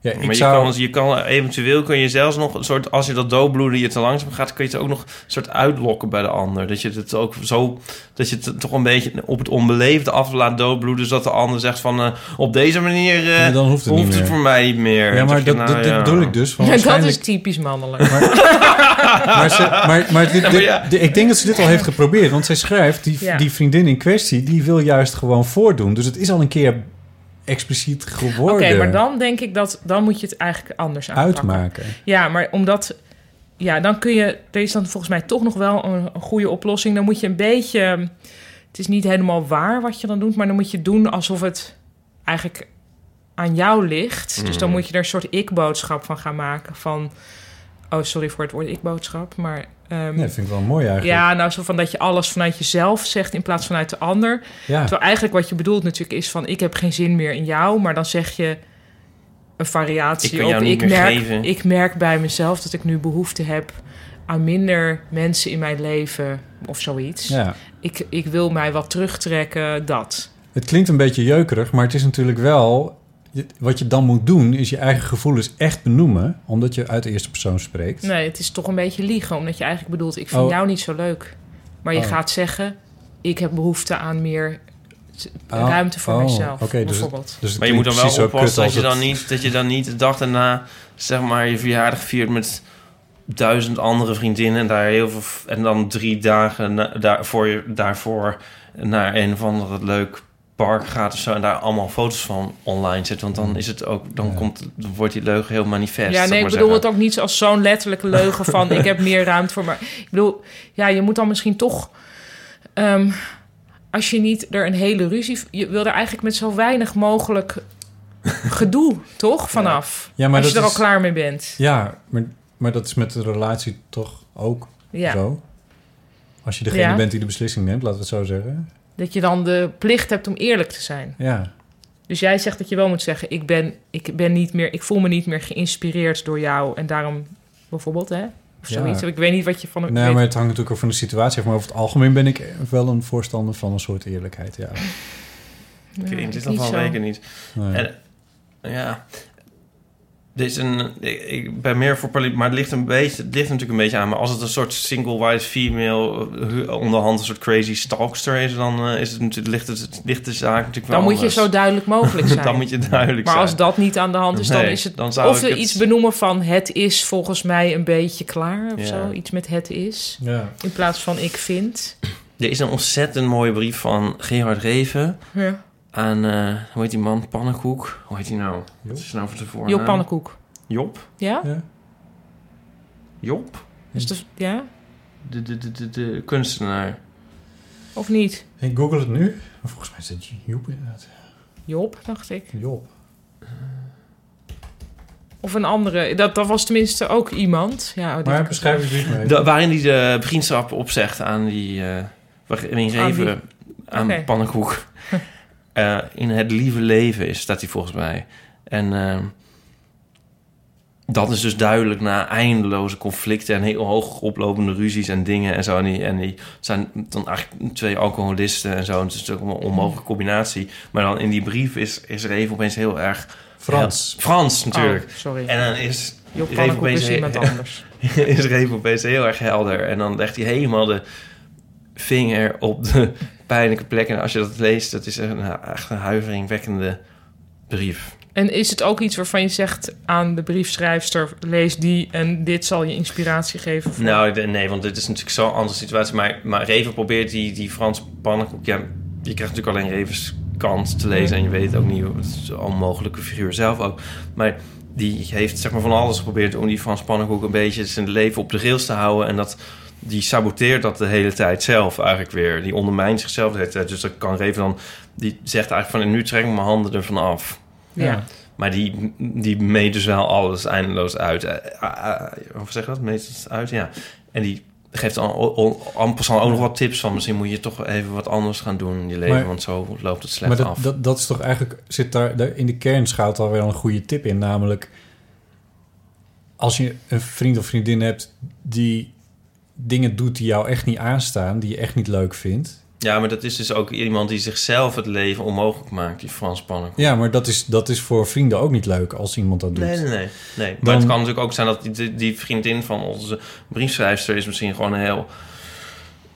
Ja,
maar
ik
je,
zou...
kan, je kan eventueel kun je zelfs nog een soort, als je dat doodbloeden je te langzaam gaat, kun je het ook nog een soort uitlokken bij de ander. Dat je het ook zo, dat je het toch een beetje op het onbeleefde af laat doodbloeden, zodat de ander zegt van eh, op deze manier eh,
Ja, dan hoeft het niet
het
meer.
voor mij niet meer.
ja,
Dan
maar
zeg je,
dat,
nou
dat,
ja.
dat bedoel ik dus. Van
Ja, dat
waarschijnlijk-
is typisch mannelijk.
Maar, ze- maar, maar, dit- dit-
ja.
dit- ik denk dat ze dit al heeft geprobeerd. Want zij schrijft, die,
Ja.
die vriendin in kwestie... die wil juist gewoon voordoen. Dus het is al een keer expliciet geworden.
Oké, maar dan denk ik dat dan moet je het eigenlijk anders aanpakken.
Uitmaken.
Ja, maar omdat. Ja, dan kun je. Er is dan volgens mij toch nog wel een, een goede oplossing. Dan moet je een beetje. Het is niet helemaal waar wat je dan doet, maar dan moet je doen alsof het eigenlijk aan jou ligt. Dus dan moet je er een soort ik-boodschap van gaan maken. Van. Oh, sorry voor het woord ik-boodschap, maar. ehm,
Nee, dat vind ik wel mooi eigenlijk.
ja, nou, zo van dat je alles vanuit jezelf zegt in plaats van uit de ander.
Ja.
Terwijl eigenlijk wat je bedoelt natuurlijk is van... ik heb geen zin meer in jou, maar dan zeg je een variatie
Ik kan
op...
jou niet
ik,
meer
merk,
geven.
ik merk bij mezelf dat ik nu behoefte heb aan minder mensen in mijn leven of zoiets.
ja.
Ik, ik wil mij wat terugtrekken, dat.
Het klinkt een beetje jeukerig, maar het is natuurlijk wel... je- Wat je dan moet doen, is je eigen gevoelens echt benoemen... omdat je uit de eerste persoon spreekt.
Nee, het is toch een beetje liegen, omdat je eigenlijk bedoelt... ik vind
Oh.
jou niet zo leuk. Maar je
Oh.
gaat zeggen, ik heb behoefte aan meer
Oh,
ruimte voor
oh,
mijzelf,
oké, dus-
bijvoorbeeld.
Dus het
Maar je moet dan
klinkt
wel
precies
oppassen
zo kut
dat
als
je dan,
het-
niet, dat je dan niet de dag daarna... zeg maar je verjaardag viert met duizend andere vriendinnen... en, daar heel veel, en dan drie dagen na, daarvoor, je- daarvoor naar een of ander leuk park gaat of zo... en daar allemaal foto's van online zet. Want dan, is het ook, dan,
Mm. Ja.
komt, dan wordt die leugen heel manifest.
Ja,
zal
nee, ik
maar
bedoel
zeggen.
het ook niet als zo'n letterlijke leugen van ik heb meer ruimte voor me. Ik bedoel, ja, je moet dan misschien toch. ehm, als je niet er een hele ruzie. Je wil er eigenlijk met zo weinig mogelijk gedoe, toch? Vanaf.
Ja, maar
als je
dat
er
is-
al klaar mee bent.
Ja, maar, maar dat is met de relatie toch ook
Ja.
zo? Als je degene
Ja.
bent die de beslissing neemt, laten we het zo zeggen.
Dat je dan de plicht hebt om eerlijk te zijn.
Ja,
Dus jij zegt dat je wel moet zeggen: ik ben, ik ben niet meer, ik voel me niet meer geïnspireerd door jou. En daarom bijvoorbeeld, hè? Of
Ja.
zoiets. Ik weet niet wat je van hem.
nee,
weet-
maar het hangt natuurlijk ook van de situatie af. Maar over het algemeen ben ik wel een voorstander van een soort eerlijkheid. Ja.
Ja,
Ik weet in
ik
dit
niet
geval
zo.
weken niet.
Nee.
En, ja. Dit is een, ik, ik ben meer voor poly, maar het ligt, een beetje, het ligt natuurlijk een beetje aan. Maar als het een soort single white female, eh, onderhand een soort crazy stalkster is, dan eh, is het natuurlijk, ligt, het, ligt de zaak natuurlijk wel
Dan moet je
anders.
zo duidelijk mogelijk zijn.
Dan moet je duidelijk
Maar als
zijn.
dat niet aan de hand is, dan
Nee,
is het.
dan zou
of
ik
we
het-
iets benoemen van het is volgens mij een beetje klaar of
Ja.
zo. Iets met het is.
ja.
In plaats van ik vind.
Er is een ontzettend mooie brief van Gerard Reven
Ja.
aan, eh, hoe heet die man, Pannenkoek? Hoe heet die nou?
Job.
Wat is nou voor de voornaam?
Job Pannenkoek.
Job?
Ja?
Ja.
Job?
Is dat, ja?
De, de, de, de, de kunstenaar.
Of niet?
Ik google het nu. Maar volgens mij is het Joep inderdaad.
Job, dacht ik.
Job.
Of een andere. Dat, dat was tenminste ook iemand. Ja, oh, die-
Maar beschrijf het niet mee.
Da- waarin hij de vriendschap opzegt aan die... eh, waarin Reven
wie?
aan,
Oké.
Pannenkoek... eh, in het lieve leven is, staat hij volgens mij. En ehm, dat is dus duidelijk na eindeloze conflicten... en heel hoog oplopende ruzies en dingen en zo. En die, en die zijn dan eigenlijk twee alcoholisten en zo. En het is natuurlijk een onmogelijke combinatie. Maar dan in die brief is, is Reven opeens heel erg...
Frans.
Frans, natuurlijk.
Oh, sorry.
En dan is
Job
Reven
Pannenkoek
opeens
is
he-
iemand anders.
is Reven opeens heel erg helder. En dan legt hij helemaal de vinger op de pijnlijke plek. En als je dat leest, dat is een, nou, echt een huiveringwekkende brief.
En is het ook iets waarvan je zegt aan de briefschrijfster: lees die en dit zal je inspiratie geven? Voor...
Nou, de- nee, want dit is natuurlijk zo'n andere situatie. Maar, maar Reven probeert die, die Frans pannenkoek... Ja, je krijgt natuurlijk alleen Revens kant te lezen. En je weet ook niet, het is een onmogelijke figuur zelf ook. Maar die heeft zeg maar van alles geprobeerd... om die Frans pannenkoek een beetje zijn leven op de rails te houden. En dat, die saboteert dat de hele tijd zelf eigenlijk weer. Die ondermijnt zichzelf de hele tijd. Dus dat kan Reven dan... Die zegt eigenlijk van, nu trek ik mijn handen ervan af.
ja.
Maar die, die meet dus wel alles eindeloos uit. Eh, ah, ah, Hoe zeg je dat? Meet het uit, ja. En die geeft dan o- o- en passant ook nog wat tips van... misschien moet je toch even wat anders gaan doen in je leven...
Maar-
want zo loopt het slecht
Maar dat,
af.
dat, dat is toch eigenlijk, zit daar, daar in de kern schuilt alweer een goede tip in. Namelijk, als je een vriend of vriendin hebt die dingen doet die jou echt niet aanstaan, die je echt niet leuk vindt.
Ja, maar dat is dus ook iemand die zionszelf het leven onmogelijk maakt... die Frans Pannenkoek.
Ja, maar dat is, dat is voor vrienden ook niet leuk als iemand dat doet.
Nee, nee, nee. nee. Maar
Dan-
het kan natuurlijk ook zijn dat die, die vriendin van onze briefschrijfster... is misschien gewoon een heel...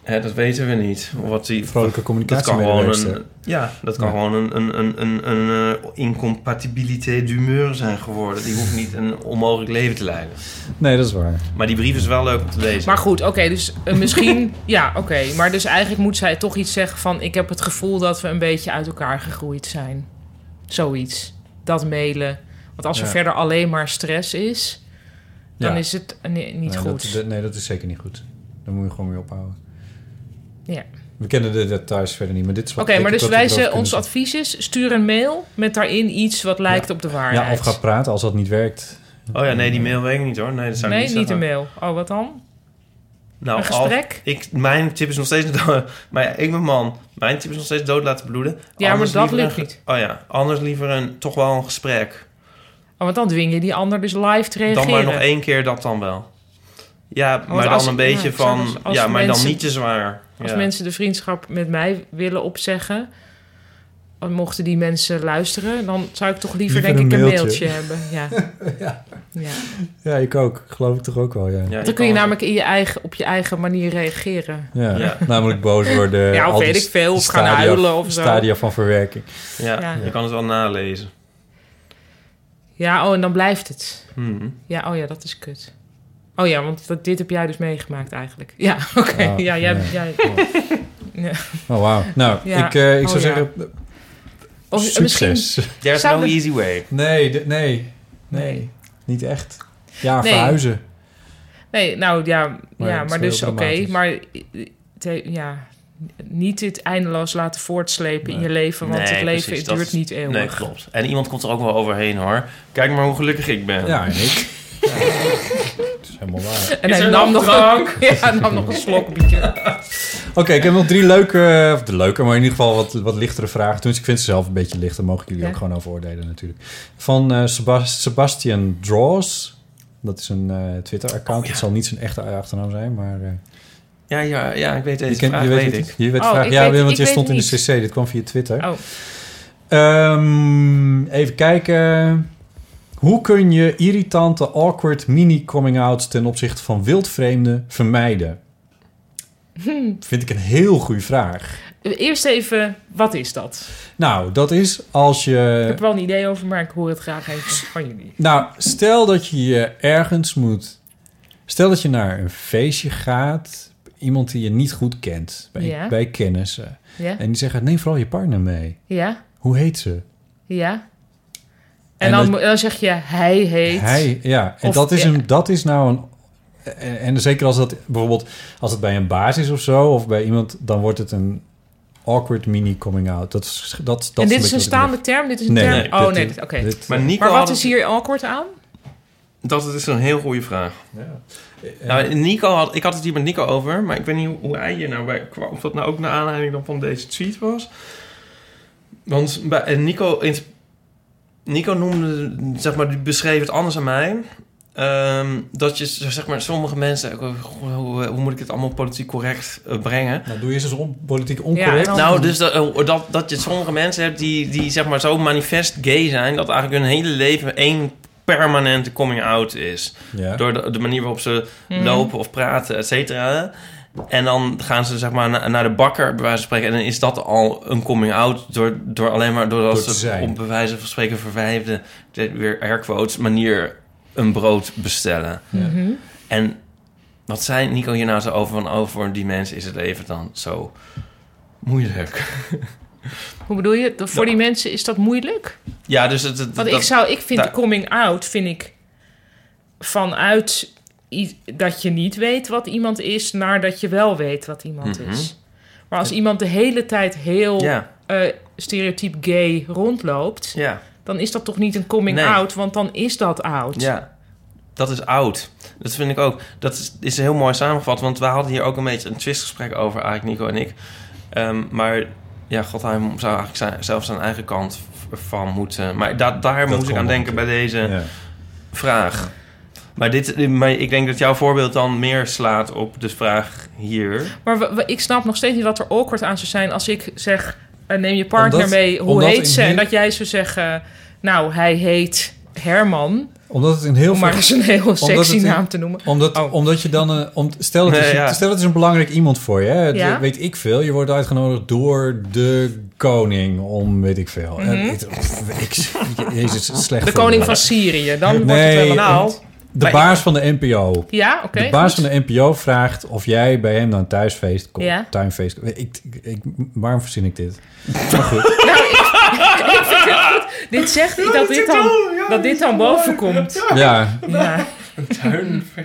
Hè, dat weten we niet. Wat die,
Vrolijke
Dat
communicatie
kan gewoon
medewerkster.
een, ja, dat kan
Ja.
gewoon een, een, een, een, een eh, incompatibiliteit d'humeur zijn geworden. Die hoeft niet een onmogelijk leven te leiden.
Nee, dat is waar.
Maar die brief is wel leuk om te lezen.
Maar goed, oké, dus eh, misschien... ja, oké, maar dus eigenlijk moet zij toch iets zeggen van... ik heb het gevoel dat we een beetje uit elkaar gegroeid zijn. Zoiets. Dat mailen. Want als er
Ja.
verder alleen maar stress is... dan
Ja.
is het eh, nee, niet
nee,
goed.
Dat, dat- nee, dat is zeker niet goed. Daar moet je gewoon mee ophouden.
Ja.
We kennen de details verder niet, maar dit is
Oké,
wat ik
maar dus
tot
wij
het erover
ze, ons
kunnen
advies is... stuur een mail met daarin iets wat lijkt op de
zeggen. Ja,
waarheid.
of ga praten als dat niet werkt.
Oh ja, nee, die mail weet ik niet hoor. Nee, dat zou ik
nee,
niet
niet een
zeggen.
mail. Oh, wat dan?
Nou,
Een
al-
gesprek?
ik, mijn tip is nog steeds... dood- maar ja, ik ben man. Mijn tip is nog steeds dood laten bloeden.
Ja,
Anders
maar dat
liever
lukt
een-
niet.
Oh ja, anders liever een, toch wel een gesprek.
Oh, want dan dwing je die ander dus live te reageren.
Dan maar nog één keer dat dan wel. Ja, maar dan
als-
een beetje
ja,
van...
als- als
ja, maar dan
mensen-
niet te zwaar.
Als
ja.
mensen de vriendschap met mij willen opzeggen, mochten die mensen luisteren, dan zou ik toch liever,
Liever
denk
een
ik een mailtje,
mailtje.
hebben. Ja.
Ja.
Ja.
ja, ik ook. Geloof ik toch ook wel, ja.
Ja,
Dan kun je
kan-
namelijk in je eigen, op je eigen manier reageren.
Ja,
Ja.
namelijk boos worden.
Ja, of
al die
weet ik veel, of gaan
stadia-
huilen of zo.
Stadia van verwerking.
Ja,
Ja.
je kan het wel nalezen.
Ja, oh, en dan blijft het.
Mhm.
Ja, oh ja, dat is kut. Oh ja, want dat, dit heb jij dus meegemaakt eigenlijk. Ja, oké.
Oh,
ja, jij,
nee.
jij,
Oh, wauw. Nou,
Ja.
ik, eh, ik
Oh,
zou
ja.
zeggen,
of eh,
succes.
misschien
There's
Zou
no
de-
easy way.
Nee, de- nee,
Nee.
nee. Niet echt. Ja,
Nee.
verhuizen.
Nee, nou ja,
Maar
ja
het is
maar
heel
dus oké.
dramatisch.
maar eh, te- ja, niet dit eindeloos laten voortslepen in je leven. Want
Nee,
het leven
precies,
het
dat
duurt
is-
niet eeuwig.
Nee, klopt. En iemand komt er ook wel overheen hoor. Kijk maar hoe gelukkig ik ben.
Ja, en ik. Ja. Het is helemaal waar.
En
Is
hij
er
nam
nog
nog, een, ja, hij nam nog een slok bier.
Oké, ik heb nog drie leuke, of de leuke, maar in ieder geval wat, wat lichtere vragen. Toen ik vind ze zelf een beetje lichter, mogen jullie
Ja.
ook gewoon over oordelen natuurlijk. Van eh, Sebas- Sebastian Draws. Dat is een eh, Twitter-account.
Oh,
Het zal niet zijn echte achternaam zijn, maar... eh,
Ja, ja, ja, ik weet deze
je, kent-
vraag,
je weet,
weet
het?
ik.
Je weet
Oh,
vraag,
ik
ja,
weet- ik
want je
weet
stond in de
het
CC. Dit kwam via Twitter.
Oh,
Ehm, even kijken. Hoe kun je irritante, awkward mini-coming-outs ten opzichte van wildvreemden vermijden?
Hm.
Vind ik een heel goede vraag.
eerst even, wat is dat?
Nou, dat is als
Ik
je.
heb er wel een idee over, maar ik hoor het graag even van jullie.
Nou, stel dat je je ergens moet. Stel dat je naar een feestje gaat. Iemand die je niet goed kent. Bij,
Ja.
bij kennissen.
Ja?
En die zeggen: neem vooral je partner mee.
Ja?
Hoe heet ze?
Ja? En,
En
dan,
dat-
mo- dan zeg je, hij heet...
Hij, ja, en
Of-
dat, is
ja.
een, dat is nou een. En, en zeker als dat bijvoorbeeld als het bij een baas is of zo, of bij iemand, dan wordt het een awkward mini coming out. Dat is dat. dat
en dit is
beetje
een
wat ik
staande term? Dit is een
Nee,
term?
nee,
oh
dit-
nee,
dit-
dit- oké.
bedoel. Dit,
Maar Nico
Maar wat
had-
is hier awkward aan?
Dat is een heel goede vraag.
ja. Eh,
Nou, Nico had, ik had het hier met Nico over, maar ik weet niet hoe, hoe hij hier nou bij kwam. Of dat nou ook naar aanleiding dan van deze tweet was. Want bij, en Nico, in- Nico noemde, zeg maar, die beschreef het anders aan mij. Ehm, dat je, zeg maar, sommige mensen, ik- hoe, hoe- hoe moet ik het allemaal politiek correct eh, brengen?
nou, doe je eens on, politiek
Ja, en
oncorrect.
dan-
Nou, dus dat, eh, dat, dat je sommige mensen hebt die, die zeg maar zo manifest gay zijn... dat eigenlijk hun hele leven één permanente coming-out is.
ja.
Door de, de manier waarop ze
Mm.
lopen of praten, et cetera. En dan gaan ze zeg maar na- naar de bakker, bij wijze van spreken. En dan is dat al een coming-out door, door alleen maar doordat
Door te
ze
zijn.
op bij wijze van spreken verwijfde... de- weer air quotes, manier een brood bestellen.
Mhm.
En wat zei Nico hier nou zo over? Van, oh, voor die mensen is het even dan zo moeilijk.
Hoe bedoel je? Dat- Voor die mensen is dat moeilijk?
Ja, dus het... het-
Want
dat-
ik zou, ik vind
daar-
de coming out, vind ik vanuit i- dat je niet weet wat iemand is, naar dat je wel weet wat iemand
Mhm.
is. Maar als iemand de hele tijd heel
Ja,
eh, stereotyp gay rondloopt,
ja,
dan is dat toch niet een coming
Nee.
out, want dan is dat out.
ja. Dat is oud. Dat vind ik ook. Dat is, is heel mooi samengevat. Want we hadden hier ook een beetje een twistgesprek over, eigenlijk Nico en ik. Ehm, maar ja, god, hij zou eigenlijk zijn, zelf zijn eigen kant v- van moeten. Maar da- daar
Dat
moest ik aan
kon
denken bij
wel.
deze
Ja.
vraag. Maar, dit, maar ik denk dat jouw voorbeeld dan meer slaat op de vraag hier.
Maar we- we- ik snap nog steeds niet wat er awkward aan zou zijn als ik zeg: eh, neem je partner
Omdat-
mee, hoe
omdat
heet
in
ze?
heel-
En dat jij zou zeggen: nou, hij heet Herman.
Omdat het een heel
Om maar
veel-
eens een heel sexy
het in-
naam te noemen.
Omdat, omdat je dan een. Om, stel, dat
Nee,
is,
ja.
stel dat is een belangrijk iemand voor je. Hè?
Ja.
Dat Weet ik veel. Je wordt uitgenodigd door de koning om weet ik veel. Eh,
Mhm.
ik, ik, jezus, slecht.
De
voorbeeld.
koning van Syrië. Dan wordt het
Nee,
wel een
nou.
punt.
De baas van de NPO.
Ja, oké.
de baas
goed.
van de NPO vraagt of jij bij hem naar een thuisfeest komt.
Ja.
Tuinfeest. Ik, ik, ik- waarom verzin ik dit? Maar goed.
Dit zegt niet dat dit dan, dat dit dan boven komt.
Ah.
Ja.
Ja.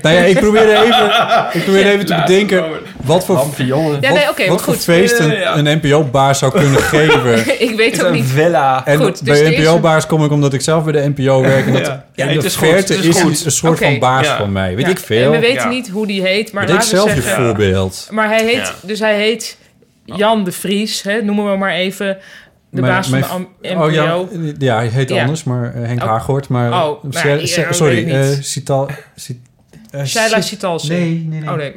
Nou ja, ik probeer even, ik probeer even te bedenken wat voor,
jongen.
Ja,
wat,
nee, oké, maar
wat voor
goed.
feest
Ja, ja, ja.
een, een NPO-baas zou kunnen geven.
Ik weet ook niet.
Vella.
En
Goed, dus
bij
er is een-
NPO-baas kom ik omdat ik zelf bij de NPO werk. En dat
Ja. Ja,
in
het
de
is goed,
verte
het
is,
is goed.
een soort
Oké,
van baas
ja.
van mij. Weet
Ja.
ik veel.
En we weten
Ja.
niet hoe die heet, maar
Weet ik
laten we
zelf je
zeggen...
zeggen-
voorbeeld.
Maar hij heet,
Ja.
dus hij heet Jan de Vries, hè, noemen we maar even de
Mijn-
baas
mijn-
van de
Oh ja,
NPO.
ja, hij heet
Ja.
anders, maar eh, Henk
Oh.
Haaghoort. Maar,
Oh, nou,
Sher-
ja,
Sher-
dat
sorry,
weet ik
eh
niet.
Cital... Cit- eh,
Sheila
Cit-
Citalse.
Nee, nee, nee. Oh.
Oh nee,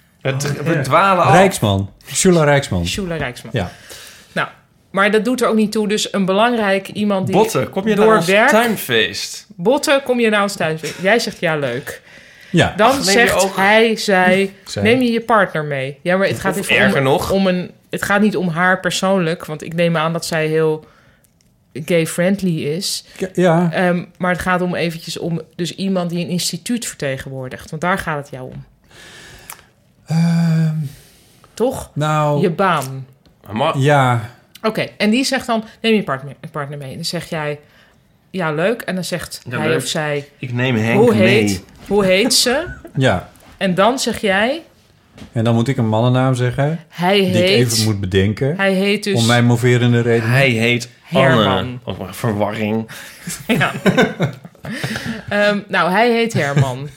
Het, we dwalen af.
Rijksman. Shula Rijksman.
Shula Rijksman.
Ja.
Nou, Maar dat doet er ook niet toe. Dus een belangrijk iemand die...
Botten, kom je nou
door
door een
werk-
tuinfeest?
Botten, kom je nou eens thuis? Jij zegt ja, leuk.
Ja,
Dan
Ach, neem je
zegt
ook-
hij, zij,
Zij.
neem je je partner mee. Ja, maar het gaat,
Of
even om-
erger nog.
Om een, het gaat niet om haar persoonlijk. Want ik neem aan dat zij heel gay-friendly is.
ja.
Ehm, maar het gaat om eventjes om dus iemand die een instituut vertegenwoordigt. Want daar gaat het jou om.
Ehm,
Toch?
nou,
Je baan.
Maar ma-
ja.
Oké, en die zegt dan, neem je partner, partner mee. En dan zeg jij, ja leuk. En dan zegt
Ja,
hij
leuk.
of zij,
Ik neem Henk
hoe
mee.
heet, hoe heet ze?
Ja.
En dan zeg jij,
En dan moet ik een mannennaam zeggen,
hij
die ik even
heet,
moet bedenken.
hij heet dus
Om mijn moverende reden.
Hij heet Anne.
Herman.
Of verwarring.
Ja. Ehm, nou, hij heet Herman.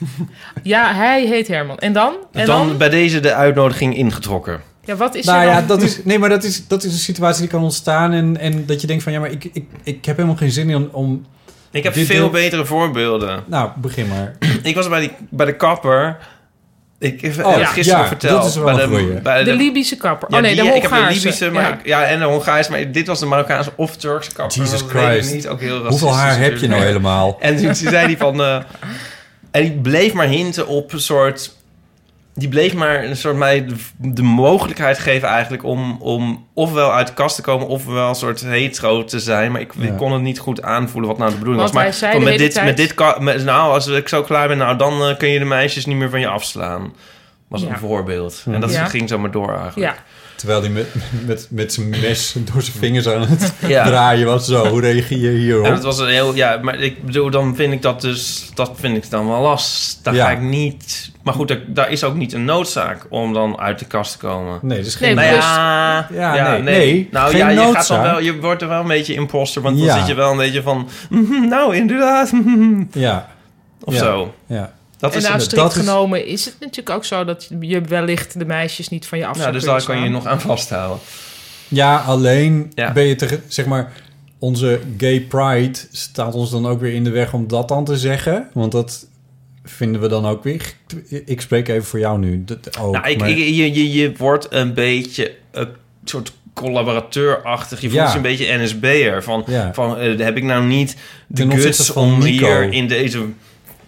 Ja, hij heet Herman. En dan? En dan?
Dan, bij deze de uitnodiging ingetrokken.
Ja, wat is
nou
er
ja,
dan?
dat is, nee, maar dat is, dat is een situatie die kan ontstaan. En, en dat je denkt van, ja, maar ik, ik, ik heb helemaal geen zin in om...
Ik heb
Dit
veel
deel-
betere voorbeelden.
Nou, begin maar.
Ik was bij, die, bij de kapper. Ik heb
Oh,
heb het gisteren
ja,
verteld.
dat is wel
bij
een
de,
goeie.
bij
De Libische kapper.
ja,
oh nee,
die-
de
ik heb de
Hongaarse.
Libische maar
ja.
ik- ja. en de Hongaarse. Maar dit was de Marokkaanse of Turkse kapper.
Jesus
Dat weet ik
Christ.
Niet, ook heel
Hoeveel
racistisch
haar heb je nou
natuurlijk.
helemaal?
En toen zei hij van... eh, en die bleef maar hinten op een soort... Die bleef maar een soort mij de, de mogelijkheid geven eigenlijk... Om, om ofwel uit de kast te komen... ofwel een soort hetero te zijn. Maar ik, ik
Ja.
kon het niet goed aanvoelen wat nou de bedoeling
Want
was. Maar
hij zei
van
de
met,
hele
dit,
tijd-
met dit... ka- Met, nou, als ik zo klaar ben... Nou, dan eh, kun je de meisjes niet meer van je afslaan. Was
Ja.
een voorbeeld. En dat
Ja.
ging zo maar door eigenlijk.
Ja.
Terwijl hij met, met, met zijn mes door zijn vingers aan het
Ja.
draaien was. Zo, hoe reageer je hierop?
En het was een heel, ja, maar ik bedoel, dan vind ik dat dus, dat vind ik dan wel last. Daar
Ja.
ga ik niet, maar goed, daar, daar is ook niet een noodzaak om dan uit de kast te komen.
Nee, dat is geen...
Nee,
Nou
plus-
ja,
Ja, nee, nee,
nou
geen
ja, je gaat
noodzaak.
dan wel, je wordt er wel een beetje imposter, want
Ja.
dan zit je wel een beetje van, "Mhm, nou inderdaad, mhm,"
Ja,
of
Ja.
zo.
ja.
Dat
en
is,
nou,
dat
strikt
is-
genomen is het natuurlijk ook zo dat je wellicht de meisjes niet van je af
nou,
zou
dus
kunnen
daar kan je
slaan.
nog aan vasthouden.
Ja, alleen
Ja.
ben je tegen, zeg maar, onze gay pride staat ons dan ook weer in de weg om dat dan te zeggen. Want dat vinden we dan ook weer. Ik spreek even voor jou nu. Dat ook,
nou, ik,
maar-
ik- je, je, je wordt een beetje een soort collaborateurachtig. Je
Ja.
voelt je een beetje NSB'er. Van,
Ja.
van eh, heb ik nou niet de
Ten opzichte
guts
van
om
Nico.
hier in deze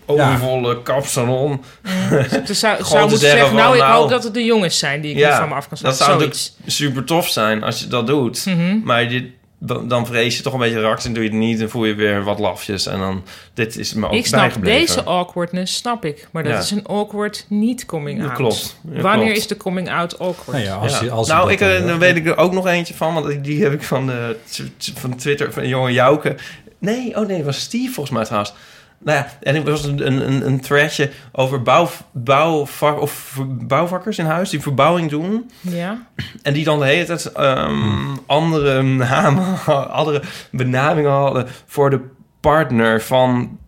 overvolle kapsalon...
Dus zou, zou
Gewoon te
moeten zeggen,
zeggen van,
nou, ik
nou-
hoop dat het de jongens zijn die ik niet van me af kan slaan.
dat zou natuurlijk
Zoiets. Mhm.
super tof zijn als je dat doet. Maar dit, dan, dan vrees je toch een beetje raks en doe je het niet... en voel je weer wat lafjes. En dan, dit is me ook
Ik snap
bijgebleven.
deze awkwardness, snap ik. Maar dat
Ja.
is een awkward niet coming
Ja,
out.
klopt. Ja,
Wanneer
klopt.
is de coming out awkward?
Nou ja, als
Ja.
je, als je
nou,
dat
ik,
dan
eh,
wil.
dan weet ik er ook nog eentje van, want die heb ik van, de, van Twitter, van jongen Jouke. Nee, oh nee, het was Steve volgens mij trouwens. Nou ja, en er was een, een, een threadje over bouw, bouwvak, of ver- bouwvakkers in huis die verbouwing doen.
Ja?
En die dan de hele tijd ehm,
Hmm.
andere namen, andere benamingen hadden voor de partner van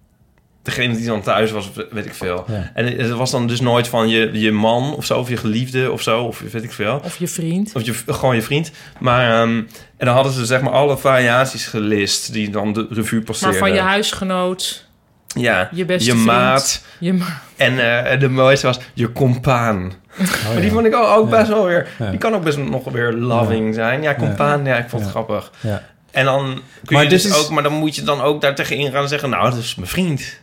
degene die dan thuis was, of weet ik veel.
Ja.
En het was dan dus nooit van je, je man of zo, of je geliefde of zo, of weet ik veel.
Of je vriend?
Of je, gewoon je vriend. Maar, ehm, en dan hadden ze zeg maar alle variaties gelist die dan de revue
Maar
passeerden.
van je
eh,
huisgenoot,
Ja,
je beste
je
vriend.
maat.
je ma-
En eh, de mooiste was je compaan.
Oh,
Maar
ja.
die vond ik ook, ook
Ja.
best wel weer...
Ja.
Die kan ook best nog weer loving zijn. Ja, compaan, ja, ik vond het
Ja.
grappig.
Ja.
En dan kun
Maar
je
dit
dus
is-
ook... Maar dan moet je dan ook daar tegenin gaan zeggen... Nou, dat is mijn vriend.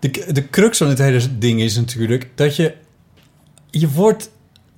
De, de crux van het hele ding is natuurlijk dat je... Je wordt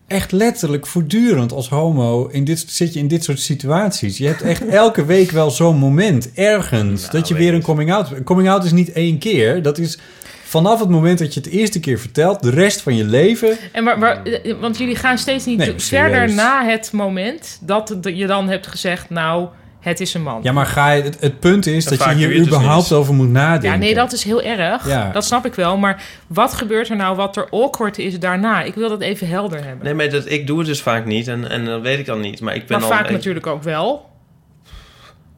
echt letterlijk voortdurend als homo... In dit, zit je in dit soort situaties. Je hebt echt elke week wel zo'n moment ergens...
Nou,
dat je
weet
weer
ik.
een coming-out... Een coming-out is niet één keer. Dat is vanaf het moment dat je het eerste keer vertelt... de rest van je leven...
En waar, waar- eh, want jullie gaan steeds niet
Nee,
do-
maar serieus.
verder na het moment dat het- je dan hebt gezegd, nou, het is een man.
Ja, maar ga je, het, het punt is
En
dat,
vaak
je
doe
hier
je het dus
überhaupt
niet.
over moet nadenken.
Ja, nee, dat is heel erg.
Ja.
Dat snap ik wel. Maar wat gebeurt er nou wat er awkward is daarna? Ik wil dat even helder hebben.
Nee, maar dat, ik doe het dus vaak niet. En, en dat weet ik dan niet. Maar ik ben
maar
dan...
vaak
ik-
natuurlijk ook wel.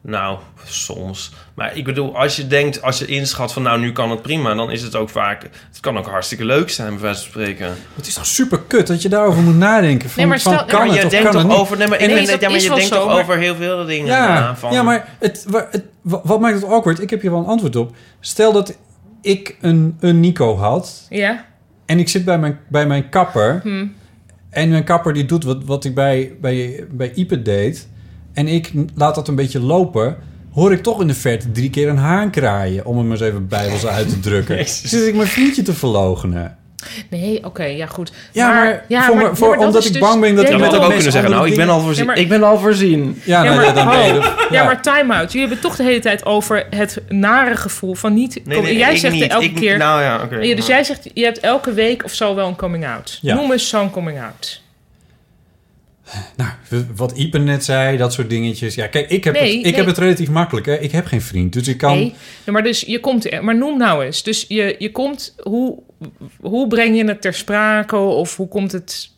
Nou, soms. Maar ik bedoel, als je denkt, als je inschat van nou, nu kan het prima, dan is het ook vaak. Het kan ook hartstikke leuk zijn, bij wijze van spreken.
Het is toch super kut dat je daarover moet nadenken. Van,
Nee, maar
van,
stel-
kan
maar
het
je
of
denkt
kan het
toch
niet?
over. Nee, maar, ik
Nee,
ben-
dat
ja, maar
is
je
wel
denkt
zo,
toch
maar-
over heel veel dingen.
Ja,
na, van,
ja maar het, wa- het, wa- wat maakt het awkward? Ik heb hier wel een antwoord op. Stel dat ik een, een Nico had
Ja.
en ik zit bij mijn, bij mijn kapper.
Hm.
En mijn kapper die doet wat, wat ik bij, bij, bij Ipe deed. en ik laat dat een beetje lopen, hoor ik toch in de verte drie keer een haan kraaien. Om hem eens even bijbels uit te drukken. Dus
Jezus.
Zit ik mijn vriendje te verlogenen?
Nee, oké, ja goed.
Ja, maar,
ja,
voor,
maar-
me-
ja,
voor,
maar dat
omdat
is
ik
dus-
bang ben dat
Ja,
Je
maar
moet
iemand
dat
ook
anders
kunnen zeggen, nou, ik
andere
ben al voorzien.
Ja, maar-
Ik ben al voorzien.
dingen- Ja,
Ja,
nou, ja,
maar-
dan ben je
oh.
er-
Ja,
ja.
maar time-out. Jullie hebben toch de hele tijd over het nare gevoel van niet...
Nee, nee,
jij
ik
zegt
niet.
elke
Ik-
keer...
Nou ja, oké.
Ja, dus jij zegt, je hebt elke week of zo wel een coming-out.
Ja.
Noem eens zo'n coming-out.
Nou, w- wat Ipe net zei, dat soort dingetjes. Ja, kijk, ik heb,
Nee,
het, ik
nee.
heb het relatief makkelijk. Hè. Ik heb geen vriend, dus ik kan...
Nee, Ja, maar, dus je komt, er- maar noem nou eens. Dus je, je komt... Hoe, hoe breng je het ter sprake? Of hoe komt het...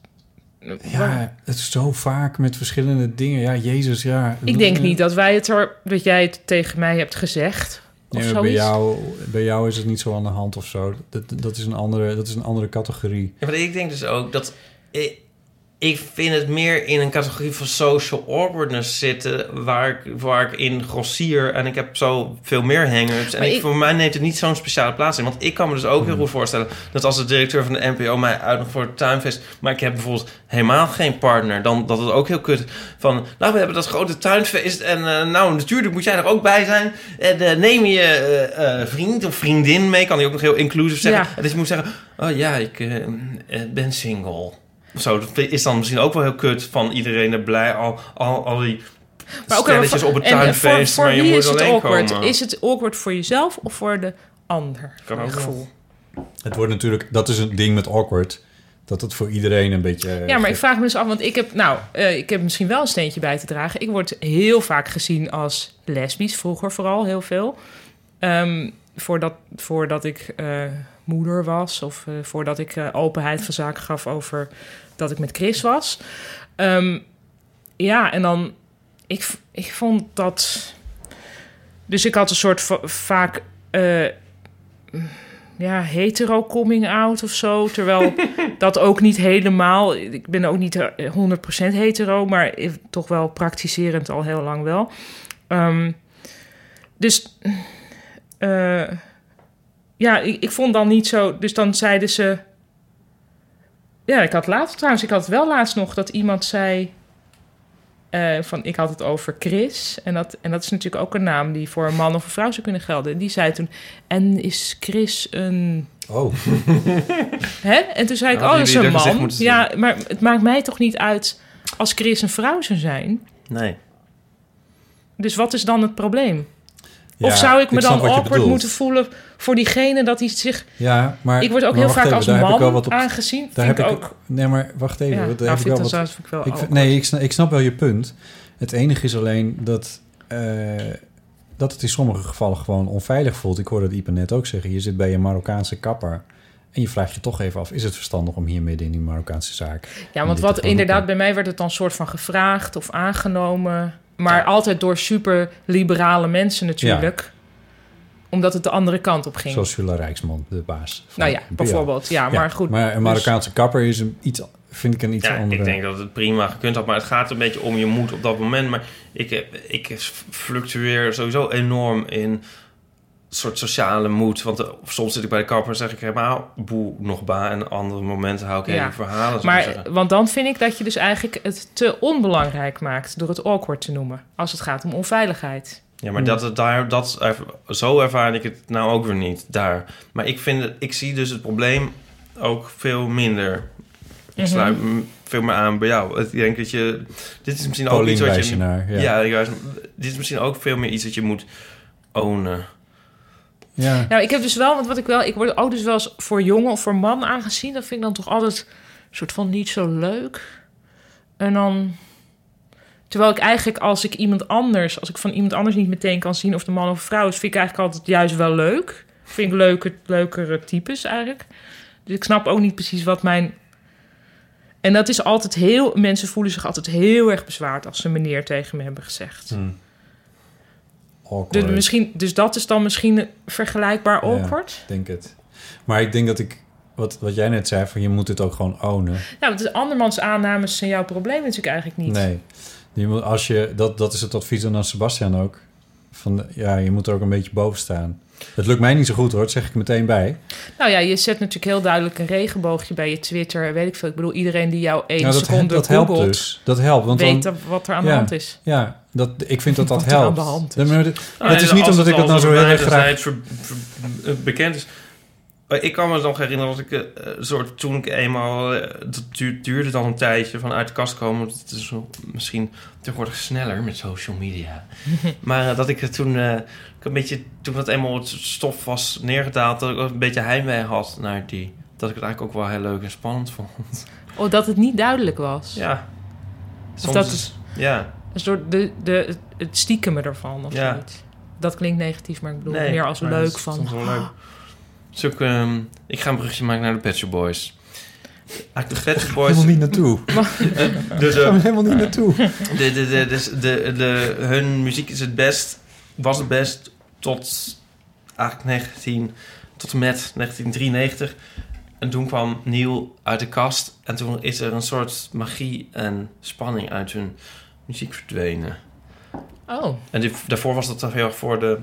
Ja, het is zo vaak met verschillende dingen. Ja, Jezus, ja.
Ik denk niet dat wij het er... Dat jij het tegen mij hebt gezegd. Of
Nee, maar
zoiets.
bij, jou, bij jou is het niet zo aan de hand of zo. Dat, dat, is, een andere, dat is een andere categorie.
Ja, maar ik denk dus ook dat... Ik, ik vind het meer in een categorie van social awkwardness zitten... waar ik, waar ik in grossier en ik heb zo veel meer hang-ups. En
Maar
ik,
ik-
voor mij neemt het niet zo'n speciale plaats in. Want ik kan me dus ook heel goed voorstellen... dat als de directeur van de NPO mij uitnodigt voor het tuinfest... maar ik heb bijvoorbeeld helemaal geen partner... dan dat het ook heel kut van... nou, we hebben dat grote tuinfest en eh, nou, natuurlijk moet jij er ook bij zijn. En eh, neem je eh, eh, vriend of vriendin mee... kan hij ook nog heel inclusief zeggen.
Ja.
En dat je moet zeggen... Oh ja, ik eh, eh, ben single. Of zo, dat is dan misschien ook wel heel kut van iedereen er blij. Al, al, al die
Maar ook
stelletjes
voor-
op het
en, eh,
tuinfeest,
voor- voor
maar je
wie
moet
is het
alleen
awkward?
komen.
Is het awkward voor jezelf of voor de ander?
Kan
Mijn
ook wel.
gevoel.
Het wordt natuurlijk... Dat is een ding met awkward. Dat het voor iedereen een beetje... eh,
Ja, maar ik
gek-
vraag me eens af, want ik heb, nou, eh, ik heb misschien wel een steentje bij te dragen. Ik word heel vaak gezien als lesbisch, vroeger vooral heel veel. Ehm, voordat, voordat ik eh, moeder was of eh, voordat ik eh, openheid van zaken gaf over dat ik met Chris was. Ehm, ja, en dan, ik, v- ik vond dat. Dus ik had een soort va- vaak. eh, ja, hetero coming out of zo. Terwijl dat ook niet helemaal. Ik ben ook niet eh, 100% hetero, maar ik- toch wel praktiserend al heel lang wel. Ehm, dus eh, ja, ik, ik vond dan niet zo. Dus dan zeiden ze. Ja, ik had laatst trouwens, ik had wel laatst nog dat iemand zei. eh, van ik had het over Chris. En dat, en dat is natuurlijk ook een naam die voor een man of een vrouw zou kunnen gelden. En die zei toen: En is Chris een
Oh,
Hè? En toen zei ik,
Ja,
oh,
hadden
dat is
jullie
een
er gezegd
man.
moeten
Ja, maar het maakt mij toch niet uit als Chris een vrouw zou zijn.
Nee.
Dus wat is dan het probleem?
ja,
of zou ik me
snap
dan
wat je
awkward
bedoelt.
moeten voelen voor diegene dat hij zich...
Ja, maar...
ik word ook
maar
heel
wacht
vaak
even,
als
daar heb ik
man
wel wat op-
aangezien.
Daar
vind
heb
ik
ik
ook...
Nee, maar wacht even.
ja,
want daar
nou,
heb
vind ik dat
ik wel wat...
zelfs vind ik wel
Ik, vind-
awkward.
nee, ik snap, ik snap wel je punt. Het enige is alleen dat, eh, dat het in sommige gevallen gewoon onveilig voelt. Ik hoorde het Ipe net ook zeggen. Je zit bij een Marokkaanse kapper. En je vraagt je toch even af, is het verstandig om hier midden in die Marokkaanse zaak...
Ja,
om
want
dit
wat
te gaan
inderdaad,
roepen?
bij mij werd het dan soort van gevraagd of aangenomen. Maar altijd door super liberale mensen natuurlijk. Omdat het de andere kant op ging.
Zoals Jula Rijksman, de baas. van
nou ja,
NPO.
bijvoorbeeld. Ja, maar
Ja,
goed.
Maar een
dus-
Marokkaanse kapper is een iets, vind ik een iets
Ja,
andere...
ik denk dat het prima gekund had. Maar het gaat een beetje om je moed op dat moment. Maar ik, ik fluctueer sowieso enorm in soort sociale moed. Want eh, soms zit ik bij de kapper en zeg ik helemaal boe nog ba. En andere momenten hou ik
Ja.
hele verhalen. zou ik
Maar,
zeggen.
want dan vind ik dat je dus eigenlijk het te onbelangrijk maakt door het awkward te noemen. Als het gaat om onveiligheid.
Ja, maar dat, het daar, dat, zo ervaar ik het nou ook weer niet daar. Maar ik, vind het, ik zie dus het probleem ook veel minder. Ik sluit me veel meer aan bij jou. Ik denk dat je. Dit is misschien ook
Paulien
iets wat
wijst
nou, je.
je naar, ja.
ja juist. dit is misschien ook veel meer iets dat je moet ownen. Nou,
Ja.
Nou, ik heb dus wel, want wat ik wel, ik word ook dus wel eens voor jongen of voor man aangezien. Dat vind ik dan toch altijd een soort van niet zo leuk. En dan. Terwijl ik eigenlijk als ik iemand anders, als ik van iemand anders niet meteen kan zien of de man of vrouw is, vind ik eigenlijk altijd juist wel leuk. Vind ik leuke, leukere types eigenlijk. Dus ik snap ook niet precies wat mijn. En dat is altijd heel. Mensen voelen zich altijd heel erg bezwaard als ze meneer tegen me hebben gezegd.
Hm.
Hmm.
Awkward.
Dus, misschien, dus dat is dan misschien vergelijkbaar
Ja.
awkward.
Ik denk het. Maar ik denk dat ik... Wat, wat jij net zei, van je moet het ook gewoon ownen.
Nou, het is andermans aannames zijn jouw probleem natuurlijk eigenlijk niet.
Nee. Je moet- als je, dat, dat is het advies dan aan Sebastian ook. van de- ja, je moet er ook een beetje boven staan. Het lukt mij niet zo goed hoor, dat zeg ik er meteen bij.
Nou ja, je zet natuurlijk heel duidelijk een regenboogje bij je Twitter. Weet ik veel. Ik bedoel, iedereen die jou één
Nou, dat,
seconde
dat helpt
googelt,
dus. Dat helpt. Want
weet
dan,
dat- wat er aan de
Ja.
hand is.
ja, dat, ik vind dat dat
Wat er aan
helpt.
de hand
Nee,
is.
maar dit- het is niet omdat ik dat nou zo heel erg graag
Het ver, ver- eh, bekend is. Maar Ik kan me nog herinneren dat ik eh, een soort toen ik eenmaal eh, dat duur- duurde dan een tijdje van uit de kast komen. want Het is wel misschien tegenwoordig sneller met social media. maar eh, dat ik het toen eh, ik een beetje toen dat eenmaal het stof was neergedaald, dat ik ook een beetje heimwee had naar die. Dat ik het eigenlijk ook wel heel leuk en spannend vond.
Oh, dat het niet duidelijk was.
Ja. Soms
dat
is-
is-
Ja.
Dus door de, de, het stiekemen ervan of
Ja.
zoiets. Dat klinkt negatief, maar ik bedoel
Nee,
meer als
maar
leuk
dat is
van... ah.
soms wel leuk. Dus ook, ehm, ik ga een brugje maken naar de Pet Shop Boys. Eigenlijk de Pet Shop Boys...
helemaal niet naartoe.
Dus,
Ik ga
eh,
er helemaal niet naartoe.
de, de, de, dus de, de, hun muziek is het best, was het best tot eigenlijk 19, tot en met 1993. En toen kwam Neil uit de kast en toen is er een soort magie en spanning uit hun muziek verdwenen.
Oh,
En die- daarvoor was dat toch heel erg voor de... Het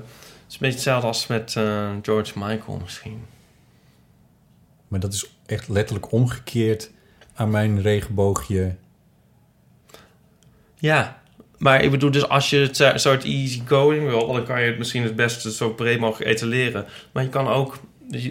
is een beetje hetzelfde als met eh, George Michael misschien.
Maar dat is echt letterlijk omgekeerd aan mijn regenboogje.
Ja, maar ik bedoel, dus als je het zo- soort easygoing wil, dan kan je het misschien het beste zo breed mogelijk etaleren. Maar je kan ook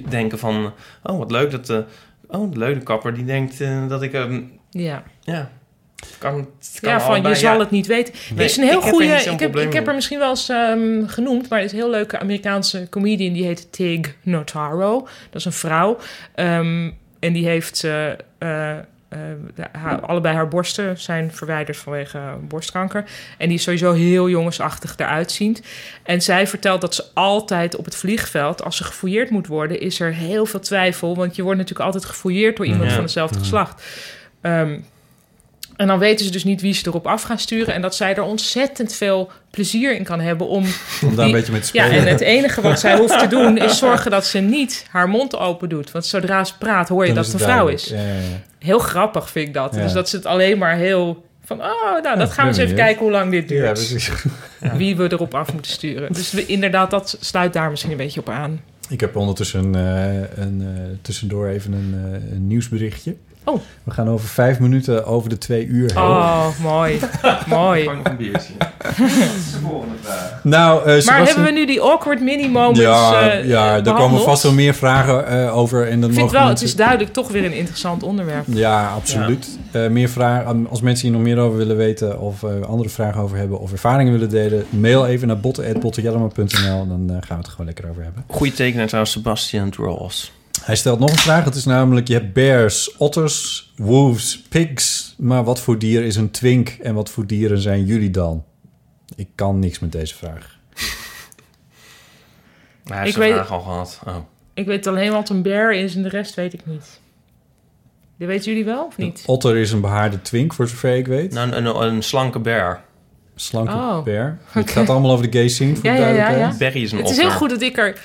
denken van, oh wat leuk dat de, oh, wat leuk, de kapper die denkt eh, dat ik, ehm,
ja.
ja, het kan, het kan
Ja, van
allebei,
je zal
ja.
het niet weten.
Nee,
er is een heel
ik heb er
goede...
niet zo'n
Ik heb,
probleem
ik heb er
mee.
misschien wel eens ehm, genoemd, maar er is een heel leuke Amerikaanse comedian. Die heet Tig Notaro. Dat is een vrouw. Ehm, en die heeft... eh, eh, eh, de- haar- allebei haar borsten zijn verwijderd vanwege eh, borstkanker. En die is sowieso heel jongensachtig eruit ziend. En zij vertelt dat ze altijd op het vliegveld, als ze gefouilleerd moet worden, is er heel veel twijfel. Want je wordt natuurlijk altijd gefouilleerd door iemand
Ja.
van hetzelfde geslacht. Ehm, en dan weten ze dus niet wie ze erop af gaan sturen. En dat zij er ontzettend veel plezier in kan hebben om.
Om daar
Die-
een beetje mee te
Ja,
spelen.
en het enige wat zij hoeft te doen is zorgen dat ze niet haar mond open doet. Want zodra ze praat, hoor je
Dan
dat
is
het een
het
vrouw
duidelijk.
is.
Ja, ja, ja.
Heel grappig vind ik dat.
Ja.
Dus dat ze het alleen maar heel. Van, oh, nou, dat gaan
ik
we eens
ben
even
benieuwd.
kijken hoe lang dit duurt.
Ja, precies.
Wie we erop af moeten sturen. Dus we, inderdaad, dat sluit daar misschien een beetje op aan.
Ik heb ondertussen eh, een, eh, tussendoor even een, eh, een nieuwsberichtje.
Oh.
We gaan over vijf minuten over de twee uur heen.
Oh, mooi. mooi.
Vang nog een biertje.
Nou, eh,
Maar
Sebastian-
hebben we nu die awkward mini-moments
Ja,
eh,
ja daar komen
behandeld?
vast wel meer vragen eh, over. En dan
Ik vind
mogen
wel, het
mensen-
is duidelijk toch weer een interessant onderwerp.
Ja, absoluut. Eh, meer vragen, als mensen hier nog meer over willen weten... of eh, andere vragen over hebben of ervaringen willen delen... mail even naar botten.bottenjellema.nl. Dan eh, gaan we het er gewoon lekker over hebben.
Goeie tekenaar trouwens, Sebastian Draws.
Hij stelt nog een vraag. Het is namelijk, je hebt bears, otters, wolves, pigs... maar wat voor dier is een twink en wat voor dieren zijn jullie dan? Ik kan niks met deze vraag.
Maar hij heeft
Ik
zijn
weet-
vraag al gehad. Oh.
Ik weet alleen wat een bear is en de rest weet ik niet. Dat weten jullie wel of niet?
Otter is een behaarde twink, voor zover ik weet.
Nou, een, een, een slanke bear.
Slanke
Oh,
bear. Het gaat allemaal over de gay scene, voor
Ja,
de
ja, ja,
duidelijkheid.
Berry is een
Het is
otter.
heel goed dat ik er
is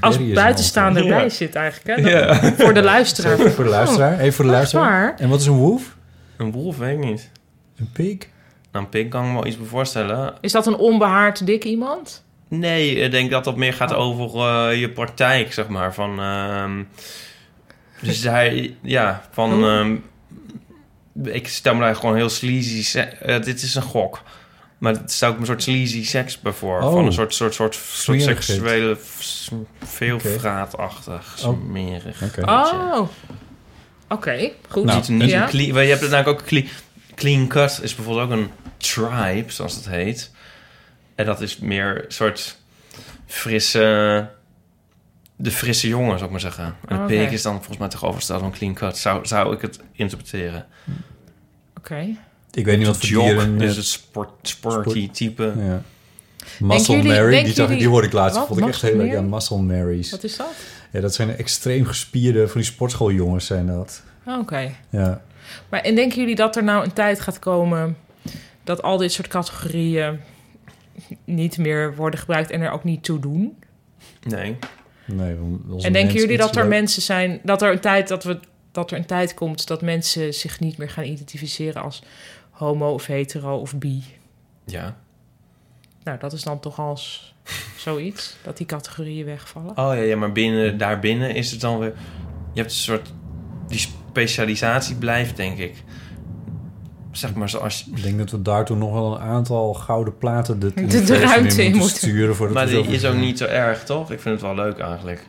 als
een
buitenstaander
alter.
bij
Ja.
zit eigenlijk. Hè? Dat- Voor de luisteraar.
Voor de luisteraar. Even voor de
Oh. Echt
luisteraar.
waar?
En wat is een wolf?
Een wolf, weet ik niet.
Een pig?
Nou, een pik kan ik me wel iets bij voorstellen.
Is dat een onbehaard dik iemand?
Nee, ik denk dat dat meer
Oh.
gaat over eh, je praktijk, zeg maar. Van, ehm, dus hij, ja, van... ehm, ik stel me daar gewoon heel sleazy... se- eh, dit is een gok. Maar het stel ik me een soort sleazy seks bij voor.
Oh.
Van een soort, soort, soort, soort
Smerigheid.
seksuele... f- s- veel vraatachtig,
Oh.
smerig.
Oké. Ah.
Oh, oké. goed.
Nou,
Niet, niet
ja.
een clean... maar Je hebt het namelijk ook... Clean, clean cut is bijvoorbeeld ook een tribe, zoals het heet. En dat is meer een soort frisse... De frisse jongen, zou ik maar zeggen. En de
Oké.
peek is dan volgens mij tegenovergesteld van clean cut. Zou, zou ik het interpreteren.
Oké.
Ik weet niet wat voor
Jog
dieren...
is
eh,
het sport, sporty type.
ja. Muscle
jullie-
Mary,
denken
die, zag, ik- die
jullie-
hoorde ik laatst.
Wat?
Vond ik echt
Muscle
heel leuk. Ja,
Mary?
Muscle Marys.
Wat is dat?
Ja, dat zijn extreem gespierde van die sportschooljongens zijn dat.
Oh, Oké.
Ja.
Maar en denken jullie dat er nou een tijd gaat komen dat al dit soort categorieën niet meer worden gebruikt en er ook niet toe doen?
Nee.
Nee, want als
en
een
denken
mens
jullie
iets
dat er
leuk-
mensen zijn dat er een tijd dat we dat er een tijd komt dat mensen zich niet meer gaan identificeren als homo of hetero of bi?
Ja.
Nou, dat is dan toch als zoiets, dat die categorieën wegvallen.
Oh ja, ja maar binnen, daarbinnen is het dan weer... Je hebt een soort... Die specialisatie blijft, denk ik. Zeg maar zoals...
Ik denk dat we daartoe nog wel een aantal gouden platen de,
De- de ruimte in moeten.
sturen. Voordat
Maar
we
die
zoveel-
is ook niet zo erg, toch? Ik vind het wel leuk eigenlijk.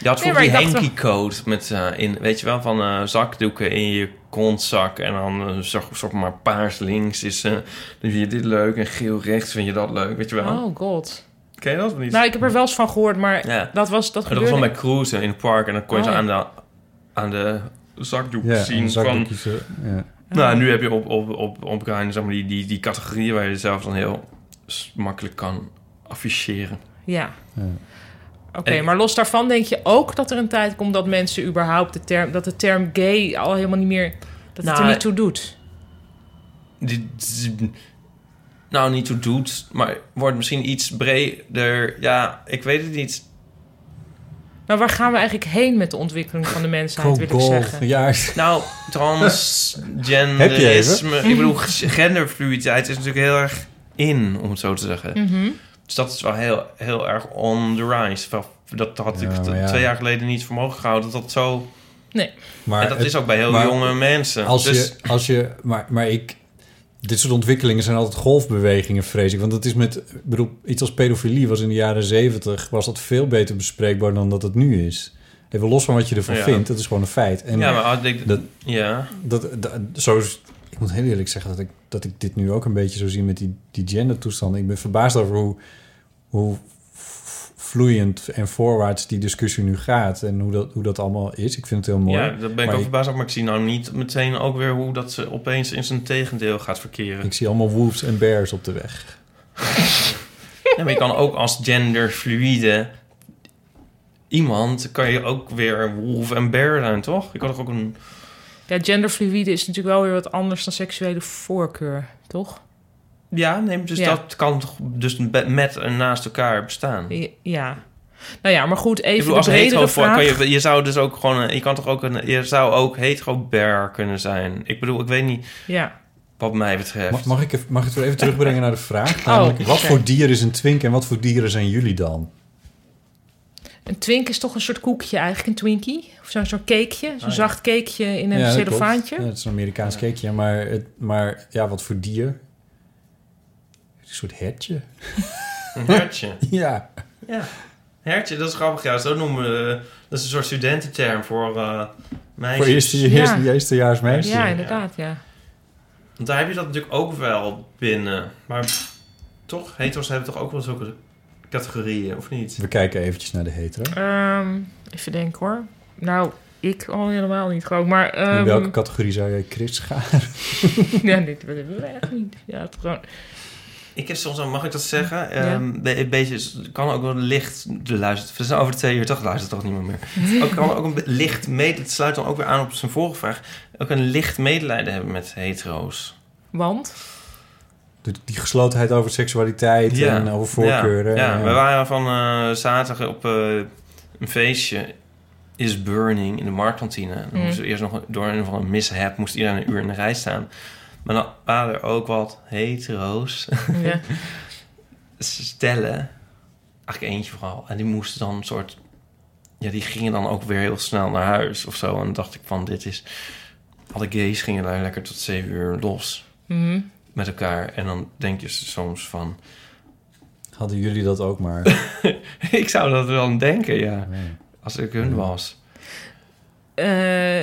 Je had
Nee,
vroeger
maar
die
ik dacht
Henkie code met eh, in, weet je wel, van eh, zakdoeken in je kontzak en dan een soort, soort maar paars links is, eh, dan vind je dit leuk en geel rechts vind je dat leuk, weet je wel?
Oh god.
Ken je dat of niet?
Nou, ik heb er wel eens van gehoord, maar
ja.
dat was dat
Oh, Dat was wel
gebeurde.
met cruisen in het park en dan kon je
Oh,
ze
ja.
aan de, aan de zakdoek
ja,
zien
dan zou ik
van,
ook kiezen, ja.
Oh.
nou nu heb je op, op, op, op elkaar, zeg maar, die, die, die categorieën waar je zelf dan heel s- makkelijk kan afficheren.
Ja.
Ja.
Oké,
En-
maar los daarvan denk je ook dat er een tijd komt dat mensen überhaupt de term, dat de term gay al helemaal niet meer, dat het
Nou,
er niet toe doet.
die, die- nou niet toe doet, maar wordt misschien iets breder. Ja, ik weet het niet.
Nou, waar gaan we eigenlijk heen met de ontwikkeling van de mensheid, wil ik
Go gold.
zeggen?
Ja,
Nou, transgenderisme, ik bedoel, genderfluiditeit is natuurlijk heel erg in, om het zo te zeggen.
Mhm.
Dus dat is wel heel, heel erg on the rise. Wel, Dat had
Ja,
ik t-
maar ja.
twee jaar geleden niet voor mogelijk gehouden. Dat dat zo,
maar
en dat
het-
is ook bij heel
maar
jonge mensen.
Als
dus,
je, als je, maar, maar ik, dit soort ontwikkelingen zijn altijd golfbewegingen, vrees ik. Want dat is met, ik bedoel, iets als pedofilie was in de jaren zeventig, was dat veel beter bespreekbaar dan dat het nu is. Even los van wat je ervan
Ja.
vindt, dat is gewoon een feit. En
ja, maar als ik,
dat-
ja.
dat, dat, zo is- ik moet heel eerlijk zeggen dat ik, dat ik dit nu ook een beetje zo zie met die, die gendertoestanden. Ik ben verbaasd over hoe, hoe v- vloeiend en voorwaarts die discussie nu gaat en hoe dat, hoe dat allemaal is. Ik vind het heel mooi.
ja, daar ben ik
Maar
ook
ik-
verbaasd over. Maar ik zie nou niet meteen ook weer hoe dat ze opeens in zijn tegendeel gaat verkeren.
Ik zie allemaal wolves en bears op de weg.
Ja, maar je kan ook als genderfluïde iemand, kan je ook weer wolf en bear zijn, toch? Je kan toch ook een...
Ja, genderfluïde is natuurlijk wel weer wat anders dan seksuele voorkeur, toch?
Ja, nee, dus
Ja.
dat kan toch dus be- met en naast elkaar bestaan. Ik
Ja. Nou ja, maar goed, even
bedoel,
de
als
bredere
hetero voor,
vraag.
kan je, je zou dus ook gewoon, een- je kan toch ook een, je zou ook hetero bear kunnen zijn. Ik bedoel, ik weet niet
Ja.
wat mij betreft.
Mag, mag, ik, even- mag ik het weer even terugbrengen naar de vraag?
Oh,
Namelijk, wat
oké.
voor dier is een twink en wat voor dieren zijn jullie dan?
Een twink is toch een soort koekje eigenlijk, een twinkie? Of zo'n zo'n cakeje, zo'n
Ah, ja.
zacht cakeje in een
dat klopt.
cellofaantje.
Ja, het is een Amerikaans cakeje, maar, het, maar ja, wat voor dier? Een soort hertje.
Een hertje.
Ja.
ja, hertje, dat is grappig. Ja, zo noemen we, dat is een soort studententerm voor eh meisjes.
Voor eerste,
Ja.
eerste, eerstejaars meisje.
Ja, inderdaad, ja.
Want daar heb je dat natuurlijk ook wel binnen. Maar toch, hetero's hebben toch ook wel zulke categorieën, of niet?
We kijken eventjes naar de hetero.
Ehm, even denken hoor. Nou, ik al helemaal niet geloof ik, Maar ehm,
In welke categorie zou jij Chris gaan?
ja, dit willen we echt niet. Ja, het gewoon.
Ik heb soms, mag ik dat zeggen?
Ja.
Ehm, be- een beetje, kan ook wel licht de luistert. We zijn over twee uur, toch luistert toch niemand meer. ook kan ook een be- licht medelijden, het sluit dan ook weer aan op zijn vorige vraag. Ook een licht medelijden hebben met hetero's.
Want?
Die- Die geslotenheid over seksualiteit
Ja.
en over voorkeuren.
Ja,
En-
ja. we waren van eh, zaterdag op eh, een feestje. Is burning in de marktkantine. Dan
Mm.
moesten we eerst nog door een of andere mishap. Moest iedereen een uur in de rij staan. Maar dan waren er ook wat hetero's.
Ja.
stellen. Eigenlijk eentje vooral. En die moesten dan een soort... Ja, die gingen dan ook weer heel snel naar huis of zo. En dan dacht ik van, dit is... Alle gays gingen daar lekker tot zeven uur los
Mhm.
met elkaar. En dan denk je soms van...
Hadden jullie dat ook maar.
ik zou dat wel aan denken, ja.
Nee.
Als ik hun was.
Eh,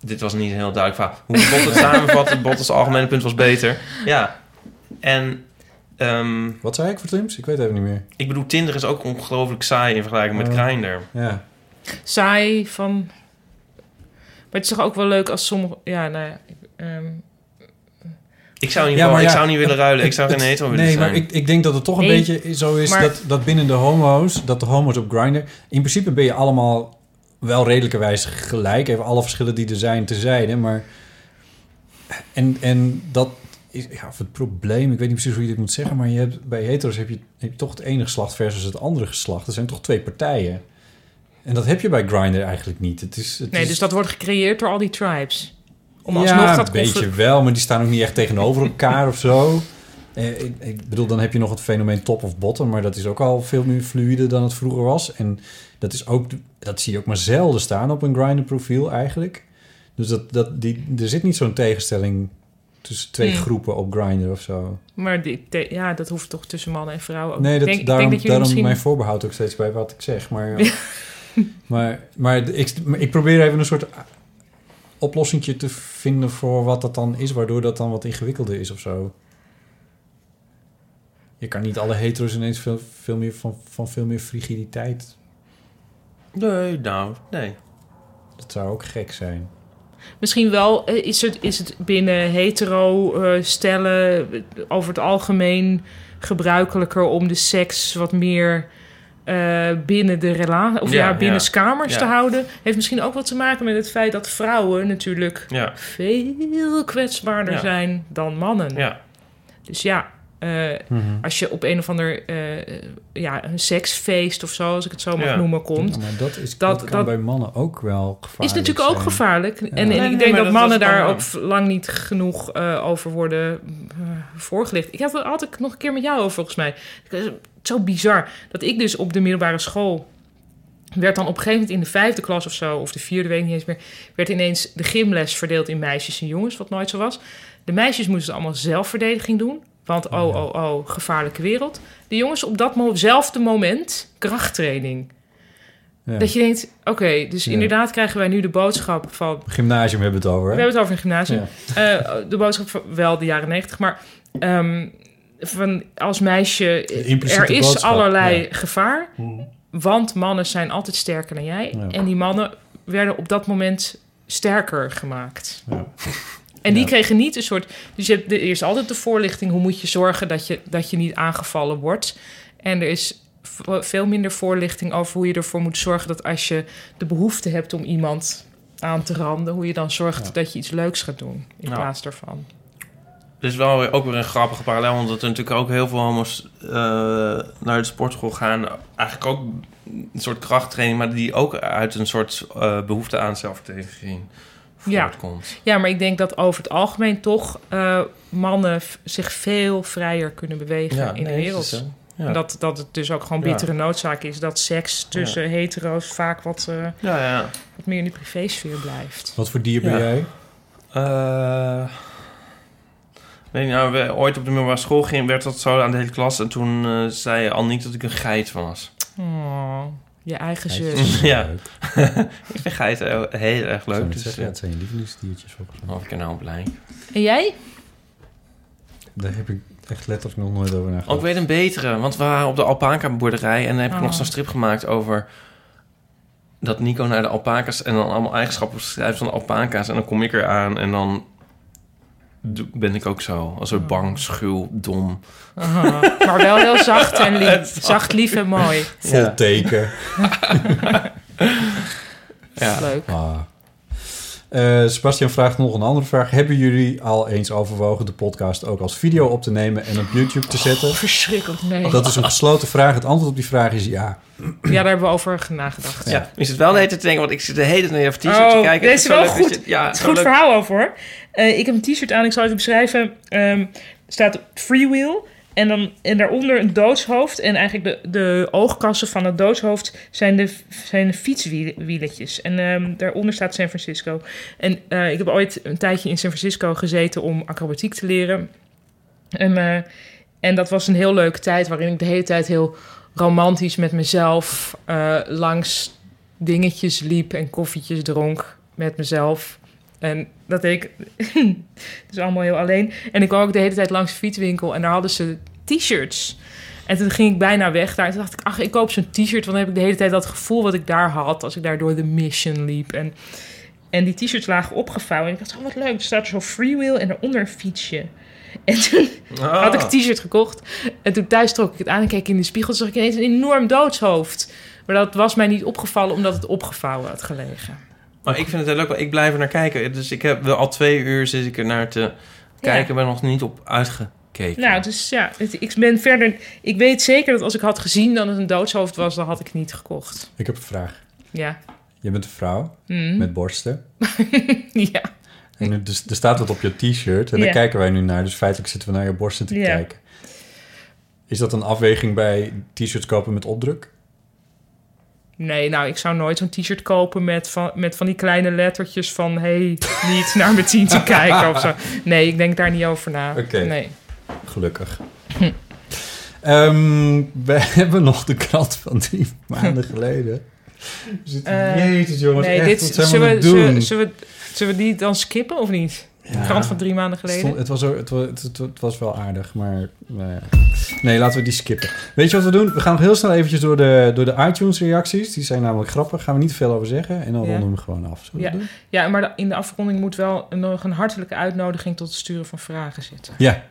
Dit was niet een heel duidelijk verhaal. Hoe Bot het samenvatten, Bottles algemene punt was beter. Ja. En ehm,
Wat zei ik voor Tims? Ik weet even niet meer.
ik bedoel, Tinder is ook ongelooflijk saai in vergelijking met
Ja.
Grindr.
Ja.
saai van. Maar het is toch ook wel leuk als sommige. Ja, nou ja. ik- ehm,
Ik zou niet,
Ja, maar
ik
ja,
zou niet willen ruilen. Ik zou geen hetero willen
nee,
zijn.
maar ik, ik denk dat het toch een
Nee,
beetje zo is
maar-
dat, dat binnen de homo's, dat de homo's op Grindr... In principe ben je allemaal wel redelijkerwijs gelijk. Even alle verschillen die er zijn tezijde, maar... En, en dat is ja, of het probleem, ik weet niet precies hoe je dit moet zeggen... maar je hebt, bij hetero's heb je, heb je toch het ene geslacht versus het andere geslacht. Er zijn toch twee partijen. En dat heb je bij Grindr eigenlijk niet. Het is, het
nee,
is,
dus dat wordt gecreëerd door al die tribes. Om alsnog
ja,
dat
een beetje
conflict-
wel, maar die staan ook niet echt tegenover elkaar of zo. Eh, ik, ik bedoel, dan heb je nog het fenomeen top of bottom, maar dat is ook al veel meer fluide dan het vroeger was. En dat, is ook, dat zie je ook maar zelden staan op een grinder profiel eigenlijk. Dus dat, dat, die, er zit niet zo'n tegenstelling tussen twee
Hmm.
groepen op grinder of zo.
Maar die, te- ja, dat hoeft toch tussen mannen en vrouwen ook.
Nee,
Ik
dat,
denk, ik
daarom,
denk dat jullie
daarom
misschien...
mijn voorbehoud ook steeds bij wat ik zeg. Maar, ja. maar, maar, ik, maar ik probeer even een soort oplossing te vinden voor wat dat dan is, waardoor dat dan wat ingewikkelder is of zo. Je kan niet alle hetero's ineens veel, veel meer van, van veel meer frigiditeit.
Nee, nou, nee.
Dat zou ook gek zijn.
Misschien wel eh, is het, is het binnen hetero eh, stellen eh, over het algemeen gebruikelijker om de seks wat meer eh, binnen de relatie of ja,
Ja,
binnen
ja.
kamers
Ja.
te houden. Heeft misschien ook wat te maken met het feit dat vrouwen natuurlijk
Ja,
veel kwetsbaarder
Ja.
zijn dan mannen.
ja. Mhm.
Dus ja, eh, als je op een of ander eh, ja, een seksfeest of zo, als ik het zo mag
Ja.
noemen, komt.
Ja, maar dat, is, dat,
Dat-
kan
dat-
bij mannen ook wel
Is
gevaarlijk
natuurlijk ook
zijn.
gevaarlijk. En, en
Nee,
nee,
ik denk
maar
dat,
dat-
mannen
dat is
daar
gewoon-
ook v- lang niet genoeg eh, over worden eh, voorgelicht. Ik had, had ik nog een keer met jou over, volgens mij. Ik- eh, Zo bizar. Dat ik dus op de middelbare school... werd dan op een gegeven moment in de vijfde klas of zo... of de vierde, weet ik niet eens meer... werd ineens de gymles verdeeld in meisjes en jongens... wat nooit zo was. De meisjes moesten allemaal zelfverdediging doen... want oh, oh, oh, gevaarlijke wereld. De jongens op datzelfde moment krachttraining.
Ja.
Dat je denkt, oké, dus
Ja.
inderdaad krijgen wij nu de boodschap van...
Gymnasium hebben we het over.
We
Hè?
hebben het over een gymnasium.
Ja.
Eh, de boodschap van wel de jaren negentig, maar... ehm, van als meisje,
impliciete
er is
boodschap,
allerlei
ja. Mm.
gevaar. Want mannen zijn altijd sterker dan jij.
Ja.
En die mannen werden op dat moment sterker gemaakt.
Ja.
En die
Ja.
kregen niet een soort... Dus je hebt, er is altijd de voorlichting... hoe moet je zorgen dat je, dat je niet aangevallen wordt. En er is v- veel minder voorlichting over hoe je ervoor moet zorgen... dat als je de behoefte hebt om iemand aan te randen... hoe je dan zorgt dat je iets leuks gaat doen in
Ja.
plaats daarvan.
Dus wel weer, ook weer een grappige parallel, want dat er natuurlijk ook heel veel homo's eh, naar de sportschool gaan. Eigenlijk ook een soort krachttraining, maar die ook uit een soort eh, behoefte aan zelfverdediging
Ja.
voortkomt.
Ja, maar ik denk dat over het algemeen toch eh, mannen v- zich veel vrijer kunnen bewegen in de
nee,
wereld.
is het zo. Ja.
En Dat, dat het dus ook gewoon
Ja.
bittere noodzaak is dat seks tussen hetero's vaak wat, eh,
ja, ja.
wat meer in de privésfeer blijft.
Wat voor dier ben
Ja.
jij?
Eh, weet je, nou, we, ooit op de middelbare school ging, werd dat zo aan de hele klas. En toen eh, zei je al niet dat ik een geit was.
Oh, je eigen zus.
Ja.
Leuk.
Ik vind geiten heel, heel erg
Zou
leuk.
ik
Dus,
zeggen, ja, het zijn je lievelingsdiertjes volgens mij.
eh, of ik er nou op blij.
En jij?
Daar heb ik echt letterlijk nog nooit over
Oh, ik
nagedacht.
weet een betere, want we waren op de alpaca-boerderij... en dan heb ik
Oh.
nog zo'n strip gemaakt over... dat Nico naar de alpaca's en dan allemaal eigenschappen schrijft van de alpaca's... en dan kom ik eraan en dan doe- ben ik ook zo. Als een bang, schuw, dom.
Ah, maar wel heel zacht en lief. Zacht, lief en mooi.
Vol teken.
Ja.
Leuk.
Ah. Eh, Sebastian vraagt nog een andere vraag. Hebben jullie al eens overwogen de podcast ook als video op te nemen en op YouTube te zetten?
Verschrikkelijk, nee.
Dat is een gesloten vraag. Het antwoord op die vraag is ja.
Ja, daar hebben we over nagedacht.
Ja. Ik zit wel de hele tijd te denken, want ik zit de hele tijd naar je t-shirt te
Oh,
kijken.
deze
Het
is wel
zo leuk dat
goed.
je- ja,
Het is
zo
een goed
leuk.
verhaal over hoor. Eh, ik heb een t-shirt aan, ik zal even beschrijven. Ehm, Er staat freewheel. En, dan, en daaronder een doodshoofd. En eigenlijk de, de oogkassen van het doodshoofd zijn de, zijn de fietswieletjes. En ehm, daaronder staat San Francisco. En eh, ik heb ooit een tijdje in San Francisco gezeten om acrobatiek te leren. En, eh, en dat was een heel leuke tijd waarin ik de hele tijd heel romantisch met mezelf eh, langs dingetjes liep en koffietjes dronk met mezelf. En dat deed ik dus allemaal heel alleen. En ik kwam ook de hele tijd langs de fietswinkel en daar hadden ze t-shirts. En toen ging ik bijna weg daar. En toen dacht ik, ach, ik koop zo'n t-shirt. Want dan heb ik de hele tijd dat gevoel wat ik daar had... als ik daar door de mission liep. En, en die t-shirts lagen opgevouwen. En ik dacht, oh, wat leuk. Er staat zo freewheel en daaronder een fietsje. En toen
Ah.
had ik een t-shirt gekocht. En toen thuis trok ik het aan en keek in de spiegel. Toen zag ik ineens een enorm doodshoofd. Maar dat was mij niet opgevallen omdat het opgevouwen had gelegen.
Maar Oh, ik vind het heel leuk, want ik blijf er naar kijken. Dus ik heb wel al twee uur zit ik er naar te kijken, maar nog niet op uitgekeken.
Nou, dus ja, het- ik ben verder. Ik weet zeker dat als ik had gezien dat het een doodshoofd was, dan had ik het niet gekocht.
Ik heb een vraag.
Ja.
Je bent een vrouw
Mm.
met borsten.
ja.
En er, dus- er staat wat op je t-shirt en
Ja.
daar kijken wij nu naar. Dus feitelijk zitten we naar je borsten te
Ja.
kijken. Is dat een afweging bij t-shirts kopen met opdruk?
Nee, nou, ik zou nooit zo'n t-shirt kopen met van, met van die kleine lettertjes van... hey, niet naar mijn tientje kijken of zo. Nee, ik denk daar niet over na.
Oké.
Nee.
Gelukkig. Ehm, we hebben nog de krant van drie maanden geleden. We zitten-
Eh,
Jezus jongens,
nee,
echt,
dit,
wat zijn we
zullen,
aan
we,
het
zullen,
doen?
we- zullen, we, zullen we die dan skippen of niet?
Ja.
De krant van drie maanden
Het,
geleden.
stond- het was, ook- het, wa- het, het- het was wel aardig, maar nou ja. nee, laten we die skippen. Weet je wat we doen? We gaan nog heel snel eventjes door de, door de iTunes-reacties. Die zijn namelijk grappig, gaan we niet veel over zeggen. En dan
Ja.
ronden we hem gewoon af. Zullen we
Ja.
dat doen?
Ja, maar de- in de afronding moet wel een- nog een hartelijke uitnodiging... tot het sturen van vragen zitten.
ja,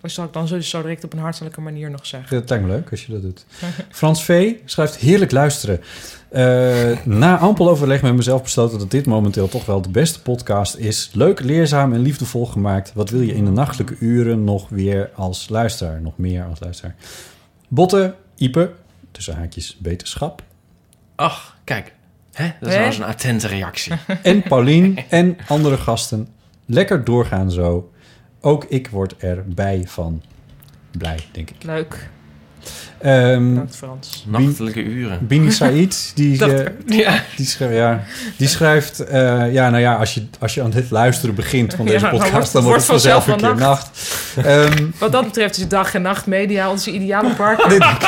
Dat zal ik dan zo, zo direct op een hartelijke manier nog zeggen.
dat lijkt me leuk als je dat doet. Frans V. schrijft heerlijk luisteren. Eh, na ampel overleg met mezelf besloten dat dit momenteel toch wel de beste podcast is. Leuk, leerzaam en liefdevol gemaakt. Wat wil je in de nachtelijke uren nog weer als luisteraar? Nog meer als luisteraar. Botte, Ipe, tussen haakjes beterschap.
Ach, kijk. Hè? Dat is
Hè?
nou eens een attente reactie.
En Paulien en andere gasten. Lekker doorgaan zo. Ook ik word erbij van. Blij, denk ik.
Leuk.
Ehm
Bedankt, Frans.
Nachtelijke uren.
Bini Said, die,
Dat-
eh,
Ja.
die schrijft... Ja, die schrijft eh, ja, nou ja, als je, als je aan het luisteren begint van deze
Ja, dan
podcast...
wordt-
dan wordt
wordt
het vanzelf een
vanzelf
keer nacht. Ehm,
Wat dat betreft is dag en nacht media onze ideale partner.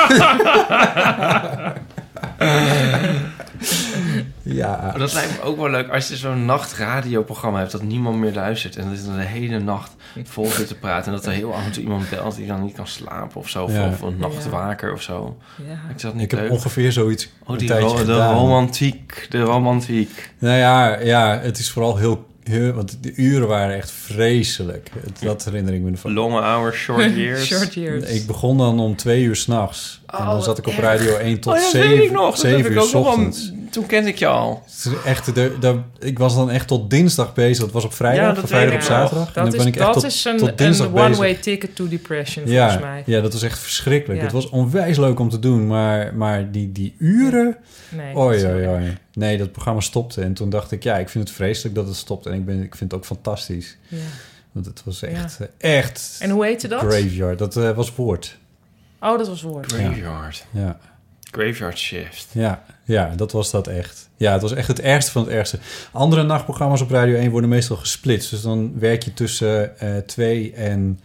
ja,
Maar Nou, dat lijkt me ook wel leuk als je zo'n nachtradioprogramma hebt dat niemand meer luistert. En dat is dan de hele nacht vol zit te praten. En dat er heel af en toe iemand belt die dan niet kan slapen of zo. Of-
Ja.
Of een nachtwaker of zo.
Ja.
Ik zat
ik
niet
heb
leuk.
ongeveer zoiets
Oh,
een
die
tijdje
ro- de
gedaan.
romantiek. De romantiek.
Nou ja, ja, het is vooral heel... heel want de uren waren echt vreselijk. Het- Dat herinner ik me ervan.
Long hours, short years.
Short years.
Ik begon dan om twee uur s'nachts. en dan
Oh, wat
zat ik op
erg.
radio 1 tot
oh, dat
zeven
weet ik nog. Dat
zeven
heb ik
uur
ook nog wel-
ochtends.
Toen kende ik je al.
Het is echt, de, de- ik was dan echt tot dinsdag bezig. Dat was op vrijdag,
Ja, dat
van vrijdag
weet
op
ik nog.
zaterdag. en dan
Dat,
ben
is,
ik echt
dat
tot,
is een,
tot dinsdag
een
bezig.
one-way ticket to depression, volgens
ja,
mij.
ja, dat was echt verschrikkelijk.
Ja.
Het was onwijs leuk om te doen, maar, maar die, die uren...
Nee,
Oei,
dat is
oei,
wel-
oei. Nee, dat programma stopte. En toen dacht ik, ja, ik vind het vreselijk dat het stopt. En ik, ben, ik vind het ook fantastisch.
Ja.
Want het was
Ja.
echt, eh, echt...
En hoe heette dat?
Graveyard. Dat eh, was woord.
Oh, dat was woord.
Graveyard.
Ja.
Graveyard shift.
Ja, ja, dat was dat echt. Ja, het was echt het ergste van het ergste. Andere nachtprogramma's op Radio 1 worden meestal gesplitst. Dus dan werk je tussen eh 2 en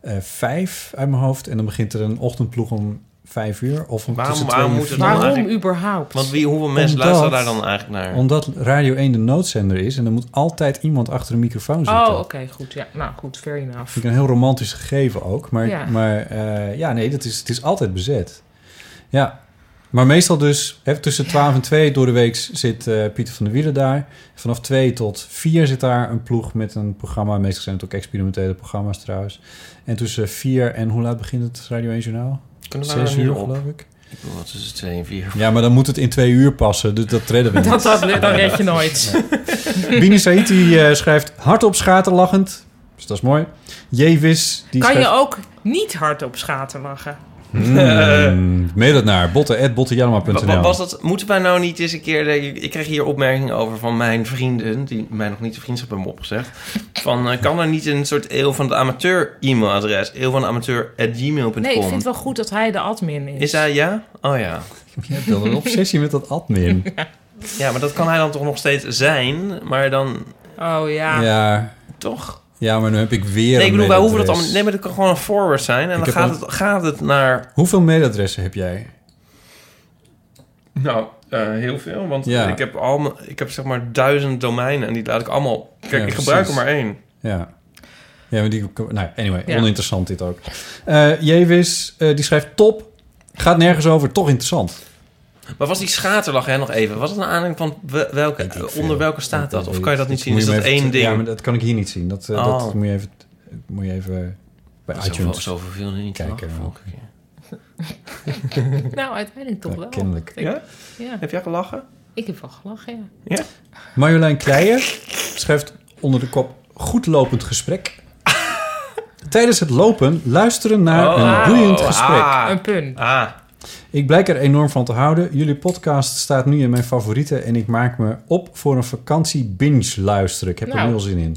eh 5 uit mijn hoofd. En dan begint er een ochtendploeg om 5 uur. Of om
Waarom-
tussen
waarom
twee en
moet het
vier.
dan
Waarom
eigenlijk-
überhaupt?
Want wie, hoeveel mensen
Omdat-
luisteren daar dan eigenlijk naar?
Omdat Radio 1 de noodzender is. En er moet altijd iemand achter een microfoon zitten.
Oh, oké, goed. Ja, nou goed, fair enough.
Vind ik een heel romantisch gegeven ook. Maar ja,
Ja.
maar, eh, ja nee, dat is, het is altijd bezet. Ja. Maar meestal dus hè, tussen 12 en 2 door de week zit eh, Pieter van der Wielen daar. Vanaf 2 tot 4 zit daar een ploeg met een programma. Meestal zijn het ook experimentele programma's trouwens. En tussen 4 en hoe laat begint het Radio 1 Journaal?
Kunnen we daar
6
niet
uur
op?
geloof ik.
Ik bedoel, wat is het, twee en vier?
Ja, maar dan moet het in 2 uur passen. Dus dat redden we niet.
Dat, dat, dat red je nooit.
Bini Said die, eh, schrijft hardop schaterlachend. Dus dat is mooi. Jevis. Die
Kan
schrijft-
je ook niet hard op schaten lachen?
Mm, mail het naar
Wa- wa-
botten.bottenjanema.nl
Was dat, moeten wij nou niet eens een keer... de- ik kreeg hier opmerkingen over van mijn vrienden... die mij nog niet de vriendschap hebben opgezegd. Van, eh, kan er niet een soort eeuw van de amateur e-mailadres? Eeuw van de amateur at gmail.com.
Nee, ik vind het wel goed dat hij de admin is.
Is hij ja? Oh ja.
Je hebt wel een obsessie met dat admin.
Ja, maar dat kan hij dan toch nog steeds zijn? Maar dan
Oh ja.
Ja,
toch?
ja, maar nu heb ik weer
Nee, ik bedoel,
een
wij hoeven dat
mailadres.
allemaal... Nee, maar dat kan gewoon een forward zijn. En dan
Ik heb
gaat het, gaat het naar...
Hoeveel mailadressen heb jij?
Nou, eh, heel veel. Want
Ja.
ik, heb al, mijn- ik heb zeg maar duizend domeinen. En die laat ik allemaal... Kijk,
Ja,
ik
precies.
gebruik er maar één.
Ja. Ja, maar die... Nou, anyway,
Ja.
oninteressant dit ook. Eh Jevis, eh, die schrijft top. Gaat nergens over, toch interessant.
Maar was die schaterlach, hè, nog even? Was het een aanleiding van we- welke, eh,
Weet ik veel.
onder welke staat dat? Of kan je dat niet zien?
Moet
Is
je
dat
hem even-
één ding?
Ja, maar dat kan ik hier niet zien. Dat, eh,
Oh.
dat moet je even, moet je even eh, bij iTunes.
Zo verveel niet
Kijken,
lachen,
ja.
elke keer.
Nou, uiteindelijk toch
Ja,
wel.
kennelijk.
Ja?
Ja,
Heb jij gelachen?
ik heb wel gelachen, ja.
Marjolein Kleijen schrijft onder de kop goed lopend gesprek. Tijdens het lopen luisteren naar Ah, een boeiend gesprek.
Oh, Ah,
Een pun.
ah.
Ik blijk er enorm van te houden. Jullie podcast staat nu in mijn favorieten en ik maak me op voor een vakantie binge luisteren. Ik heb er
Nou.
nu al zin in.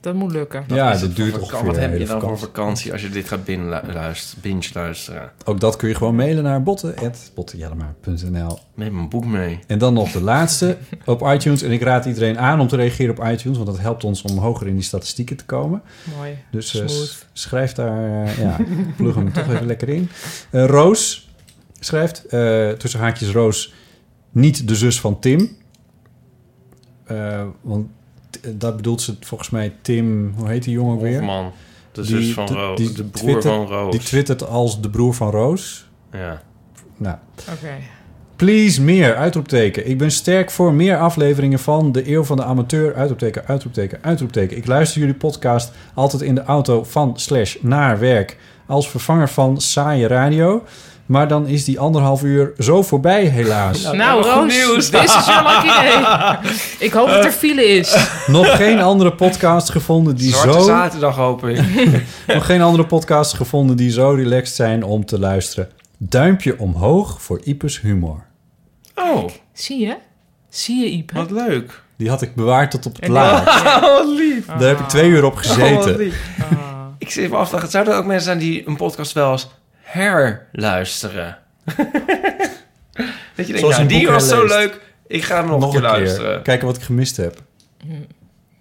Dat moet lukken.
Is
ja, dat
het
duurt
voor
ongeveer
vakantie? Wat
een
heb
hele
je dan voor
vakantie.
vakantie als je dit gaat binnenluisteren, binge luisteren?
Ook dat kun je gewoon mailen naar botten.bottenjellema.nl.
Neem een boek mee.
En dan nog de laatste op iTunes. En ik raad iedereen aan om te reageren op iTunes, want dat helpt ons om hoger in die statistieken te komen.
Mooi.
Dus eh,
Smooth.
s- schrijf daar, eh, ja, plug hem toch even lekker in. Eh, Roos schrijft, eh, tussen haakjes Roos, niet de zus van Tim. Eh, want t- dat bedoelt ze volgens mij Tim, hoe heet die jongen ook weer?
Hofman, de
Die-
zus van
de-
Roos.
die
De broer
twittert-
van Roos.
Die twittert als de broer van Roos.
ja.
Nou,
Oké.
Please meer, uitroepteken. Ik ben sterk voor meer afleveringen van De Eeuw van de Amateur. Uitroepteken, uitroepteken, uitroepteken. Ik luister jullie podcast altijd in de auto van slash naar werk. Als vervanger van saaie radio. Maar dan is die anderhalf uur zo voorbij helaas.
Nou,
goed
Roos,
nieuws.
dit is your lucky day. Ik hoop dat er file is.
Nog geen andere podcast gevonden die
Zwarte
zo...
zaterdag hoop ik.
Nog geen andere podcast gevonden die zo relaxed zijn om te luisteren. Duimpje omhoog voor Ipes humor.
Oh,
Zie je? Zie je, Ipe?
wat leuk.
Die had ik bewaard tot op het
En-
laatst.
Wat lief.
Daar heb ik twee uur op
Oh, wat
gezeten.
lief.
Ah.
Ik zit me af te vragen, zouden er ook mensen zijn die een podcast wel eens herluisteren? dat je denkt,
Zoals
nou,
een
die
boek
was zo
herleest.
leuk, ik ga hem nog, een keer luisteren.
Kijken wat ik gemist heb.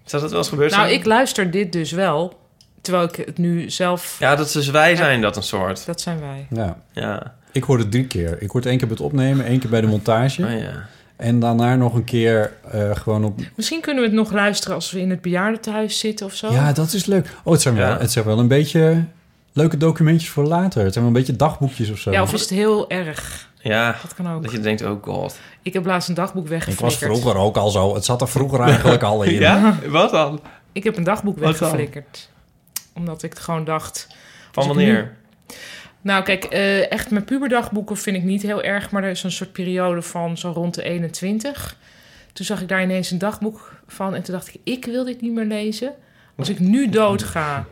Zou dat wel eens gebeurd
Nou,
zijn?
ik luister dit dus wel. Terwijl ik het nu zelf...
Ja, dat is dus wij zijn dat een soort.
Dat zijn wij.
Ja.
Ja,
Ik hoorde drie keer. Ik hoorde één keer bij het opnemen, één keer bij de montage.
oh, ja.
En daarna nog een keer eh, gewoon op...
Misschien kunnen we het nog luisteren als we in het bejaardentehuis zitten of zo.
Ja, dat is leuk. Oh, het zijn,
Ja.
wel, het zijn wel een beetje leuke documentjes voor later. Het zijn wel een beetje dagboekjes of zo.
Ja, of is het heel erg?
ja,
Dat kan ook.
dat je denkt, oh god.
Ik heb laatst een dagboek
Ik was
weggeflikkerd.
vroeger ook al zo. Het zat er vroeger eigenlijk al in.
Ja, wat dan?
Ik heb een dagboek
Wat dan?
weggeflikkerd. Omdat ik gewoon dacht...
Van
Als ik nu-
wanneer?
Nou, kijk, eh, echt mijn puberdagboeken vind ik niet heel erg. Maar er is een soort periode van zo rond de 21. Toen zag ik daar ineens een dagboek van. En toen dacht ik, ik wil dit niet meer lezen. Als ik nu doodga,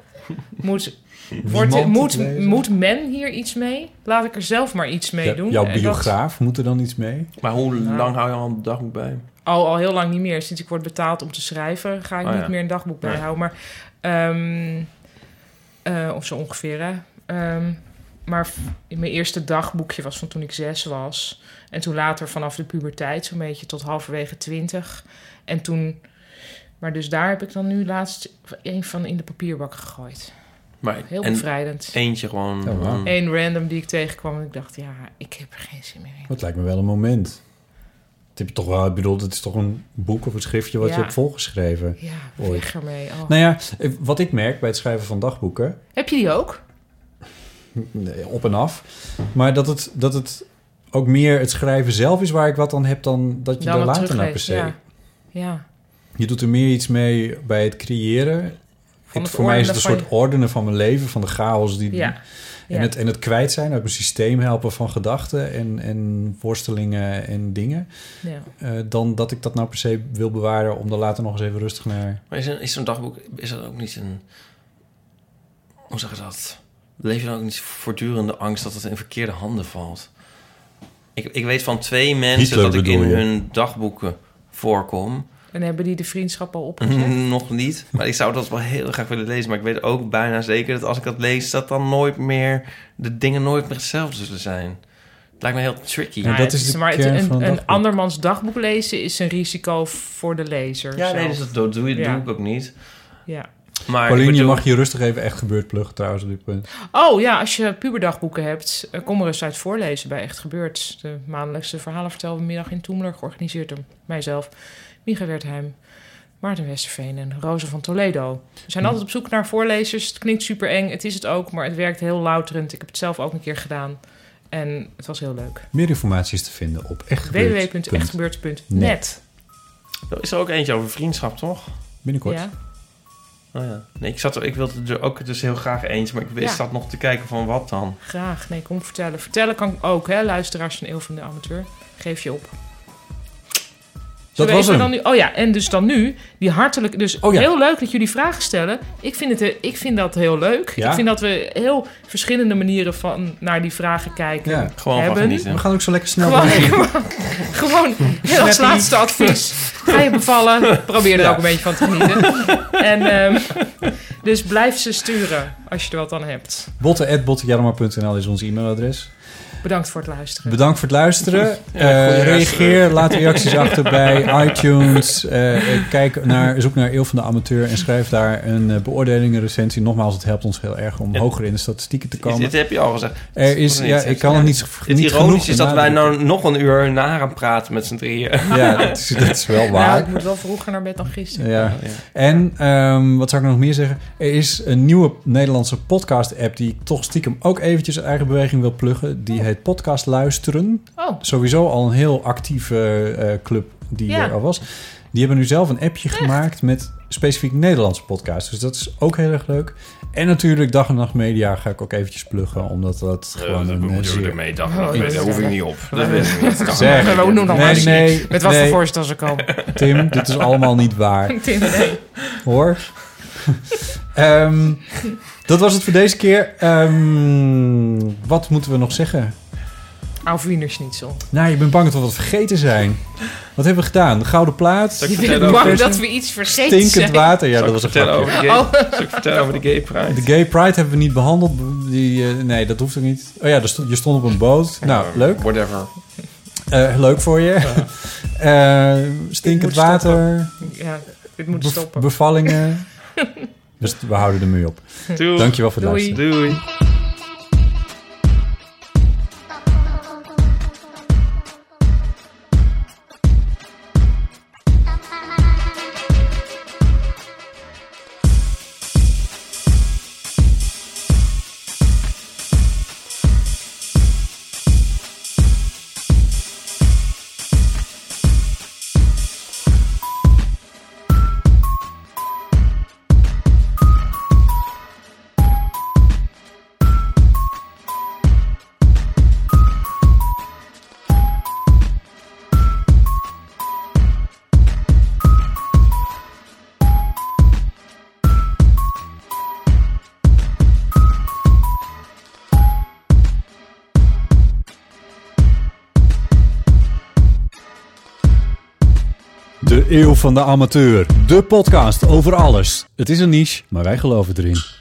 moet, wordt,
Niemand
moet,
het lezen.
moet men hier iets mee? Laat ik er zelf maar iets mee
Ja,
doen.
jouw
En dat-
biograaf moet er dan iets mee?
Maar hoe
Nou.
lang hou je al een dagboek bij?
al, al heel lang niet meer. Sinds ik word betaald om te schrijven, ga ik
Oh,
niet
ja.
meer een dagboek
Nee.
bijhouden. Maar, ehm, eh, of zo ongeveer, hè. Ehm, maar v- mijn eerste dagboekje was van toen ik zes was. En toen later vanaf de puberteit, zo'n beetje tot halverwege twintig. En toen... Maar dus daar heb ik dan nu laatst een van in de papierbak gegooid.
Maar,
Heel
en
bevrijdend.
eentje gewoon.
Oh, wauw.
mm.
Eén random die ik tegenkwam en ik dacht, ja, ik heb er geen zin meer in.
Dat lijkt me wel een moment. Dat heb je toch wel... Ik bedoel, het is toch een boek of een schriftje wat
Ja.
je hebt volgeschreven.
Ja,
Ooit.
weg ermee. oh.
Nou ja, eh, wat ik merk bij het schrijven van dagboeken...
Heb je die ook?
Nee, op en af. Maar dat het, dat het ook meer het schrijven zelf is waar ik wat aan heb dan dat je
Dan
er
wat
later naar per
terugleest,
se.
ja. ja.
Je doet er meer iets mee bij het creëren.
Van
Ik-
het
voor mij is het een
ordenen
soort ordenen van mijn leven, van de chaos die.
Ja.
Mhm. En, het, en het kwijt zijn, uit mijn systeem helpen van gedachten en, en worstelingen en dingen.
ja.
eh, dan dat ik dat nou per se wil bewaren om er later nog eens even rustig naar.
Maar is, een- is zo'n dagboek, is dat ook niet een... Hoe zeg je dat? Leef je dan ook niet voortdurende angst dat het in verkeerde handen valt? Ik, ik weet van twee mensen
Hitler
dat ik in
bedoel je?
hun dagboeken voorkom.
En hebben die de vriendschap al
Mhm.
opgezet? Nou
Mhm, Nog niet, maar ik zou dat wel heel graag willen lezen. Maar ik weet ook bijna zeker dat als ik dat lees... dat dan nooit meer, de dingen nooit meer hetzelfde zullen zijn. Het lijkt me heel tricky.
Ja,
Nou,
dat
het
is de
maar het-
kern
een,
van een
een
dagboek.
andermans dagboek lezen is een risico voor de lezer.
Ja, nee,
zelf.
dus dat doe, doe,
Ja.
doe ik ook niet.
ja.
Maar ik
Pauline, je
bedoel-
mag je rustig even echt gebeurd pluggen trouwens op dit punt.
Oh ja, als je puberdagboeken hebt, eh, kom er eens uit voorlezen bij Echt Gebeurd. De maandelijkse verhalenvertelmiddag in Toemler, georganiseerd door mijzelf, Micha Wertheim, Maarten Westerveen en Rosa van Toledo. We zijn altijd op zoek naar voorlezers. Het klinkt super eng, het is het ook, maar het werkt heel louterend. Ik heb het zelf ook een keer gedaan en het was heel leuk.
Meer informatie is te vinden op echtgebeurd.
www.echtgebeurd.net.
Er is er ook eentje over vriendschap, toch?
Binnenkort.
Ja.
Oh ja. Nee, ik, zat er, ik wilde er ook dus heel graag eens, maar ik wist
Ja.
dat nog te kijken van wat dan.
Graag. Nee, kom vertellen. Vertellen kan ook, hè, luisteraars van Eeuw van de Amateur. Geef je op.
Dat was
Wees er
hem.
Dan nu, oh ja, en dus dan nu, die hartelijke... Dus
Oh ja.
heel leuk dat jullie vragen stellen. Ik vind, het, eh, ik vind dat heel leuk.
Ja.
Ik vind dat we heel verschillende manieren van naar die vragen kijken.
Ja.
Gewoon van
Hebben.
We
genieten.
gaan ook zo lekker snel
Gewoon,
doorheen.
gewoon, gewoon heel als laatste advies. Ga je bevallen, probeer er ook een beetje van te genieten. En, ehm, dus blijf ze sturen als je er wat aan hebt.
Botten.bottenjarma.nl is ons e-mailadres.
Bedankt voor het luisteren.
Bedankt voor het luisteren. Eh,
goeie
reageer, laat reacties achter bij iTunes. Eh, eh, kijk naar, zoek naar Eeuw van de Amateur en schrijf daar een eh, beoordeling, een recensie. Nogmaals, het helpt ons heel erg om
Ja.
hoger in de statistieken te
Dit
komen.
heb je al gezegd.
Er is,
Of niet?
ja, ik kan het niet,
Het
niet genoeg
ironische is dat wij
benadrukken.
nou nog een uur na gaan praten met z'n drieën.
Ja, dat is, dat is wel
Nou,
waar.
ik moet wel vroeger naar bed dan gisteren.
Ja. En ehm, wat zou ik nog meer zeggen? Er is een nieuwe Nederlandse podcast-app die ik toch stiekem ook eventjes uit eigen beweging wil pluggen. Die heet Podcast Luisteren.
Oh,
Sowieso al een heel actieve eh, club die
Ja.
er al was. Die hebben nu zelf een appje gemaakt met specifiek Nederlandse podcasts. Dus dat is ook heel erg leuk. En natuurlijk Dag en Nacht Media ga ik ook eventjes pluggen, omdat dat gewoon
dat
een eh,
moeten we
zeer...
ermee. Dat,
Oh, dat
dat,
weet ik
hoef ik
niet.
niet op. Dat weet ik niet. Dat
Zeg.
kan
we doen nog maar
Nee,
eens
nee,
Met wat
nee,
voor voorstel ze komen.
Tim, dit is allemaal niet waar.
Tim, nee.
hoor. Ehm, dat was het voor deze keer. Ehm, wat moeten we nog zeggen?
Auf Wiener Schnitzel.
Nou, je bent bang dat we wat vergeten zijn. Wat hebben we gedaan? De gouden plaat,
Zal ik
Je
vertellen
bent bang
over-
dat we iets vergeten
stinkend
zijn.
water. Ja,
Zal
dat
ik
was een
vertellen
grapje.
over de gay, zal ik vertellen over de gay
De
pride?
gay pride hebben we niet behandeld. Die, eh, nee, dat hoeft ook niet. Oh ja, er stond- je stond op een boot. Nou, leuk.
Whatever.
Eh, leuk voor je. Eh, stinkend
Ik moet stoppen.
water,
Ja, dit moet
bev-
stoppen.
bevallingen. dus we houden ermee op.
Doei.
Dankjewel voor het
Doei.
luisteren.
Doei.
De Eeuw van de Amateur. De podcast over alles. Het is een niche, maar wij geloven erin.